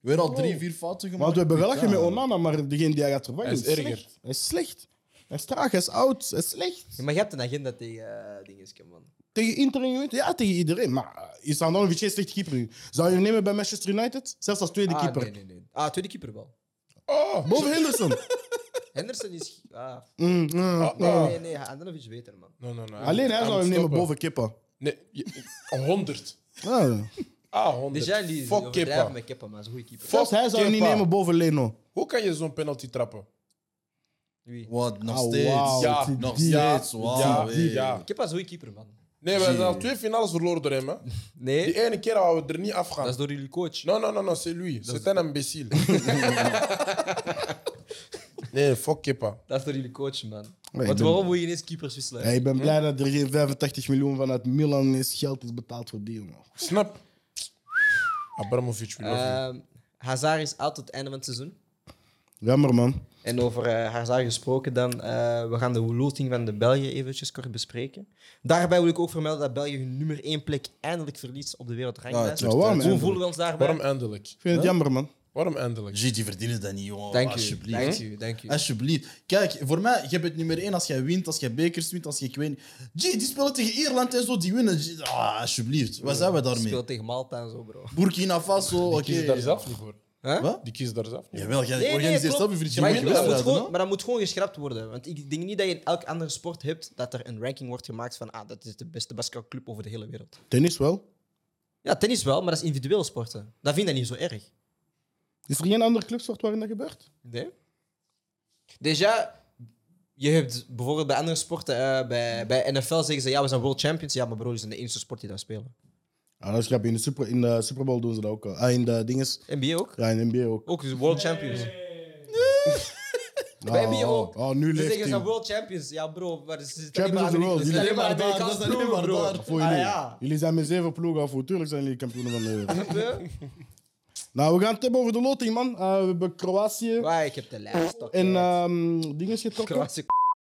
[SPEAKER 4] Weer al drie, vier fouten gemaakt.
[SPEAKER 2] want we hebben wel
[SPEAKER 4] Ja.
[SPEAKER 2] lachen met Onana, maar degene die hij gaat vervangen
[SPEAKER 3] Hij is erger.
[SPEAKER 2] slecht. Hij is slecht. Hij is traag, hij is oud, hij is slecht.
[SPEAKER 1] Ja, maar je hebt een agenda tegen eh, dingetjes, man.
[SPEAKER 2] Tegen Inter en Juventus? Ja, tegen iedereen. Maar eh, is Handanovic geen slecht keeper nu? Zou je hem nemen bij Manchester United? Zelfs als tweede
[SPEAKER 1] ah,
[SPEAKER 2] keeper.
[SPEAKER 1] Nee, nee, nee. Ah, tweede keeper wel.
[SPEAKER 3] Oh,
[SPEAKER 2] Boven Henderson.
[SPEAKER 1] Henderson is... Ah,
[SPEAKER 2] Mm, mm, mm.
[SPEAKER 1] nee, nee, nee. Handanovic is beter, man.
[SPEAKER 3] no, no, no.
[SPEAKER 2] Alleen hij zou hem nemen
[SPEAKER 3] ah. stoppen.
[SPEAKER 2] boven Kippa.
[SPEAKER 3] Nee, je- 100.
[SPEAKER 2] Ja.
[SPEAKER 3] Ah, 100.
[SPEAKER 1] Dus jij die
[SPEAKER 3] Fuck Kepa.
[SPEAKER 1] overdrijven met Kepa, maar is een goede keeper.
[SPEAKER 3] Fuck
[SPEAKER 2] Zelfs hij zou hem niet
[SPEAKER 3] Kepa.
[SPEAKER 2] nemen boven Leno.
[SPEAKER 3] Hoe kan je zo'n penalty trappen?
[SPEAKER 1] Wie?
[SPEAKER 4] Wat, nog
[SPEAKER 2] Ah,
[SPEAKER 4] steeds.
[SPEAKER 2] wauw.
[SPEAKER 3] Ja,
[SPEAKER 4] Nog
[SPEAKER 2] die-
[SPEAKER 4] steeds,
[SPEAKER 3] ja,
[SPEAKER 4] wauw. eh.
[SPEAKER 3] die-
[SPEAKER 4] hey.
[SPEAKER 3] ja.
[SPEAKER 1] Kepa is een goede keeper, man.
[SPEAKER 3] Nee, we hebben al twee finales verloren door hem. Hè.
[SPEAKER 1] Nee,
[SPEAKER 3] Die ene keer hadden we er niet
[SPEAKER 1] dat
[SPEAKER 3] afgaan.
[SPEAKER 1] is door jullie coach.
[SPEAKER 3] Non, non, non, non c'est lui. C'est un imbécile. nee, fuck Kepa.
[SPEAKER 1] Dat is door jullie coach, man.
[SPEAKER 2] Nee, ik
[SPEAKER 1] Want
[SPEAKER 2] ben-
[SPEAKER 1] waarom moet je ineens keepers wisselen?
[SPEAKER 2] Ja, ik
[SPEAKER 3] Hm?
[SPEAKER 2] ben blij dat er geen 85 miljoen vanuit Milan is geld is betaald voor die jongen.
[SPEAKER 3] Snap? Abramovic, we love you.
[SPEAKER 1] Ehm, Hazard is uit tot het einde van het seizoen.
[SPEAKER 2] Jammer, man.
[SPEAKER 1] En over eh Hazard gesproken dan, eh, we gaan de loting van de België eventjes kort bespreken. Daarbij wil ik ook vermelden dat België hun nummer 1 plek eindelijk verliest op de wereldranglijst. Dus
[SPEAKER 4] Ja,
[SPEAKER 2] Nou, waarom
[SPEAKER 1] Hoe
[SPEAKER 2] eindelijk?
[SPEAKER 1] voelen we ons daarbij?
[SPEAKER 3] Waarom eindelijk?
[SPEAKER 2] Ik vind het jammer, man.
[SPEAKER 3] Waarom eindelijk?
[SPEAKER 4] Gee, die verdienen dat niet, jongen.
[SPEAKER 1] Dank u,
[SPEAKER 4] Alsjeblieft.
[SPEAKER 1] dank u, dank u.
[SPEAKER 4] Alsjeblieft. Kijk, voor mij, je bent nummer één als jij wint, als jij bekers wint, als je ik weet niet. Gee, die spelen tegen Ierland en zo, die winnen. Gee, ah, alsjeblieft. Waar zijn we daarmee?
[SPEAKER 1] Speelt tegen Malta en zo, bro.
[SPEAKER 4] Burkina Faso,
[SPEAKER 3] Die
[SPEAKER 4] oké.
[SPEAKER 3] kiezen daar zelf niet voor.
[SPEAKER 1] Huh?
[SPEAKER 4] Wat?
[SPEAKER 3] Die kiezen daar zelf niet voor.
[SPEAKER 4] Jawel, jij
[SPEAKER 1] Nee, nee,
[SPEAKER 4] organiseert
[SPEAKER 1] klopt.
[SPEAKER 4] zelf je vriendje.
[SPEAKER 1] Maar,
[SPEAKER 4] met je
[SPEAKER 1] dat moet
[SPEAKER 4] wedstrijden,
[SPEAKER 1] gewoon,
[SPEAKER 4] hè?
[SPEAKER 1] maar dat moet gewoon geschrapt worden. Want ik denk niet dat je in elk andere sport hebt dat er een ranking wordt gemaakt van ah, dat is de beste basketbalclub over de hele wereld.
[SPEAKER 2] Tennis wel.
[SPEAKER 1] Ja, tennis wel, maar dat is individueel sporten. Dat vind ik niet zo erg.
[SPEAKER 2] Is er geen andere clubsport waarin dat gebeurt?
[SPEAKER 1] Nee. Déjà, je hebt bijvoorbeeld bij andere sporten, eh, bij, bij NFL zeggen ze ja, we zijn world champions. Ja, maar bro, we zijn de enige sport die dat spelen.
[SPEAKER 2] Ah, dat is grappig. In de Super, in de Super Bowl doen ze dat ook. al. Ah, in de dinges.
[SPEAKER 1] NBA ook?
[SPEAKER 2] Ja, in de NBA ook.
[SPEAKER 1] Ook dus world champions. Bij
[SPEAKER 2] Ah,
[SPEAKER 1] NBA ook.
[SPEAKER 2] Oh,
[SPEAKER 1] Ze
[SPEAKER 2] nu leeft
[SPEAKER 1] zeggen ze
[SPEAKER 2] hij.
[SPEAKER 1] zijn world champions. Ja, bro, maar ze zitten alleen maar
[SPEAKER 2] Champions of the world.
[SPEAKER 1] Amerikaanse- ze zijn
[SPEAKER 2] Jullie-
[SPEAKER 1] alleen maar
[SPEAKER 4] Alleen maar daar,
[SPEAKER 1] Amerikaanse
[SPEAKER 4] dat is alleen
[SPEAKER 1] ploegen,
[SPEAKER 4] maar
[SPEAKER 1] bro.
[SPEAKER 4] daar.
[SPEAKER 2] Voor jullie.
[SPEAKER 1] Ah, ja.
[SPEAKER 2] jullie zijn met zeven ploegen af. Voor tuurlijk zijn jullie kampioenen van de wereld. nou, we gaan het hebben over de loting, man. Eh, we hebben Kroatië
[SPEAKER 1] Waar, ik heb de lijst. toch,
[SPEAKER 2] en
[SPEAKER 1] ja.
[SPEAKER 2] ehm dinges getrokken.
[SPEAKER 1] Kroatië,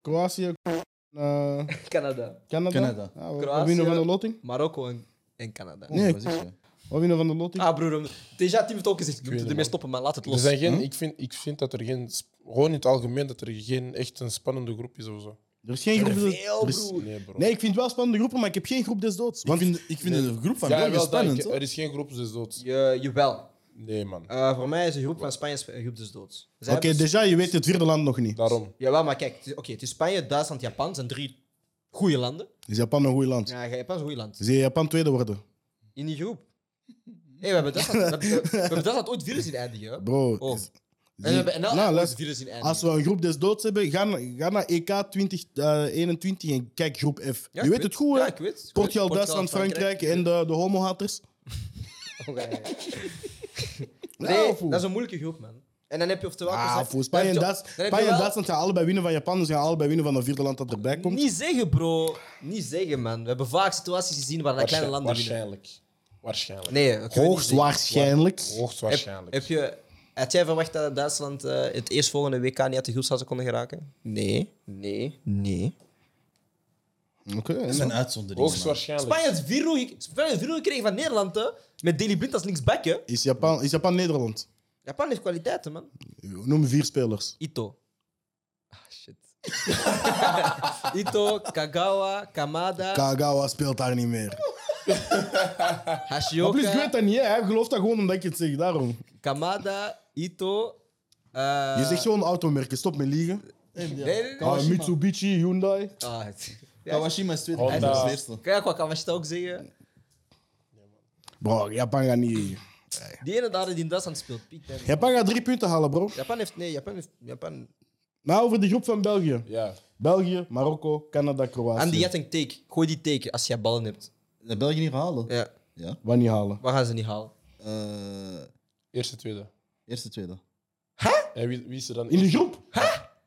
[SPEAKER 2] Kroatië, eh,
[SPEAKER 1] Canada.
[SPEAKER 2] Canada.
[SPEAKER 4] Canada.
[SPEAKER 2] Ja, we- we
[SPEAKER 1] Kroatië.
[SPEAKER 2] winnen van de loting.
[SPEAKER 1] Marokko en, en Canada.
[SPEAKER 2] Nee.
[SPEAKER 4] Wat zeg je?
[SPEAKER 2] We winnen van de loting.
[SPEAKER 1] Ah, broer, om- Deja, Tim heeft ook gezegd: we moeten
[SPEAKER 3] weet het,
[SPEAKER 1] ermee
[SPEAKER 3] man.
[SPEAKER 1] stoppen, maar laat het
[SPEAKER 3] Er
[SPEAKER 1] los.
[SPEAKER 3] zijn geen, ik, vind, ik vind dat er geen, sp- gewoon in het algemeen, dat er geen echt een spannende groep is of zo.
[SPEAKER 2] Er is geen groep
[SPEAKER 1] Veel,
[SPEAKER 2] des er is-
[SPEAKER 1] broer.
[SPEAKER 3] Nee, bro.
[SPEAKER 2] Nee, ik vind wel spannende groepen, maar ik heb geen groep des doods.
[SPEAKER 4] Ik
[SPEAKER 2] Want
[SPEAKER 4] vind, ik vind de groep van
[SPEAKER 3] ja,
[SPEAKER 4] België
[SPEAKER 3] wel,
[SPEAKER 4] spannend.
[SPEAKER 3] dat-
[SPEAKER 4] hoor.
[SPEAKER 3] er is geen groep, dus dood.
[SPEAKER 1] Je, jawel.
[SPEAKER 3] Nee, man.
[SPEAKER 1] Eh, voor mij is de groep van Spanje sp- een groep dus dood. Zij
[SPEAKER 2] Oké,
[SPEAKER 1] hebben-
[SPEAKER 2] déjà, je weet het vierde land nog niet.
[SPEAKER 3] Daarom.
[SPEAKER 1] Jawel, maar kijk, het is- oké, het is Spanje, Duitsland, Japan zijn drie goede landen.
[SPEAKER 2] Is Japan een goed land?
[SPEAKER 1] Ja, Japan is een goede land.
[SPEAKER 2] Zie je Japan tweede worden?
[SPEAKER 1] In die groep. Hé, we hebben Duitsland, we hebben, we hebben Duitsland ooit vier zien eindigen. hè?
[SPEAKER 2] Bro,
[SPEAKER 1] Oh.
[SPEAKER 2] is-
[SPEAKER 1] En we hebben NL
[SPEAKER 2] Nou,
[SPEAKER 1] ooit
[SPEAKER 2] luister,
[SPEAKER 1] vier zien eindigen.
[SPEAKER 2] als we een groep des doods hebben, ga, na- ga naar E EK 2021 eh, en kijk groep F.
[SPEAKER 1] Ja,
[SPEAKER 2] je
[SPEAKER 1] ik
[SPEAKER 2] weet het goed, hè?
[SPEAKER 1] Ja, ik weet. ik
[SPEAKER 2] Portugal,
[SPEAKER 1] weet.
[SPEAKER 2] Duitsland, Frankrijk en de, de homohaters.
[SPEAKER 1] Nee,
[SPEAKER 2] Ja, Nou, foe.
[SPEAKER 1] dat is een moeilijke groep, man. En dan heb je oftewel...
[SPEAKER 2] Ah,
[SPEAKER 1] Kazach-
[SPEAKER 2] voor Spanje en
[SPEAKER 1] dan heb
[SPEAKER 2] Duits-
[SPEAKER 1] je- dan heb je
[SPEAKER 2] Spanje en
[SPEAKER 1] wel-
[SPEAKER 2] Duitsland gaan allebei winnen van Japan. Ze gaan allebei winnen van een vierde land dat erbij komt.
[SPEAKER 1] Niet zeggen, bro. Niet zeggen, man. We hebben vaak situaties gezien waar dat kleine
[SPEAKER 3] Waarschijn-
[SPEAKER 1] landen winnen.
[SPEAKER 3] waarschijnlijk. Waarschijnlijk.
[SPEAKER 1] Nee, dat kunnen we niet zeggen.
[SPEAKER 2] Hoogstwaarschijnlijk.
[SPEAKER 3] Hoogstwaarschijnlijk.
[SPEAKER 1] Heb je, had jij verwacht dat Duitsland eh, het eerstvolgende WK niet uit de groepsfase konden geraken? Nee, nee, nee.
[SPEAKER 2] Oké,
[SPEAKER 4] Dat
[SPEAKER 2] en
[SPEAKER 4] zijn uitzonderingen. man.
[SPEAKER 3] Hoogstwaarschijnlijk.
[SPEAKER 1] Spanje had vier roe- Spanje had vier roe gekregen van Nederland, hè? Met Deli Blind als linksback, hè?
[SPEAKER 2] is Japan, is Japan Nederland?
[SPEAKER 1] Japan heeft kwaliteiten, man.
[SPEAKER 2] Noem vier spelers.
[SPEAKER 1] Ito. Ah, shit. Ito, Kagawa, Kamada,
[SPEAKER 2] Kagawa speelt daar niet meer. Maar plus, ik weet
[SPEAKER 1] Hashioka,
[SPEAKER 2] dat niet. hè. Hij gelooft dat gewoon omdat ik het zeg, daarom.
[SPEAKER 1] Kamada, Ito... eh,
[SPEAKER 2] Je zegt gewoon automerken. Stop met liegen.
[SPEAKER 1] Nee, nee, nee.
[SPEAKER 2] Ah, Mitsubishi, Hyundai.
[SPEAKER 1] Ah, het- Ja,
[SPEAKER 4] Kawashima is tweede,
[SPEAKER 3] Honda.
[SPEAKER 4] Honda. is eerste.
[SPEAKER 1] Kan je ook wat ook zeggen?
[SPEAKER 2] Bro, Japan gaat niet...
[SPEAKER 1] Die ene daar die in Duitsland speelt, Piet. hè.
[SPEAKER 2] Japan gaat drie punten halen, bro.
[SPEAKER 1] Japan heeft... Nee, Japan heeft... Japan...
[SPEAKER 2] Nou, over de groep van België.
[SPEAKER 3] Ja.
[SPEAKER 2] België, Marokko, Canada, Kroatië.
[SPEAKER 1] En die had een take. Gooi die take als jij ballen hebt.
[SPEAKER 4] Dat België niet halen.
[SPEAKER 1] Ja.
[SPEAKER 4] Ja.
[SPEAKER 2] Wat niet halen.
[SPEAKER 1] Waar gaan ze niet halen?
[SPEAKER 4] Eh,
[SPEAKER 3] Eerste, tweede.
[SPEAKER 4] eerste, tweede.
[SPEAKER 3] En wie, wie is er dan?
[SPEAKER 2] In de groep.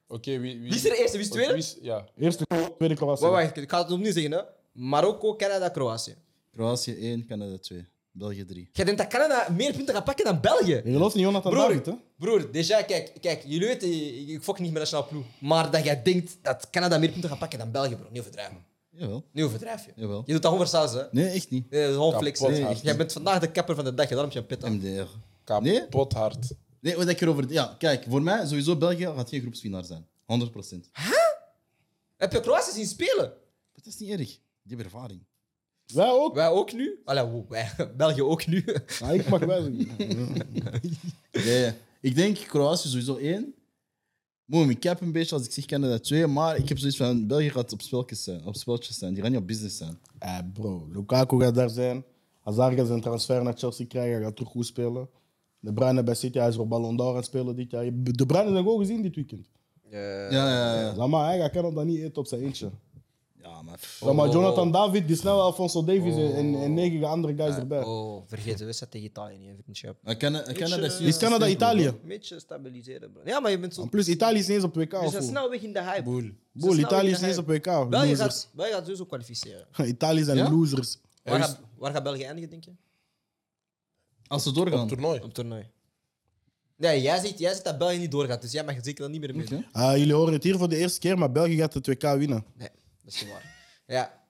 [SPEAKER 3] Oké, wie, wie,
[SPEAKER 1] Wie is er eerste? Wie is tweede?
[SPEAKER 3] Wie is- ja.
[SPEAKER 2] Eerste, tweede Kroatië.
[SPEAKER 1] Wacht, wacht, ik ga het opnieuw zeggen. Hè. Marokko, Canada, Kroatië.
[SPEAKER 4] Kroatië 1, Canada 2, België 3.
[SPEAKER 1] Jij denkt dat Canada meer punten gaat pakken dan België?
[SPEAKER 2] Je gelooft niet Jonathan
[SPEAKER 1] Broer,
[SPEAKER 2] David, hè?
[SPEAKER 1] broer, déjà, kijk, kijk, jullie weten, ik- ik fok niet met nationaal ploeg. Maar dat jij denkt dat Canada meer punten gaat pakken dan België, bro. Niet overdrijven.
[SPEAKER 4] Jawel.
[SPEAKER 1] Niet overdrijven.
[SPEAKER 4] Jawel.
[SPEAKER 1] Je doet dat gewoon voor saus, hè?
[SPEAKER 4] Nee, echt niet.
[SPEAKER 1] Nee, dat is gewoon flex.
[SPEAKER 3] Kapot
[SPEAKER 1] Nee,
[SPEAKER 3] hard.
[SPEAKER 1] Jij bent vandaag de kapper van de dag, hè, daarom heb je een pit aan.
[SPEAKER 4] MDR. Nee?
[SPEAKER 3] Kapot hard.
[SPEAKER 4] Nee, wat ik erover... Ja, kijk, voor mij sowieso België gaat geen groepswinnaar zijn. 100%. Maar
[SPEAKER 1] Heb je Kroatië zien spelen?
[SPEAKER 4] dat is niet erg. Die hebben ervaring.
[SPEAKER 2] Wij ook.
[SPEAKER 1] Wij ook nu. Allee, wow, wij, België ook nu.
[SPEAKER 2] Ah, ik mag wij zeggen.
[SPEAKER 4] Nee, ik denk Kroatië sowieso één. Moet mijn cap een beetje als ik zeg Canada 2, maar ik heb zoiets van België gaat op speltjes zijn, op speltjes zijn. Die gaan niet op business zijn.
[SPEAKER 2] Eh, bro, Lukaku gaat daar zijn. Hazard gaat zijn transfer naar Chelsea krijgen. Hij gaat terug goed spelen. De Bruyne bij City, hij is voor Ballon d'Or aan het spelen dit jaar. De Bruyne zijn gewoon gezien dit weekend. Eh,
[SPEAKER 4] ja, ja, ja.
[SPEAKER 2] Zeg maar, hij gaat Canada niet eten op zijn eentje.
[SPEAKER 4] Ja, maar pff,
[SPEAKER 2] Zeg maar,
[SPEAKER 1] Oh.
[SPEAKER 2] Jonathan David, die snelle Alfonso Davies en- en, en negen andere guys erbij.
[SPEAKER 1] Oh, vergeet de wedstrijd tegen Italië niet, even een chap.
[SPEAKER 4] maar Cana- Canada is
[SPEAKER 2] eh, Is Canada Italië?
[SPEAKER 1] Een beetje stabiliseren, bro. Ja, maar je bent zo...
[SPEAKER 2] En plus, Italië is niet eens op WK.
[SPEAKER 1] Je
[SPEAKER 2] of
[SPEAKER 1] bent
[SPEAKER 2] hoe?
[SPEAKER 1] snel weg in de hype. Boel.
[SPEAKER 2] Boel, Italië is niet eens op WK.
[SPEAKER 1] België
[SPEAKER 2] Losers.
[SPEAKER 1] gaat, België gaat sowieso kwalificeren.
[SPEAKER 2] Italië zijn
[SPEAKER 4] Ja?
[SPEAKER 2] losers.
[SPEAKER 1] Waar,
[SPEAKER 3] is-
[SPEAKER 1] gaat- waar gaat België eindigen, denk je?
[SPEAKER 4] Als ze doorgaan.
[SPEAKER 3] Toernooi.
[SPEAKER 1] Op toernooi. Nee, jij zegt, jij zegt dat België niet doorgaat, dus jij mag zeker dan niet meer mee.
[SPEAKER 4] Oké.
[SPEAKER 2] Ah, jullie horen het hier voor de eerste keer, maar België gaat het WK winnen.
[SPEAKER 1] Nee, dat is niet waar. Ja,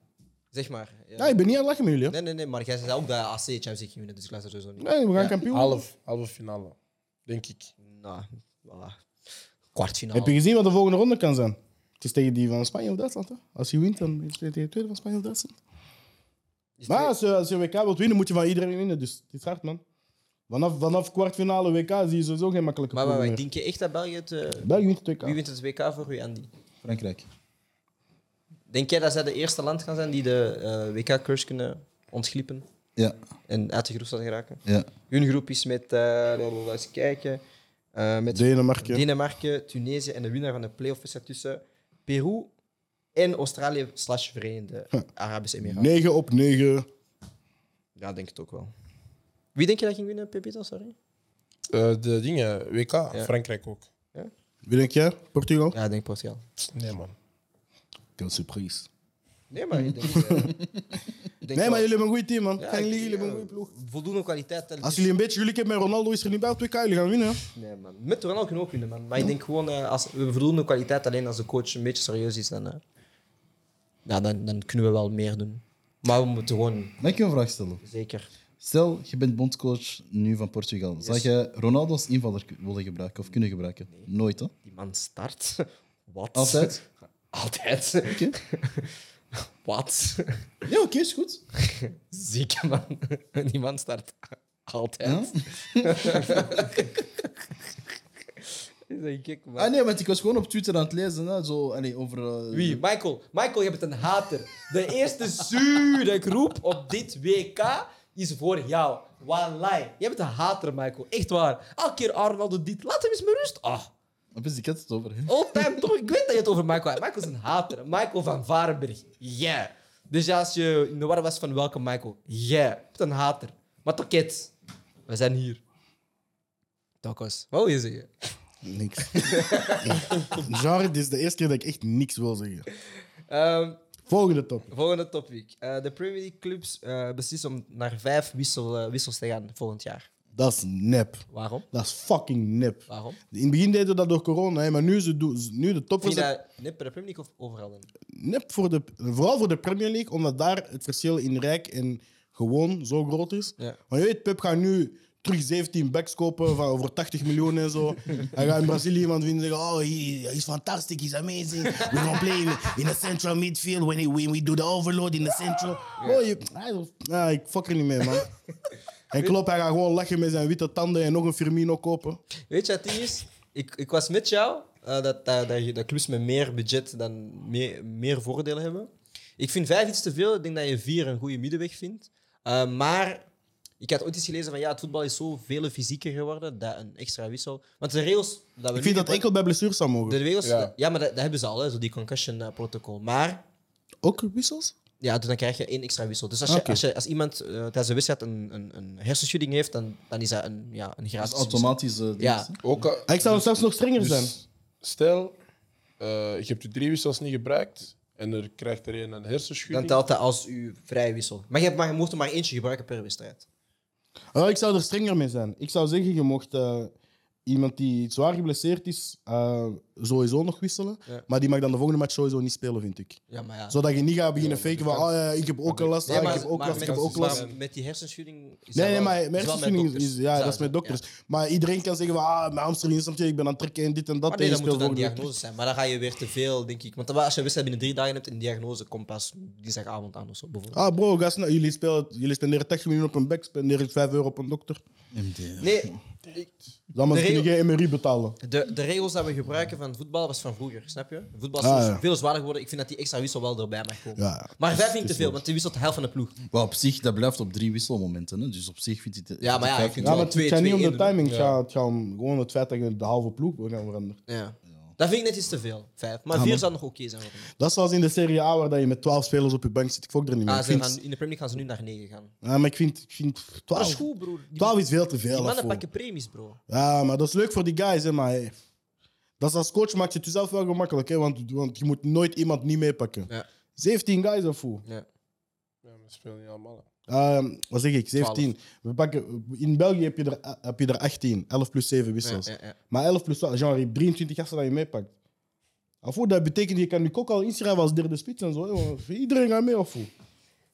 [SPEAKER 1] zeg maar. Ja.
[SPEAKER 2] Ja, ik ben niet aan het lachen met jullie. hè.
[SPEAKER 1] Nee, nee, nee, maar jij zei ook dat AC Champions League ging winnen, dus ik luister sowieso niet.
[SPEAKER 2] Nee, we gaan kampioen. worden.
[SPEAKER 3] Half, halve finale. Denk ik.
[SPEAKER 1] Nou, voilà. Kwartfinale.
[SPEAKER 2] Heb je gezien wat de volgende ronde kan zijn? Het is tegen die van Spanje of Duitsland. Hè? Als je wint, dan is het tegen de tweede van Spanje of Duitsland.
[SPEAKER 1] Is
[SPEAKER 2] Maar
[SPEAKER 1] twee-
[SPEAKER 2] als je, als je WK wilt winnen, moet je van iedereen winnen. Dus het is hard, man. Vanaf, vanaf kwartfinale WK zie je sowieso geen makkelijke
[SPEAKER 1] maar, maar,
[SPEAKER 2] ploegen
[SPEAKER 1] maar,
[SPEAKER 2] meer.
[SPEAKER 1] denk je echt dat België het... eh,
[SPEAKER 2] België wint het WK.
[SPEAKER 1] wie wint het WK voor u, Andy?
[SPEAKER 4] Frankrijk.
[SPEAKER 1] Denk jij dat zij de eerste land gaan zijn die de eh, WK-curse kunnen ontglippen
[SPEAKER 4] Ja,
[SPEAKER 1] en uit de groep zal geraken?
[SPEAKER 4] ja.
[SPEAKER 1] Hun groep is met, eh laten eens kijken, eh, met
[SPEAKER 2] Denemarken.
[SPEAKER 1] Denemarken, Tunesië en de winnaar van de play-off is tussen Peru en Australië slash Verenigde Arabische Emiraten.
[SPEAKER 2] 9 op 9.
[SPEAKER 1] Ja, denk het ook wel. Wie denk je dat ging winnen, Pepito? Sorry.
[SPEAKER 3] Eh, de dingen, WK, Frankrijk ook.
[SPEAKER 2] Wie denk jij? Portugal?
[SPEAKER 1] Ja, ik denk Portugal.
[SPEAKER 3] Nee, man.
[SPEAKER 2] Veel surprise.
[SPEAKER 1] Nee, maar ik denk... eh, ik denk wel-
[SPEAKER 2] Nee, maar jullie hebben een goed team, man.
[SPEAKER 1] Ja,
[SPEAKER 2] Gaan jullie,
[SPEAKER 1] ik-
[SPEAKER 2] jullie hebben een
[SPEAKER 1] ja,
[SPEAKER 2] goede ploeg.
[SPEAKER 1] Voldoende kwaliteit. hè. Het
[SPEAKER 2] Als
[SPEAKER 1] is-
[SPEAKER 2] jullie een beetje geluk hebben met Ronaldo, is er niet bij op het WK. Jullie gaan winnen. hè?
[SPEAKER 1] Nee, man. Met Ronaldo kunnen we ook winnen, man. Maar ik denk gewoon, eh, als, we hebben voldoende kwaliteit. Alleen als de coach een beetje serieus is, dan, eh, ja, dan, dan kunnen we wel meer doen. Maar we moeten gewoon
[SPEAKER 4] Mag ik je een vraag stellen?
[SPEAKER 1] zeker...
[SPEAKER 4] Stel, je bent bondcoach nu van Portugal. Zou je Ronaldo als invaller k- willen gebruiken of kunnen gebruiken? Nooit, hè?
[SPEAKER 1] Die man start. Wat?
[SPEAKER 4] Altijd?
[SPEAKER 1] Altijd.
[SPEAKER 4] Oké.
[SPEAKER 1] Wat?
[SPEAKER 4] Ja, oké, is goed.
[SPEAKER 1] Zieke man. Die man start altijd. Is dat gek, man?
[SPEAKER 4] Ah nee, want ik was gewoon op Twitter aan het lezen, hè, zo, allee, over... eh,
[SPEAKER 1] Wie? Michael. Michael, je bent een hater. De eerste zure groep op dit WK is voor jou. Wallahi. Jij bent een hater, Michael. Echt waar. Elke keer Arnold dit. Laat hem eens met rust. Ah.
[SPEAKER 4] Ah, best, ik had het over hem.
[SPEAKER 1] All time toch? Ik weet dat je het over Michael hebt. Michael is een hater. Michael van Varenberg. Yeah. Dus ja, als je in de war was van welke Michael? Yeah. Je bent een hater. Maar toch, kids. We zijn hier. Tokkos. Wat wil je zeggen?
[SPEAKER 2] Niks. Genre, dit is de eerste keer dat ik echt niks wil zeggen.
[SPEAKER 1] Ehm,
[SPEAKER 2] Volgende top.
[SPEAKER 1] volgende topic. Eh, de Premier League clubs eh, beslissen om naar vijf wissel, eh, wissels te gaan volgend jaar.
[SPEAKER 2] Dat is nep.
[SPEAKER 1] Waarom?
[SPEAKER 2] Dat is fucking nep.
[SPEAKER 1] Waarom?
[SPEAKER 2] In het begin deden we dat door corona, hè, maar nu, ze doen, ze- nu de
[SPEAKER 1] Vind je
[SPEAKER 2] topverzet.
[SPEAKER 1] dat net per de Premier League of overal dan?
[SPEAKER 2] Nep voor de, vooral voor de Premier League, omdat daar het verschil in rijk en gewoon zo groot is.
[SPEAKER 1] Ja.
[SPEAKER 2] Want je weet, Pep gaat nu terug 17 backs kopen van over 80 miljoen en zo. Hij gaat in Brazilië iemand vinden en zeggen: Oh, he, he's fantastic, he's amazing. We gaan play in the central midfield when, he- when we do the overload in the central. Oh, je, hij- ah, ik fuck er niet mee, man. En Klopp, hij gaat gewoon lachen met zijn witte tanden en nog een Firmino kopen.
[SPEAKER 1] Weet je wat het ding is? Ik, ik was met jou eh, dat, dat, dat, je- dat clubs met meer budget dan meer, meer voordelen hebben. Ik vind vijf iets te veel. Ik denk dat je vier een goede middenweg vindt. Eh, maar Ik had ooit eens gelezen van ja, het voetbal is zo veel fysieker geworden dat een extra wissel. Want de regels. Dat we
[SPEAKER 2] Ik vind
[SPEAKER 1] nu
[SPEAKER 2] dat enkel bij blessures zou mogen.
[SPEAKER 1] De regels. Ja,
[SPEAKER 3] Ja.
[SPEAKER 1] maar dat, dat hebben ze al, hè, zo die concussion eh, protocol. Maar
[SPEAKER 2] Ook wissels?
[SPEAKER 1] ja, dus dan krijg je één extra wissel. Dus als, je,
[SPEAKER 2] Ah, Oké.
[SPEAKER 1] als, je, als iemand eh, tijdens de wedstrijd een, een, een hersenschudding heeft, dan, dan is dat een, ja, een
[SPEAKER 4] Dat
[SPEAKER 1] gratis.
[SPEAKER 4] is automatisch. eh, ding,
[SPEAKER 1] Ja.
[SPEAKER 4] hè?
[SPEAKER 3] Ook, al-
[SPEAKER 2] Ah, ik zou zelfs nog strenger
[SPEAKER 3] dus
[SPEAKER 2] zijn.
[SPEAKER 3] Stel, eh, je hebt je drie wissels niet gebruikt en er krijgt er een een
[SPEAKER 1] Dan
[SPEAKER 3] hersenschudding.
[SPEAKER 1] telt dat als uw vrije wissel. Maar je, hebt maar je mocht er maar eentje gebruiken per wedstrijd.
[SPEAKER 2] Ah, ik zou er strenger mee zijn. Ik zou zeggen, je mocht eh, iemand die zwaar geblesseerd is, eh, sowieso nog wisselen.
[SPEAKER 1] Ja.
[SPEAKER 2] Maar die mag dan de volgende match sowieso niet spelen, vind ik.
[SPEAKER 1] Ja, maar ja.
[SPEAKER 2] Zodat je niet gaat beginnen
[SPEAKER 3] Ja,
[SPEAKER 2] faken
[SPEAKER 3] dat
[SPEAKER 2] van, ah, ja, ik heb ook een last,
[SPEAKER 1] Ja,
[SPEAKER 2] ah,
[SPEAKER 1] maar-
[SPEAKER 2] ik heb ook
[SPEAKER 1] maar
[SPEAKER 2] last, ik
[SPEAKER 1] met-
[SPEAKER 2] heb ook
[SPEAKER 3] maar-
[SPEAKER 2] last.
[SPEAKER 1] maar Met die hersenschudding. is dat
[SPEAKER 2] Nee, nee,
[SPEAKER 1] wel-
[SPEAKER 2] maar
[SPEAKER 1] is wel met
[SPEAKER 2] hersenschudding
[SPEAKER 1] dokters.
[SPEAKER 2] is, ja,
[SPEAKER 1] Zou
[SPEAKER 2] dat is met
[SPEAKER 1] zijn,
[SPEAKER 2] dokters. Maar iedereen kan zeggen van, ah, mijn hamstring is snap je, ik ben aan het trekken en dit en dat.
[SPEAKER 1] Maar Ah, nee,
[SPEAKER 2] en
[SPEAKER 1] dat
[SPEAKER 2] je
[SPEAKER 1] moet
[SPEAKER 2] speelt
[SPEAKER 1] dan
[SPEAKER 2] volgende week.
[SPEAKER 1] diagnose zijn. Maar dan ga je weer te veel, denk ik. Want als je een wedstrijd binnen drie dagen hebt, een diagnose komt pas dinsdagavond aan of zo, bijvoorbeeld.
[SPEAKER 2] Ah, bro, gast, nou, jullie, spelen, jullie spenderen 80 miljoen op een back, spenderen 5 euro op een dokter.
[SPEAKER 4] MDR.
[SPEAKER 1] Nee,
[SPEAKER 2] Dan moet
[SPEAKER 1] De
[SPEAKER 2] je geen MRI betalen.
[SPEAKER 1] de, de regels die we gebruiken van voetbal was van vroeger, snap je? Voetbal is
[SPEAKER 2] Ah,
[SPEAKER 1] zo-
[SPEAKER 2] ja.
[SPEAKER 1] veel zwaarder geworden. Ik vind dat die extra wissel wel erbij mag komen.
[SPEAKER 2] Ja, ja.
[SPEAKER 1] Maar vijf vind ik te veel, want die wisselt de helft van de ploeg.
[SPEAKER 4] Maar op zich, dat blijft op drie wisselmomenten. Hè? Dus op zich vind je het.
[SPEAKER 1] Ja, maar ja, ik vind
[SPEAKER 2] Ja,
[SPEAKER 1] wel
[SPEAKER 2] maar het
[SPEAKER 1] twee,
[SPEAKER 2] gaat niet om
[SPEAKER 1] twee,
[SPEAKER 2] de
[SPEAKER 1] één
[SPEAKER 2] timing, het gaat- het gaat om gewoon het feit dat je de halve ploeg wil gaan veranderen.
[SPEAKER 1] Ja. Dat vind ik net iets te veel, vijf.
[SPEAKER 2] Ah,
[SPEAKER 1] Maar vier zou nog oké zijn. voor mij.
[SPEAKER 2] Dat is zoals in de Serie A waar dat je met 12 spelers op je bank zit. Ik fok er niet mee.
[SPEAKER 1] Ah,
[SPEAKER 2] ik
[SPEAKER 1] ze
[SPEAKER 2] vind,
[SPEAKER 1] gaan, in de Premier League gaan ze nu naar negen gaan.
[SPEAKER 2] Ja, maar ik vind, ik vind
[SPEAKER 1] Dat is
[SPEAKER 2] 12,
[SPEAKER 1] goed, broer. Die,
[SPEAKER 2] 12 is veel te
[SPEAKER 1] die
[SPEAKER 2] veel.
[SPEAKER 1] mannen
[SPEAKER 2] daarvoor.
[SPEAKER 1] pakken premies, bro.
[SPEAKER 2] Ja, maar dat is leuk voor die guys, hè, maar hey. dat is als coach maakt je het jezelf wel gemakkelijk, hè, want, want je moet nooit iemand niet meepakken.
[SPEAKER 1] Ja.
[SPEAKER 2] 17 guys of hoe?
[SPEAKER 1] Ja.
[SPEAKER 3] Ja, we spelen niet allemaal. hè.
[SPEAKER 2] Ehm, wat zeg ik? 17. We pakken, in België heb je, er, heb je er 18, 11 plus 7
[SPEAKER 1] Ja,
[SPEAKER 2] wissels.
[SPEAKER 1] ja, ja.
[SPEAKER 2] Maar 11 plus 12, genre 23 gasten dat je meepakt. Of hoe? Dat betekent je kan nu ook al inschrijven als derde spits en zo. Hè, want iedereen gaat mee of hoe?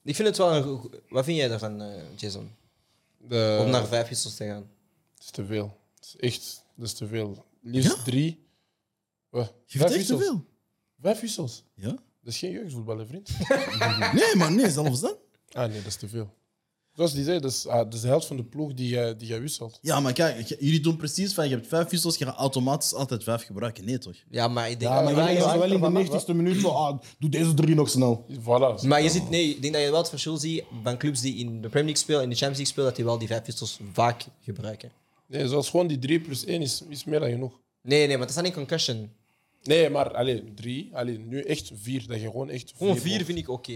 [SPEAKER 1] Ik vind het wel een goe- goe- Wat vind jij daarvan, eh, Jason?
[SPEAKER 3] De-
[SPEAKER 1] Om naar vijf wissels te gaan.
[SPEAKER 3] Het is te veel. Het is echt, dat is te veel. Liefst drie. Wat?
[SPEAKER 4] Je vindt het echt te veel.
[SPEAKER 3] Vijf wissels.
[SPEAKER 4] Ja?
[SPEAKER 3] Dat is geen jeugdvoetbal, hè, vriend.
[SPEAKER 4] Nee, maar nee, zelfs dan.
[SPEAKER 3] ah nee, dat is te veel. Zoals die zei, dat is, ah, dat is de helft van de ploeg die, jij- die jij wisselt.
[SPEAKER 4] Ja, maar kijk, je- jullie doen precies van je hebt vijf wissels, je gaat automatisch altijd vijf gebruiken. Nee, toch?
[SPEAKER 1] Ja, maar ik denk...
[SPEAKER 2] Ja, maar
[SPEAKER 3] maar
[SPEAKER 2] dan
[SPEAKER 3] je
[SPEAKER 2] is
[SPEAKER 3] hangt
[SPEAKER 2] wel in de
[SPEAKER 3] ervan af,
[SPEAKER 2] 90ste minuut van, ah, doe deze drie nog snel.
[SPEAKER 3] Voilà.
[SPEAKER 1] Maar je ziet, nee, ik denk dat je wel het verschil ziet van clubs die in de Premier League spelen en de Champions League spelen, dat die wel die vijf wissels vaak gebruiken.
[SPEAKER 3] Nee, zoals gewoon die drie plus één is, is meer dan genoeg.
[SPEAKER 1] Nee, nee, want dat is dan in concussion.
[SPEAKER 3] Nee, maar alleen drie. Alleen nu echt vier. Dat je gewoon echt vier...
[SPEAKER 1] Gewoon vier
[SPEAKER 3] moet.
[SPEAKER 1] vind ik oké.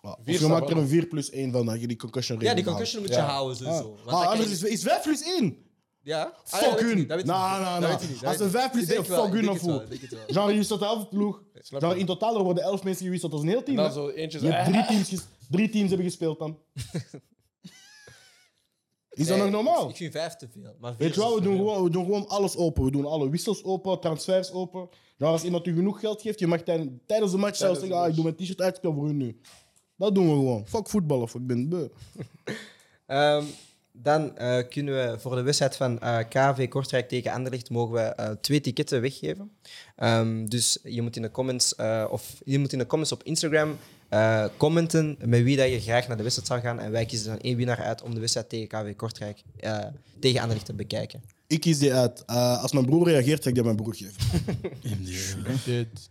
[SPEAKER 2] Ah, Of
[SPEAKER 3] Vier
[SPEAKER 2] je
[SPEAKER 3] zou
[SPEAKER 2] maakt er
[SPEAKER 3] wel.
[SPEAKER 2] een 4 plus 1 van, dat je die concussion
[SPEAKER 1] Ja, die
[SPEAKER 2] regel
[SPEAKER 1] concussion moet je
[SPEAKER 3] Ja.
[SPEAKER 1] houden
[SPEAKER 2] haalt.
[SPEAKER 1] sowieso. Want
[SPEAKER 2] Ah,
[SPEAKER 1] dan
[SPEAKER 2] ah,
[SPEAKER 1] kan
[SPEAKER 2] anders
[SPEAKER 1] je-
[SPEAKER 2] is, is 5 plus 1.
[SPEAKER 1] Ja? Ah, ja,
[SPEAKER 2] Fuck
[SPEAKER 1] dat weet ik
[SPEAKER 2] hun.
[SPEAKER 1] niet, dat
[SPEAKER 2] Nou,
[SPEAKER 1] weet ik niet. Dat
[SPEAKER 2] nou, nou.
[SPEAKER 1] weet ik niet, dat
[SPEAKER 2] Als
[SPEAKER 1] weet
[SPEAKER 2] een
[SPEAKER 1] ik
[SPEAKER 2] 5 plus
[SPEAKER 1] niet. Ik denk
[SPEAKER 2] 1,
[SPEAKER 1] wel,
[SPEAKER 2] fuck
[SPEAKER 1] ik
[SPEAKER 2] hun
[SPEAKER 1] denk
[SPEAKER 2] of
[SPEAKER 1] het wel,
[SPEAKER 2] hoe?
[SPEAKER 1] ik denk het wel.
[SPEAKER 2] Genre, je staat de helft ploeg.
[SPEAKER 3] Snap
[SPEAKER 2] Genre,
[SPEAKER 3] je?
[SPEAKER 2] in totaal er worden 11 mensen gewisseld, dat is een heel
[SPEAKER 3] En
[SPEAKER 2] team.
[SPEAKER 3] dan
[SPEAKER 2] hè.
[SPEAKER 3] zo eentje zo...
[SPEAKER 2] Je hebt drie teams, ges- drie teams hebben gespeeld dan. Is dat
[SPEAKER 1] Nee,
[SPEAKER 2] nog normaal?
[SPEAKER 1] Eh, Ik vind vijf te veel. Maar vier
[SPEAKER 2] Weet je
[SPEAKER 1] is
[SPEAKER 2] wel, we
[SPEAKER 1] te
[SPEAKER 2] doen,
[SPEAKER 1] veel.
[SPEAKER 2] gewoon, we doen gewoon alles open. We doen alle wissels open, transfers open. Nou, als iemand u genoeg geld geeft, je mag tij- tijdens de match zelfs
[SPEAKER 3] de
[SPEAKER 2] zeggen: ah, ik doe mijn t-shirt uit, ik speel voor u nu. Dat doen we gewoon. Fuck voetballen, of ik ben het beu.
[SPEAKER 1] Ehm, dan eh, kunnen we voor de wedstrijd van eh, KV Kortrijk tegen Anderlecht mogen we eh, twee tickets weggeven. Ehm, dus je moet in de comments eh, of je moet in de comments op Instagram eh, commenten met wie dat je graag naar de wedstrijd zou gaan en wij kiezen dan één winnaar uit om de wedstrijd tegen KV Kortrijk eh, tegen Anderlecht te bekijken.
[SPEAKER 2] Ik kies die uit. Eh, als mijn broer reageert, ga ik die aan mijn broer geven.
[SPEAKER 4] MDR.
[SPEAKER 3] Dit.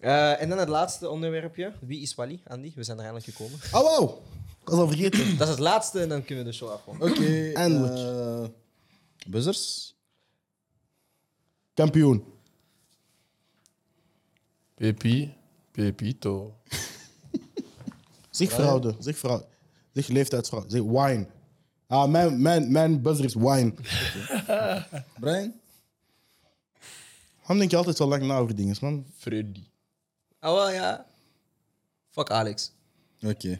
[SPEAKER 1] Eh, en dan het laatste onderwerpje. Wie is Wally? Andy, we zijn er eindelijk gekomen.
[SPEAKER 2] Oh, wow. Ik was al vergeten.
[SPEAKER 1] Dat is het laatste en dan kunnen we de show afronden.
[SPEAKER 4] Oké.
[SPEAKER 2] Eindelijk.
[SPEAKER 4] eh, buzzers?
[SPEAKER 2] Kampioen.
[SPEAKER 3] Pepi. Pepito.
[SPEAKER 2] Zeg fraude. Zeg fraude. Zeg leeftijdsfraude. Zeg wine. Ah, mijn, mijn, mijn buzzer is wine.
[SPEAKER 4] Brian?
[SPEAKER 2] Waarom denk je altijd zo lang na over dingen, man?
[SPEAKER 3] Freddy.
[SPEAKER 1] Ah, wel ja. Fuck Alex.
[SPEAKER 4] Oké.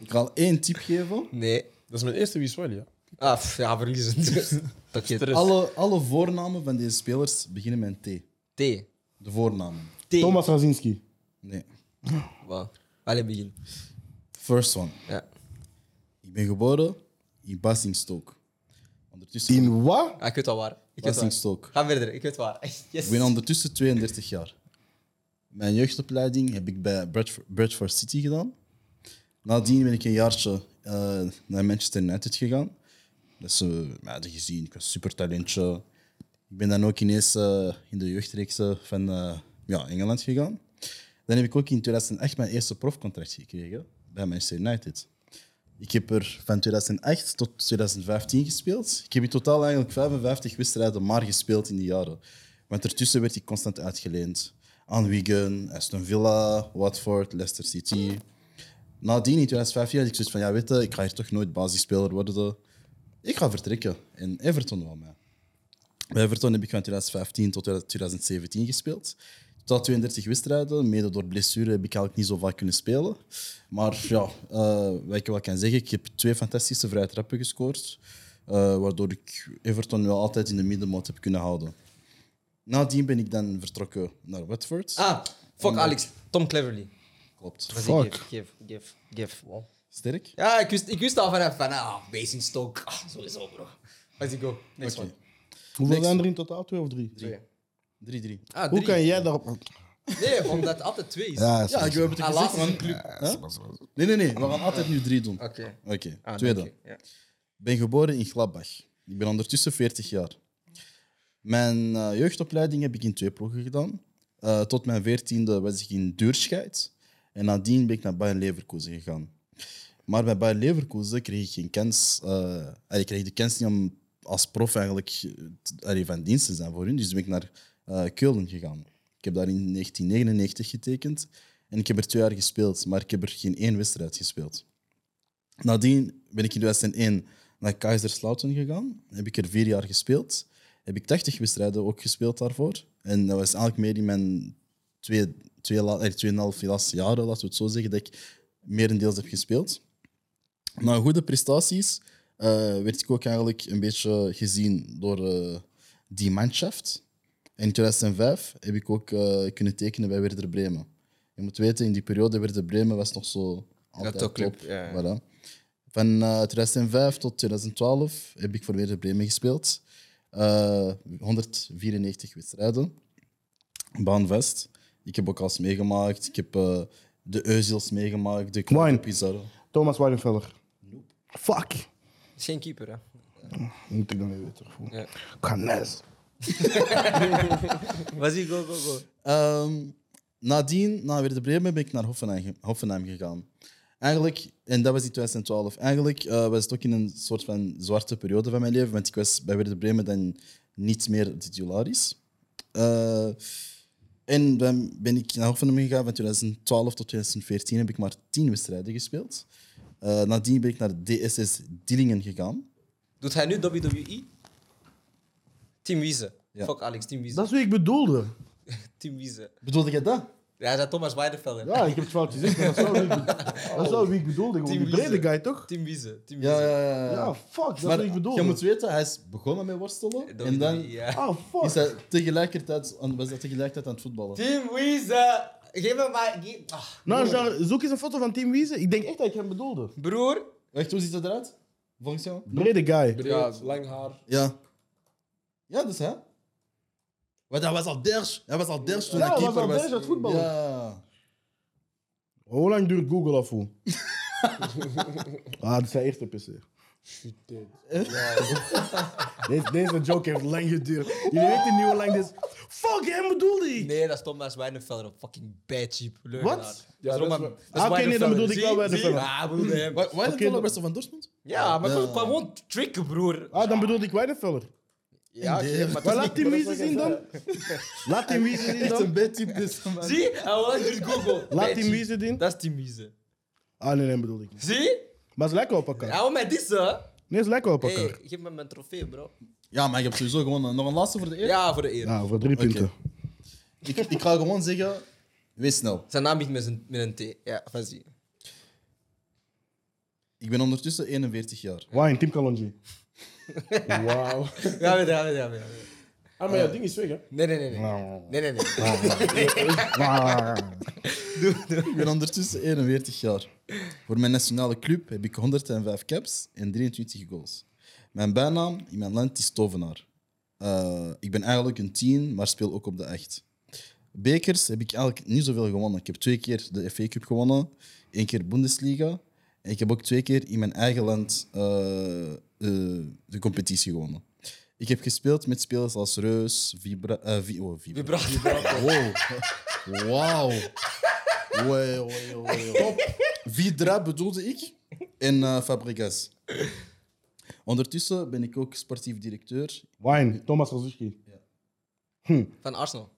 [SPEAKER 4] Ik ga al één tip geven.
[SPEAKER 1] Nee.
[SPEAKER 3] Dat is mijn eerste wiswel, ja.
[SPEAKER 1] Ah, pff, ja, verliezen. Tokje.
[SPEAKER 4] Alle, alle voornamen van deze spelers beginnen met een T.
[SPEAKER 1] T.
[SPEAKER 4] De voornamen.
[SPEAKER 1] T.
[SPEAKER 2] Thomas Razinski.
[SPEAKER 4] Nee.
[SPEAKER 1] Wow. Allee, begin.
[SPEAKER 4] First one.
[SPEAKER 1] Ja.
[SPEAKER 4] Ik ben geboren in Basingstoke. Ondertussen.
[SPEAKER 2] In wat?
[SPEAKER 1] Ah, ik weet al waar. Ik weet waar.
[SPEAKER 4] Basingstoke.
[SPEAKER 1] Ga verder, ik weet waar. Yes.
[SPEAKER 4] Ik ben ondertussen 32 jaar. Mijn jeugdopleiding heb ik bij Bradford, Bradford City gedaan. Nadien ben ik een jaartje eh, naar Manchester United gegaan. Dat ze mij hadden gezien. Ik was super talentje. Ik ben dan ook ineens eh, in de jeugdreeksen van eh, ja, Engeland gegaan. Dan heb ik ook in 2008 mijn eerste profcontract gekregen bij Manchester United. Ik heb er van 2008 tot 2015 gespeeld. Ik heb in totaal eigenlijk 55 wedstrijden maar gespeeld in die jaren. Want ertussen werd ik constant uitgeleend. Aan Wigan, Aston Villa, Watford, Leicester City. Nadien, in 2015, had ik zoiets van, ja weet je, ik ga hier toch nooit basisspeler worden. Ik ga vertrekken. En Everton wou mij. Bij Everton heb ik van 2015 tot 2017 gespeeld. Tot 32 wedstrijden. Mede door blessure heb ik eigenlijk niet zo vaak kunnen spelen. Maar ja, eh, wat ik wel kan zeggen, ik heb twee fantastische vrije trappen gescoord. eh, waardoor ik Everton wel altijd in de middenmoot heb kunnen houden. Nadien ben ik dan vertrokken naar Watford.
[SPEAKER 1] Ah, fuck Alex. Tom Cleverly.
[SPEAKER 4] Klopt.
[SPEAKER 1] Was
[SPEAKER 2] Fuck.
[SPEAKER 1] Ik give, give, give, give.
[SPEAKER 4] Sterk.
[SPEAKER 1] Ja, ik wist, ik wist al vanaf van, ah, Basingstoke. Ah, sowieso, bro. Let's go. Next
[SPEAKER 4] Oké.
[SPEAKER 1] one.
[SPEAKER 2] Hoeveel
[SPEAKER 4] Next.
[SPEAKER 2] zijn er in totaal? Twee of drie?
[SPEAKER 4] 3-3.
[SPEAKER 1] Ah,
[SPEAKER 2] Hoe
[SPEAKER 1] drie.
[SPEAKER 2] kan jij daarop...
[SPEAKER 1] Nee, omdat het altijd twee is.
[SPEAKER 2] Ja,
[SPEAKER 4] Ja, ik heb het
[SPEAKER 1] Ah,
[SPEAKER 4] gezegd.
[SPEAKER 1] laatste is een
[SPEAKER 4] man.
[SPEAKER 1] club.
[SPEAKER 4] Nee, nee, nee. We gaan altijd nu drie doen.
[SPEAKER 1] Oké. Ah,
[SPEAKER 4] Oké,
[SPEAKER 1] dank
[SPEAKER 4] tweede.
[SPEAKER 1] je. Ja.
[SPEAKER 4] Ik ben geboren in Gladbach. Ik ben ondertussen 40 jaar. Mijn eh, jeugdopleiding heb ik in twee ploegen gedaan. Eh, tot mijn 14e was ik in Duurscheid. En nadien ben ik naar Bayern Leverkusen gegaan. Maar bij Bayern Leverkusen kreeg ik geen kans. eh, allee, ik kreeg de kans niet om als prof eigenlijk eh, t- allee, van dienst te zijn voor hun. Dus ben ik naar eh Keulen gegaan. Ik heb daar in 1999 getekend. En ik heb er twee jaar gespeeld, maar ik heb er geen één wedstrijd gespeeld. Nadien ben ik in 2001 naar Kaiserslautern gegaan. Heb ik er vier jaar gespeeld. Heb ik 80 wedstrijden ook gespeeld daarvoor. En dat was eigenlijk meer in mijn twee, twee, la- eh, tweeënhalf laatste jaren, laten we het zo zeggen, dat ik merendeels heb gespeeld. Na goede prestaties eh, werd ik ook eigenlijk een beetje gezien door eh, die manschaft. En in 2005 heb ik ook eh, kunnen tekenen bij Werder Bremen. Je moet weten, in die periode Werder Bremen was nog zo altijd
[SPEAKER 1] topclub,
[SPEAKER 4] top.
[SPEAKER 1] ja.
[SPEAKER 4] Voilà. Van eh, 2005 tot 2012 heb ik voor Werder Bremen gespeeld. Eh, 194 wedstrijden baanvest. Ik heb ook alles meegemaakt. Ik heb eh, de Euzels meegemaakt, de Club
[SPEAKER 2] Wine.
[SPEAKER 4] Pizarro.
[SPEAKER 2] Thomas Weidenfeller. Fuck.
[SPEAKER 1] Het is geen keeper, hè.
[SPEAKER 2] Moet ik dan weer weten.
[SPEAKER 1] Ja.
[SPEAKER 2] Ja. Canes.
[SPEAKER 1] Was go, go, go.
[SPEAKER 4] Ehm, nadien, na Werder Bremen, ben ik naar Hoffenheim, ge- Hoffenheim gegaan. Eigenlijk, en dat was in 2012, eigenlijk eh, was het ook in een soort van zwarte periode van mijn leven, want ik was bij Werder Bremen dan niet meer titularis. Eh, en dan ben ik naar Hoffenheim gegaan. Van 2012 tot 2014 heb ik maar 10 wedstrijden gespeeld. Eh, nadien ben ik naar DSS Dillingen gegaan.
[SPEAKER 1] Doet hij nu WWE? Team Wiese.
[SPEAKER 4] Ja.
[SPEAKER 1] Fuck Alex, Team Wiese.
[SPEAKER 2] Dat is wie ik bedoelde.
[SPEAKER 1] Team Wiese.
[SPEAKER 4] Bedoelde je dat?
[SPEAKER 1] Ja, dat Thomas Weidenfeller.
[SPEAKER 2] Ja, ik heb het fout gezegd. maar Dat is wel wie ik bedoelde. Dat is wel wie ik bedoelde. Gewoon
[SPEAKER 1] Team
[SPEAKER 2] die brede
[SPEAKER 1] Wiese.
[SPEAKER 2] guy, toch?
[SPEAKER 1] Team Wiese. Team
[SPEAKER 4] Ja,
[SPEAKER 1] Wiese.
[SPEAKER 4] ja, ja. ja.
[SPEAKER 2] Ja, fuck. Dat is
[SPEAKER 4] maar
[SPEAKER 2] wie ik
[SPEAKER 4] je
[SPEAKER 2] bedoelde.
[SPEAKER 4] moet weten, hij is begonnen met worstelen.
[SPEAKER 1] WWE,
[SPEAKER 4] en dan
[SPEAKER 1] ja.
[SPEAKER 2] Ah, fuck.
[SPEAKER 4] is hij tegelijkertijd, aan- was hij tegelijkertijd aan het voetballen.
[SPEAKER 1] Team Wiese. Geef me maar... ge- Ah,
[SPEAKER 2] Nou, Jean, zoek eens een foto van Team Wiese. Ik denk echt dat ik hem bedoelde.
[SPEAKER 1] Broer.
[SPEAKER 4] Echt, hoe ziet dat eruit? Volgens jou?
[SPEAKER 2] Brede guy.
[SPEAKER 3] Ja, lang haar.
[SPEAKER 4] Ja. Ja, dus, dat is hij. Want hij was al ders. Hij was al ders toen
[SPEAKER 2] Ja,
[SPEAKER 4] hij
[SPEAKER 2] hij was
[SPEAKER 4] keeper
[SPEAKER 2] al
[SPEAKER 4] was.
[SPEAKER 2] ders als voetballer.
[SPEAKER 4] Ja.
[SPEAKER 2] Hoe lang duurt Google af, hoe? ah, dat is zijn eerste PC. Deze, deze joke heeft lang geduurd. Jullie weten niet hoe lang dit is. dus Fuck, hem bedoelde ik.
[SPEAKER 1] Nee, dat is Thomas Weidenfeller. Een fucking bad cheap.
[SPEAKER 2] Wat?
[SPEAKER 3] Ja,
[SPEAKER 1] Ja,
[SPEAKER 3] dat is
[SPEAKER 1] dat
[SPEAKER 3] wel-
[SPEAKER 2] Ah, oké, nee, dan bedoelde ik wel Weidenfeller.
[SPEAKER 1] Ja, Ah, broer. hem.
[SPEAKER 4] Wa- Waarom
[SPEAKER 2] Oké,
[SPEAKER 4] okay,
[SPEAKER 2] dan-
[SPEAKER 4] best van Dortmund?
[SPEAKER 1] Ja, maar toch gewoon tricken, broer.
[SPEAKER 2] Ah, dan bedoelde ik Weidenfeller.
[SPEAKER 1] Ja, oké, maar
[SPEAKER 2] Maar
[SPEAKER 1] toch
[SPEAKER 2] laat Team Wiese zien dan. Laat Team Wiese zien dan.
[SPEAKER 4] bedtip dus.
[SPEAKER 1] Ah, Zie? Hij was dus Google.
[SPEAKER 2] Laat Team Wiese zien.
[SPEAKER 1] Dat is Team Wiese.
[SPEAKER 2] Ah, nee, nee, bedoelde ik niet.
[SPEAKER 1] Zie?
[SPEAKER 2] Maar ze lijken op elkaar.
[SPEAKER 1] Hij wil mij dissen.
[SPEAKER 2] Nee, ze lijken op
[SPEAKER 1] Hey,
[SPEAKER 2] elkaar.
[SPEAKER 1] geef me mijn trofee, bro.
[SPEAKER 4] Ja, maar ik heb sowieso gewoon nog een laatste voor de eer.
[SPEAKER 1] Ja, voor de eer.
[SPEAKER 2] Nou, voor drie punten.
[SPEAKER 4] Ik, ik ga gewoon zeggen, wees snel.
[SPEAKER 1] Zijn naam begint met, zijn- met een T. Ja, van zie.
[SPEAKER 4] Ik ben ondertussen 41 jaar.
[SPEAKER 2] Wine, Team Kalonji.
[SPEAKER 3] Wauw.
[SPEAKER 1] Ja, weet je, ja, weet je, ja, weet je.
[SPEAKER 3] Ah,
[SPEAKER 1] Eh.
[SPEAKER 3] maar ja, ding is weg, hè?
[SPEAKER 1] Nee, nee, nee. Nee, nee, nee. nee.
[SPEAKER 4] Ik ben ondertussen 41 jaar. Voor mijn nationale club heb ik 105 caps en 23 goals. Mijn bijnaam in mijn land is Tovenaar. Eh, ik ben eigenlijk een 10, maar speel ook op de 8. Bekers heb ik eigenlijk niet zoveel gewonnen. Ik heb twee keer de FA Cup gewonnen, één keer Bundesliga. En ik heb ook twee keer in mijn eigen land eh, eh, de competitie gewonnen. Ik heb gespeeld met spelers als Reus, Vibra... eh, Vi- oh, Vibra.
[SPEAKER 1] Vibrator.
[SPEAKER 4] Wow. Wauw. Wee, wee, wee, wee. Vidra bedoelde ik. en eh, Fabregas. Ondertussen ben ik ook sportief directeur.
[SPEAKER 2] Wine, Thomas Rozuski.
[SPEAKER 1] Van Arsenal.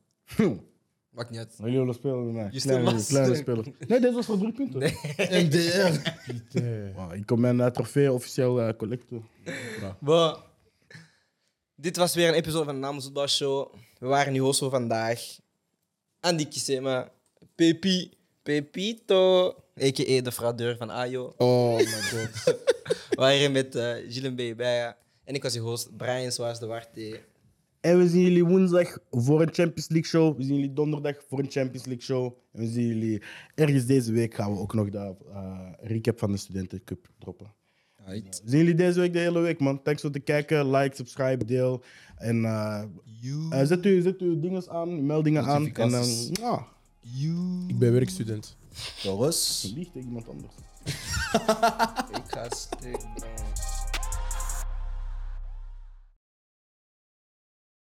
[SPEAKER 1] Maakt niet uit.
[SPEAKER 2] Jullie willen spelen met mij.
[SPEAKER 1] Je
[SPEAKER 2] Kleine,
[SPEAKER 1] stelt
[SPEAKER 2] kleine
[SPEAKER 1] maar-
[SPEAKER 2] speler. Nee, dit was voor drie punten.
[SPEAKER 4] MDR.
[SPEAKER 2] Wow, ik kom mijn eh, trofee officieel eh, collecten.
[SPEAKER 1] Maar, dit was weer een episode van de Namensvoetbal Show. We waren in Hoso vandaag. Andy Kisema, Pepi, Pepito, a.k.a. de fraudeur van Ajo.
[SPEAKER 3] Oh my god.
[SPEAKER 1] We waren hier met eh Gilles Mbebaya. En ik was je host, Brian Swaas de Warte.
[SPEAKER 2] En we zien jullie woensdag voor een Champions League show. We zien jullie donderdag voor een Champions League show. En we zien jullie ergens deze week gaan we ook nog de eh, recap van de Studentencup droppen.
[SPEAKER 4] Right.
[SPEAKER 2] We zien jullie deze week de hele week, man. Thanks voor het kijken. Like, subscribe, deel. En eh, eh, zet, u, zet uw dingen aan, meldingen aan. En dan
[SPEAKER 4] Notificaties.
[SPEAKER 2] ja,
[SPEAKER 3] Ik ben werkstudent.
[SPEAKER 4] Jongens.
[SPEAKER 2] liegt tegen iemand anders.
[SPEAKER 1] Ik ga stuk, man.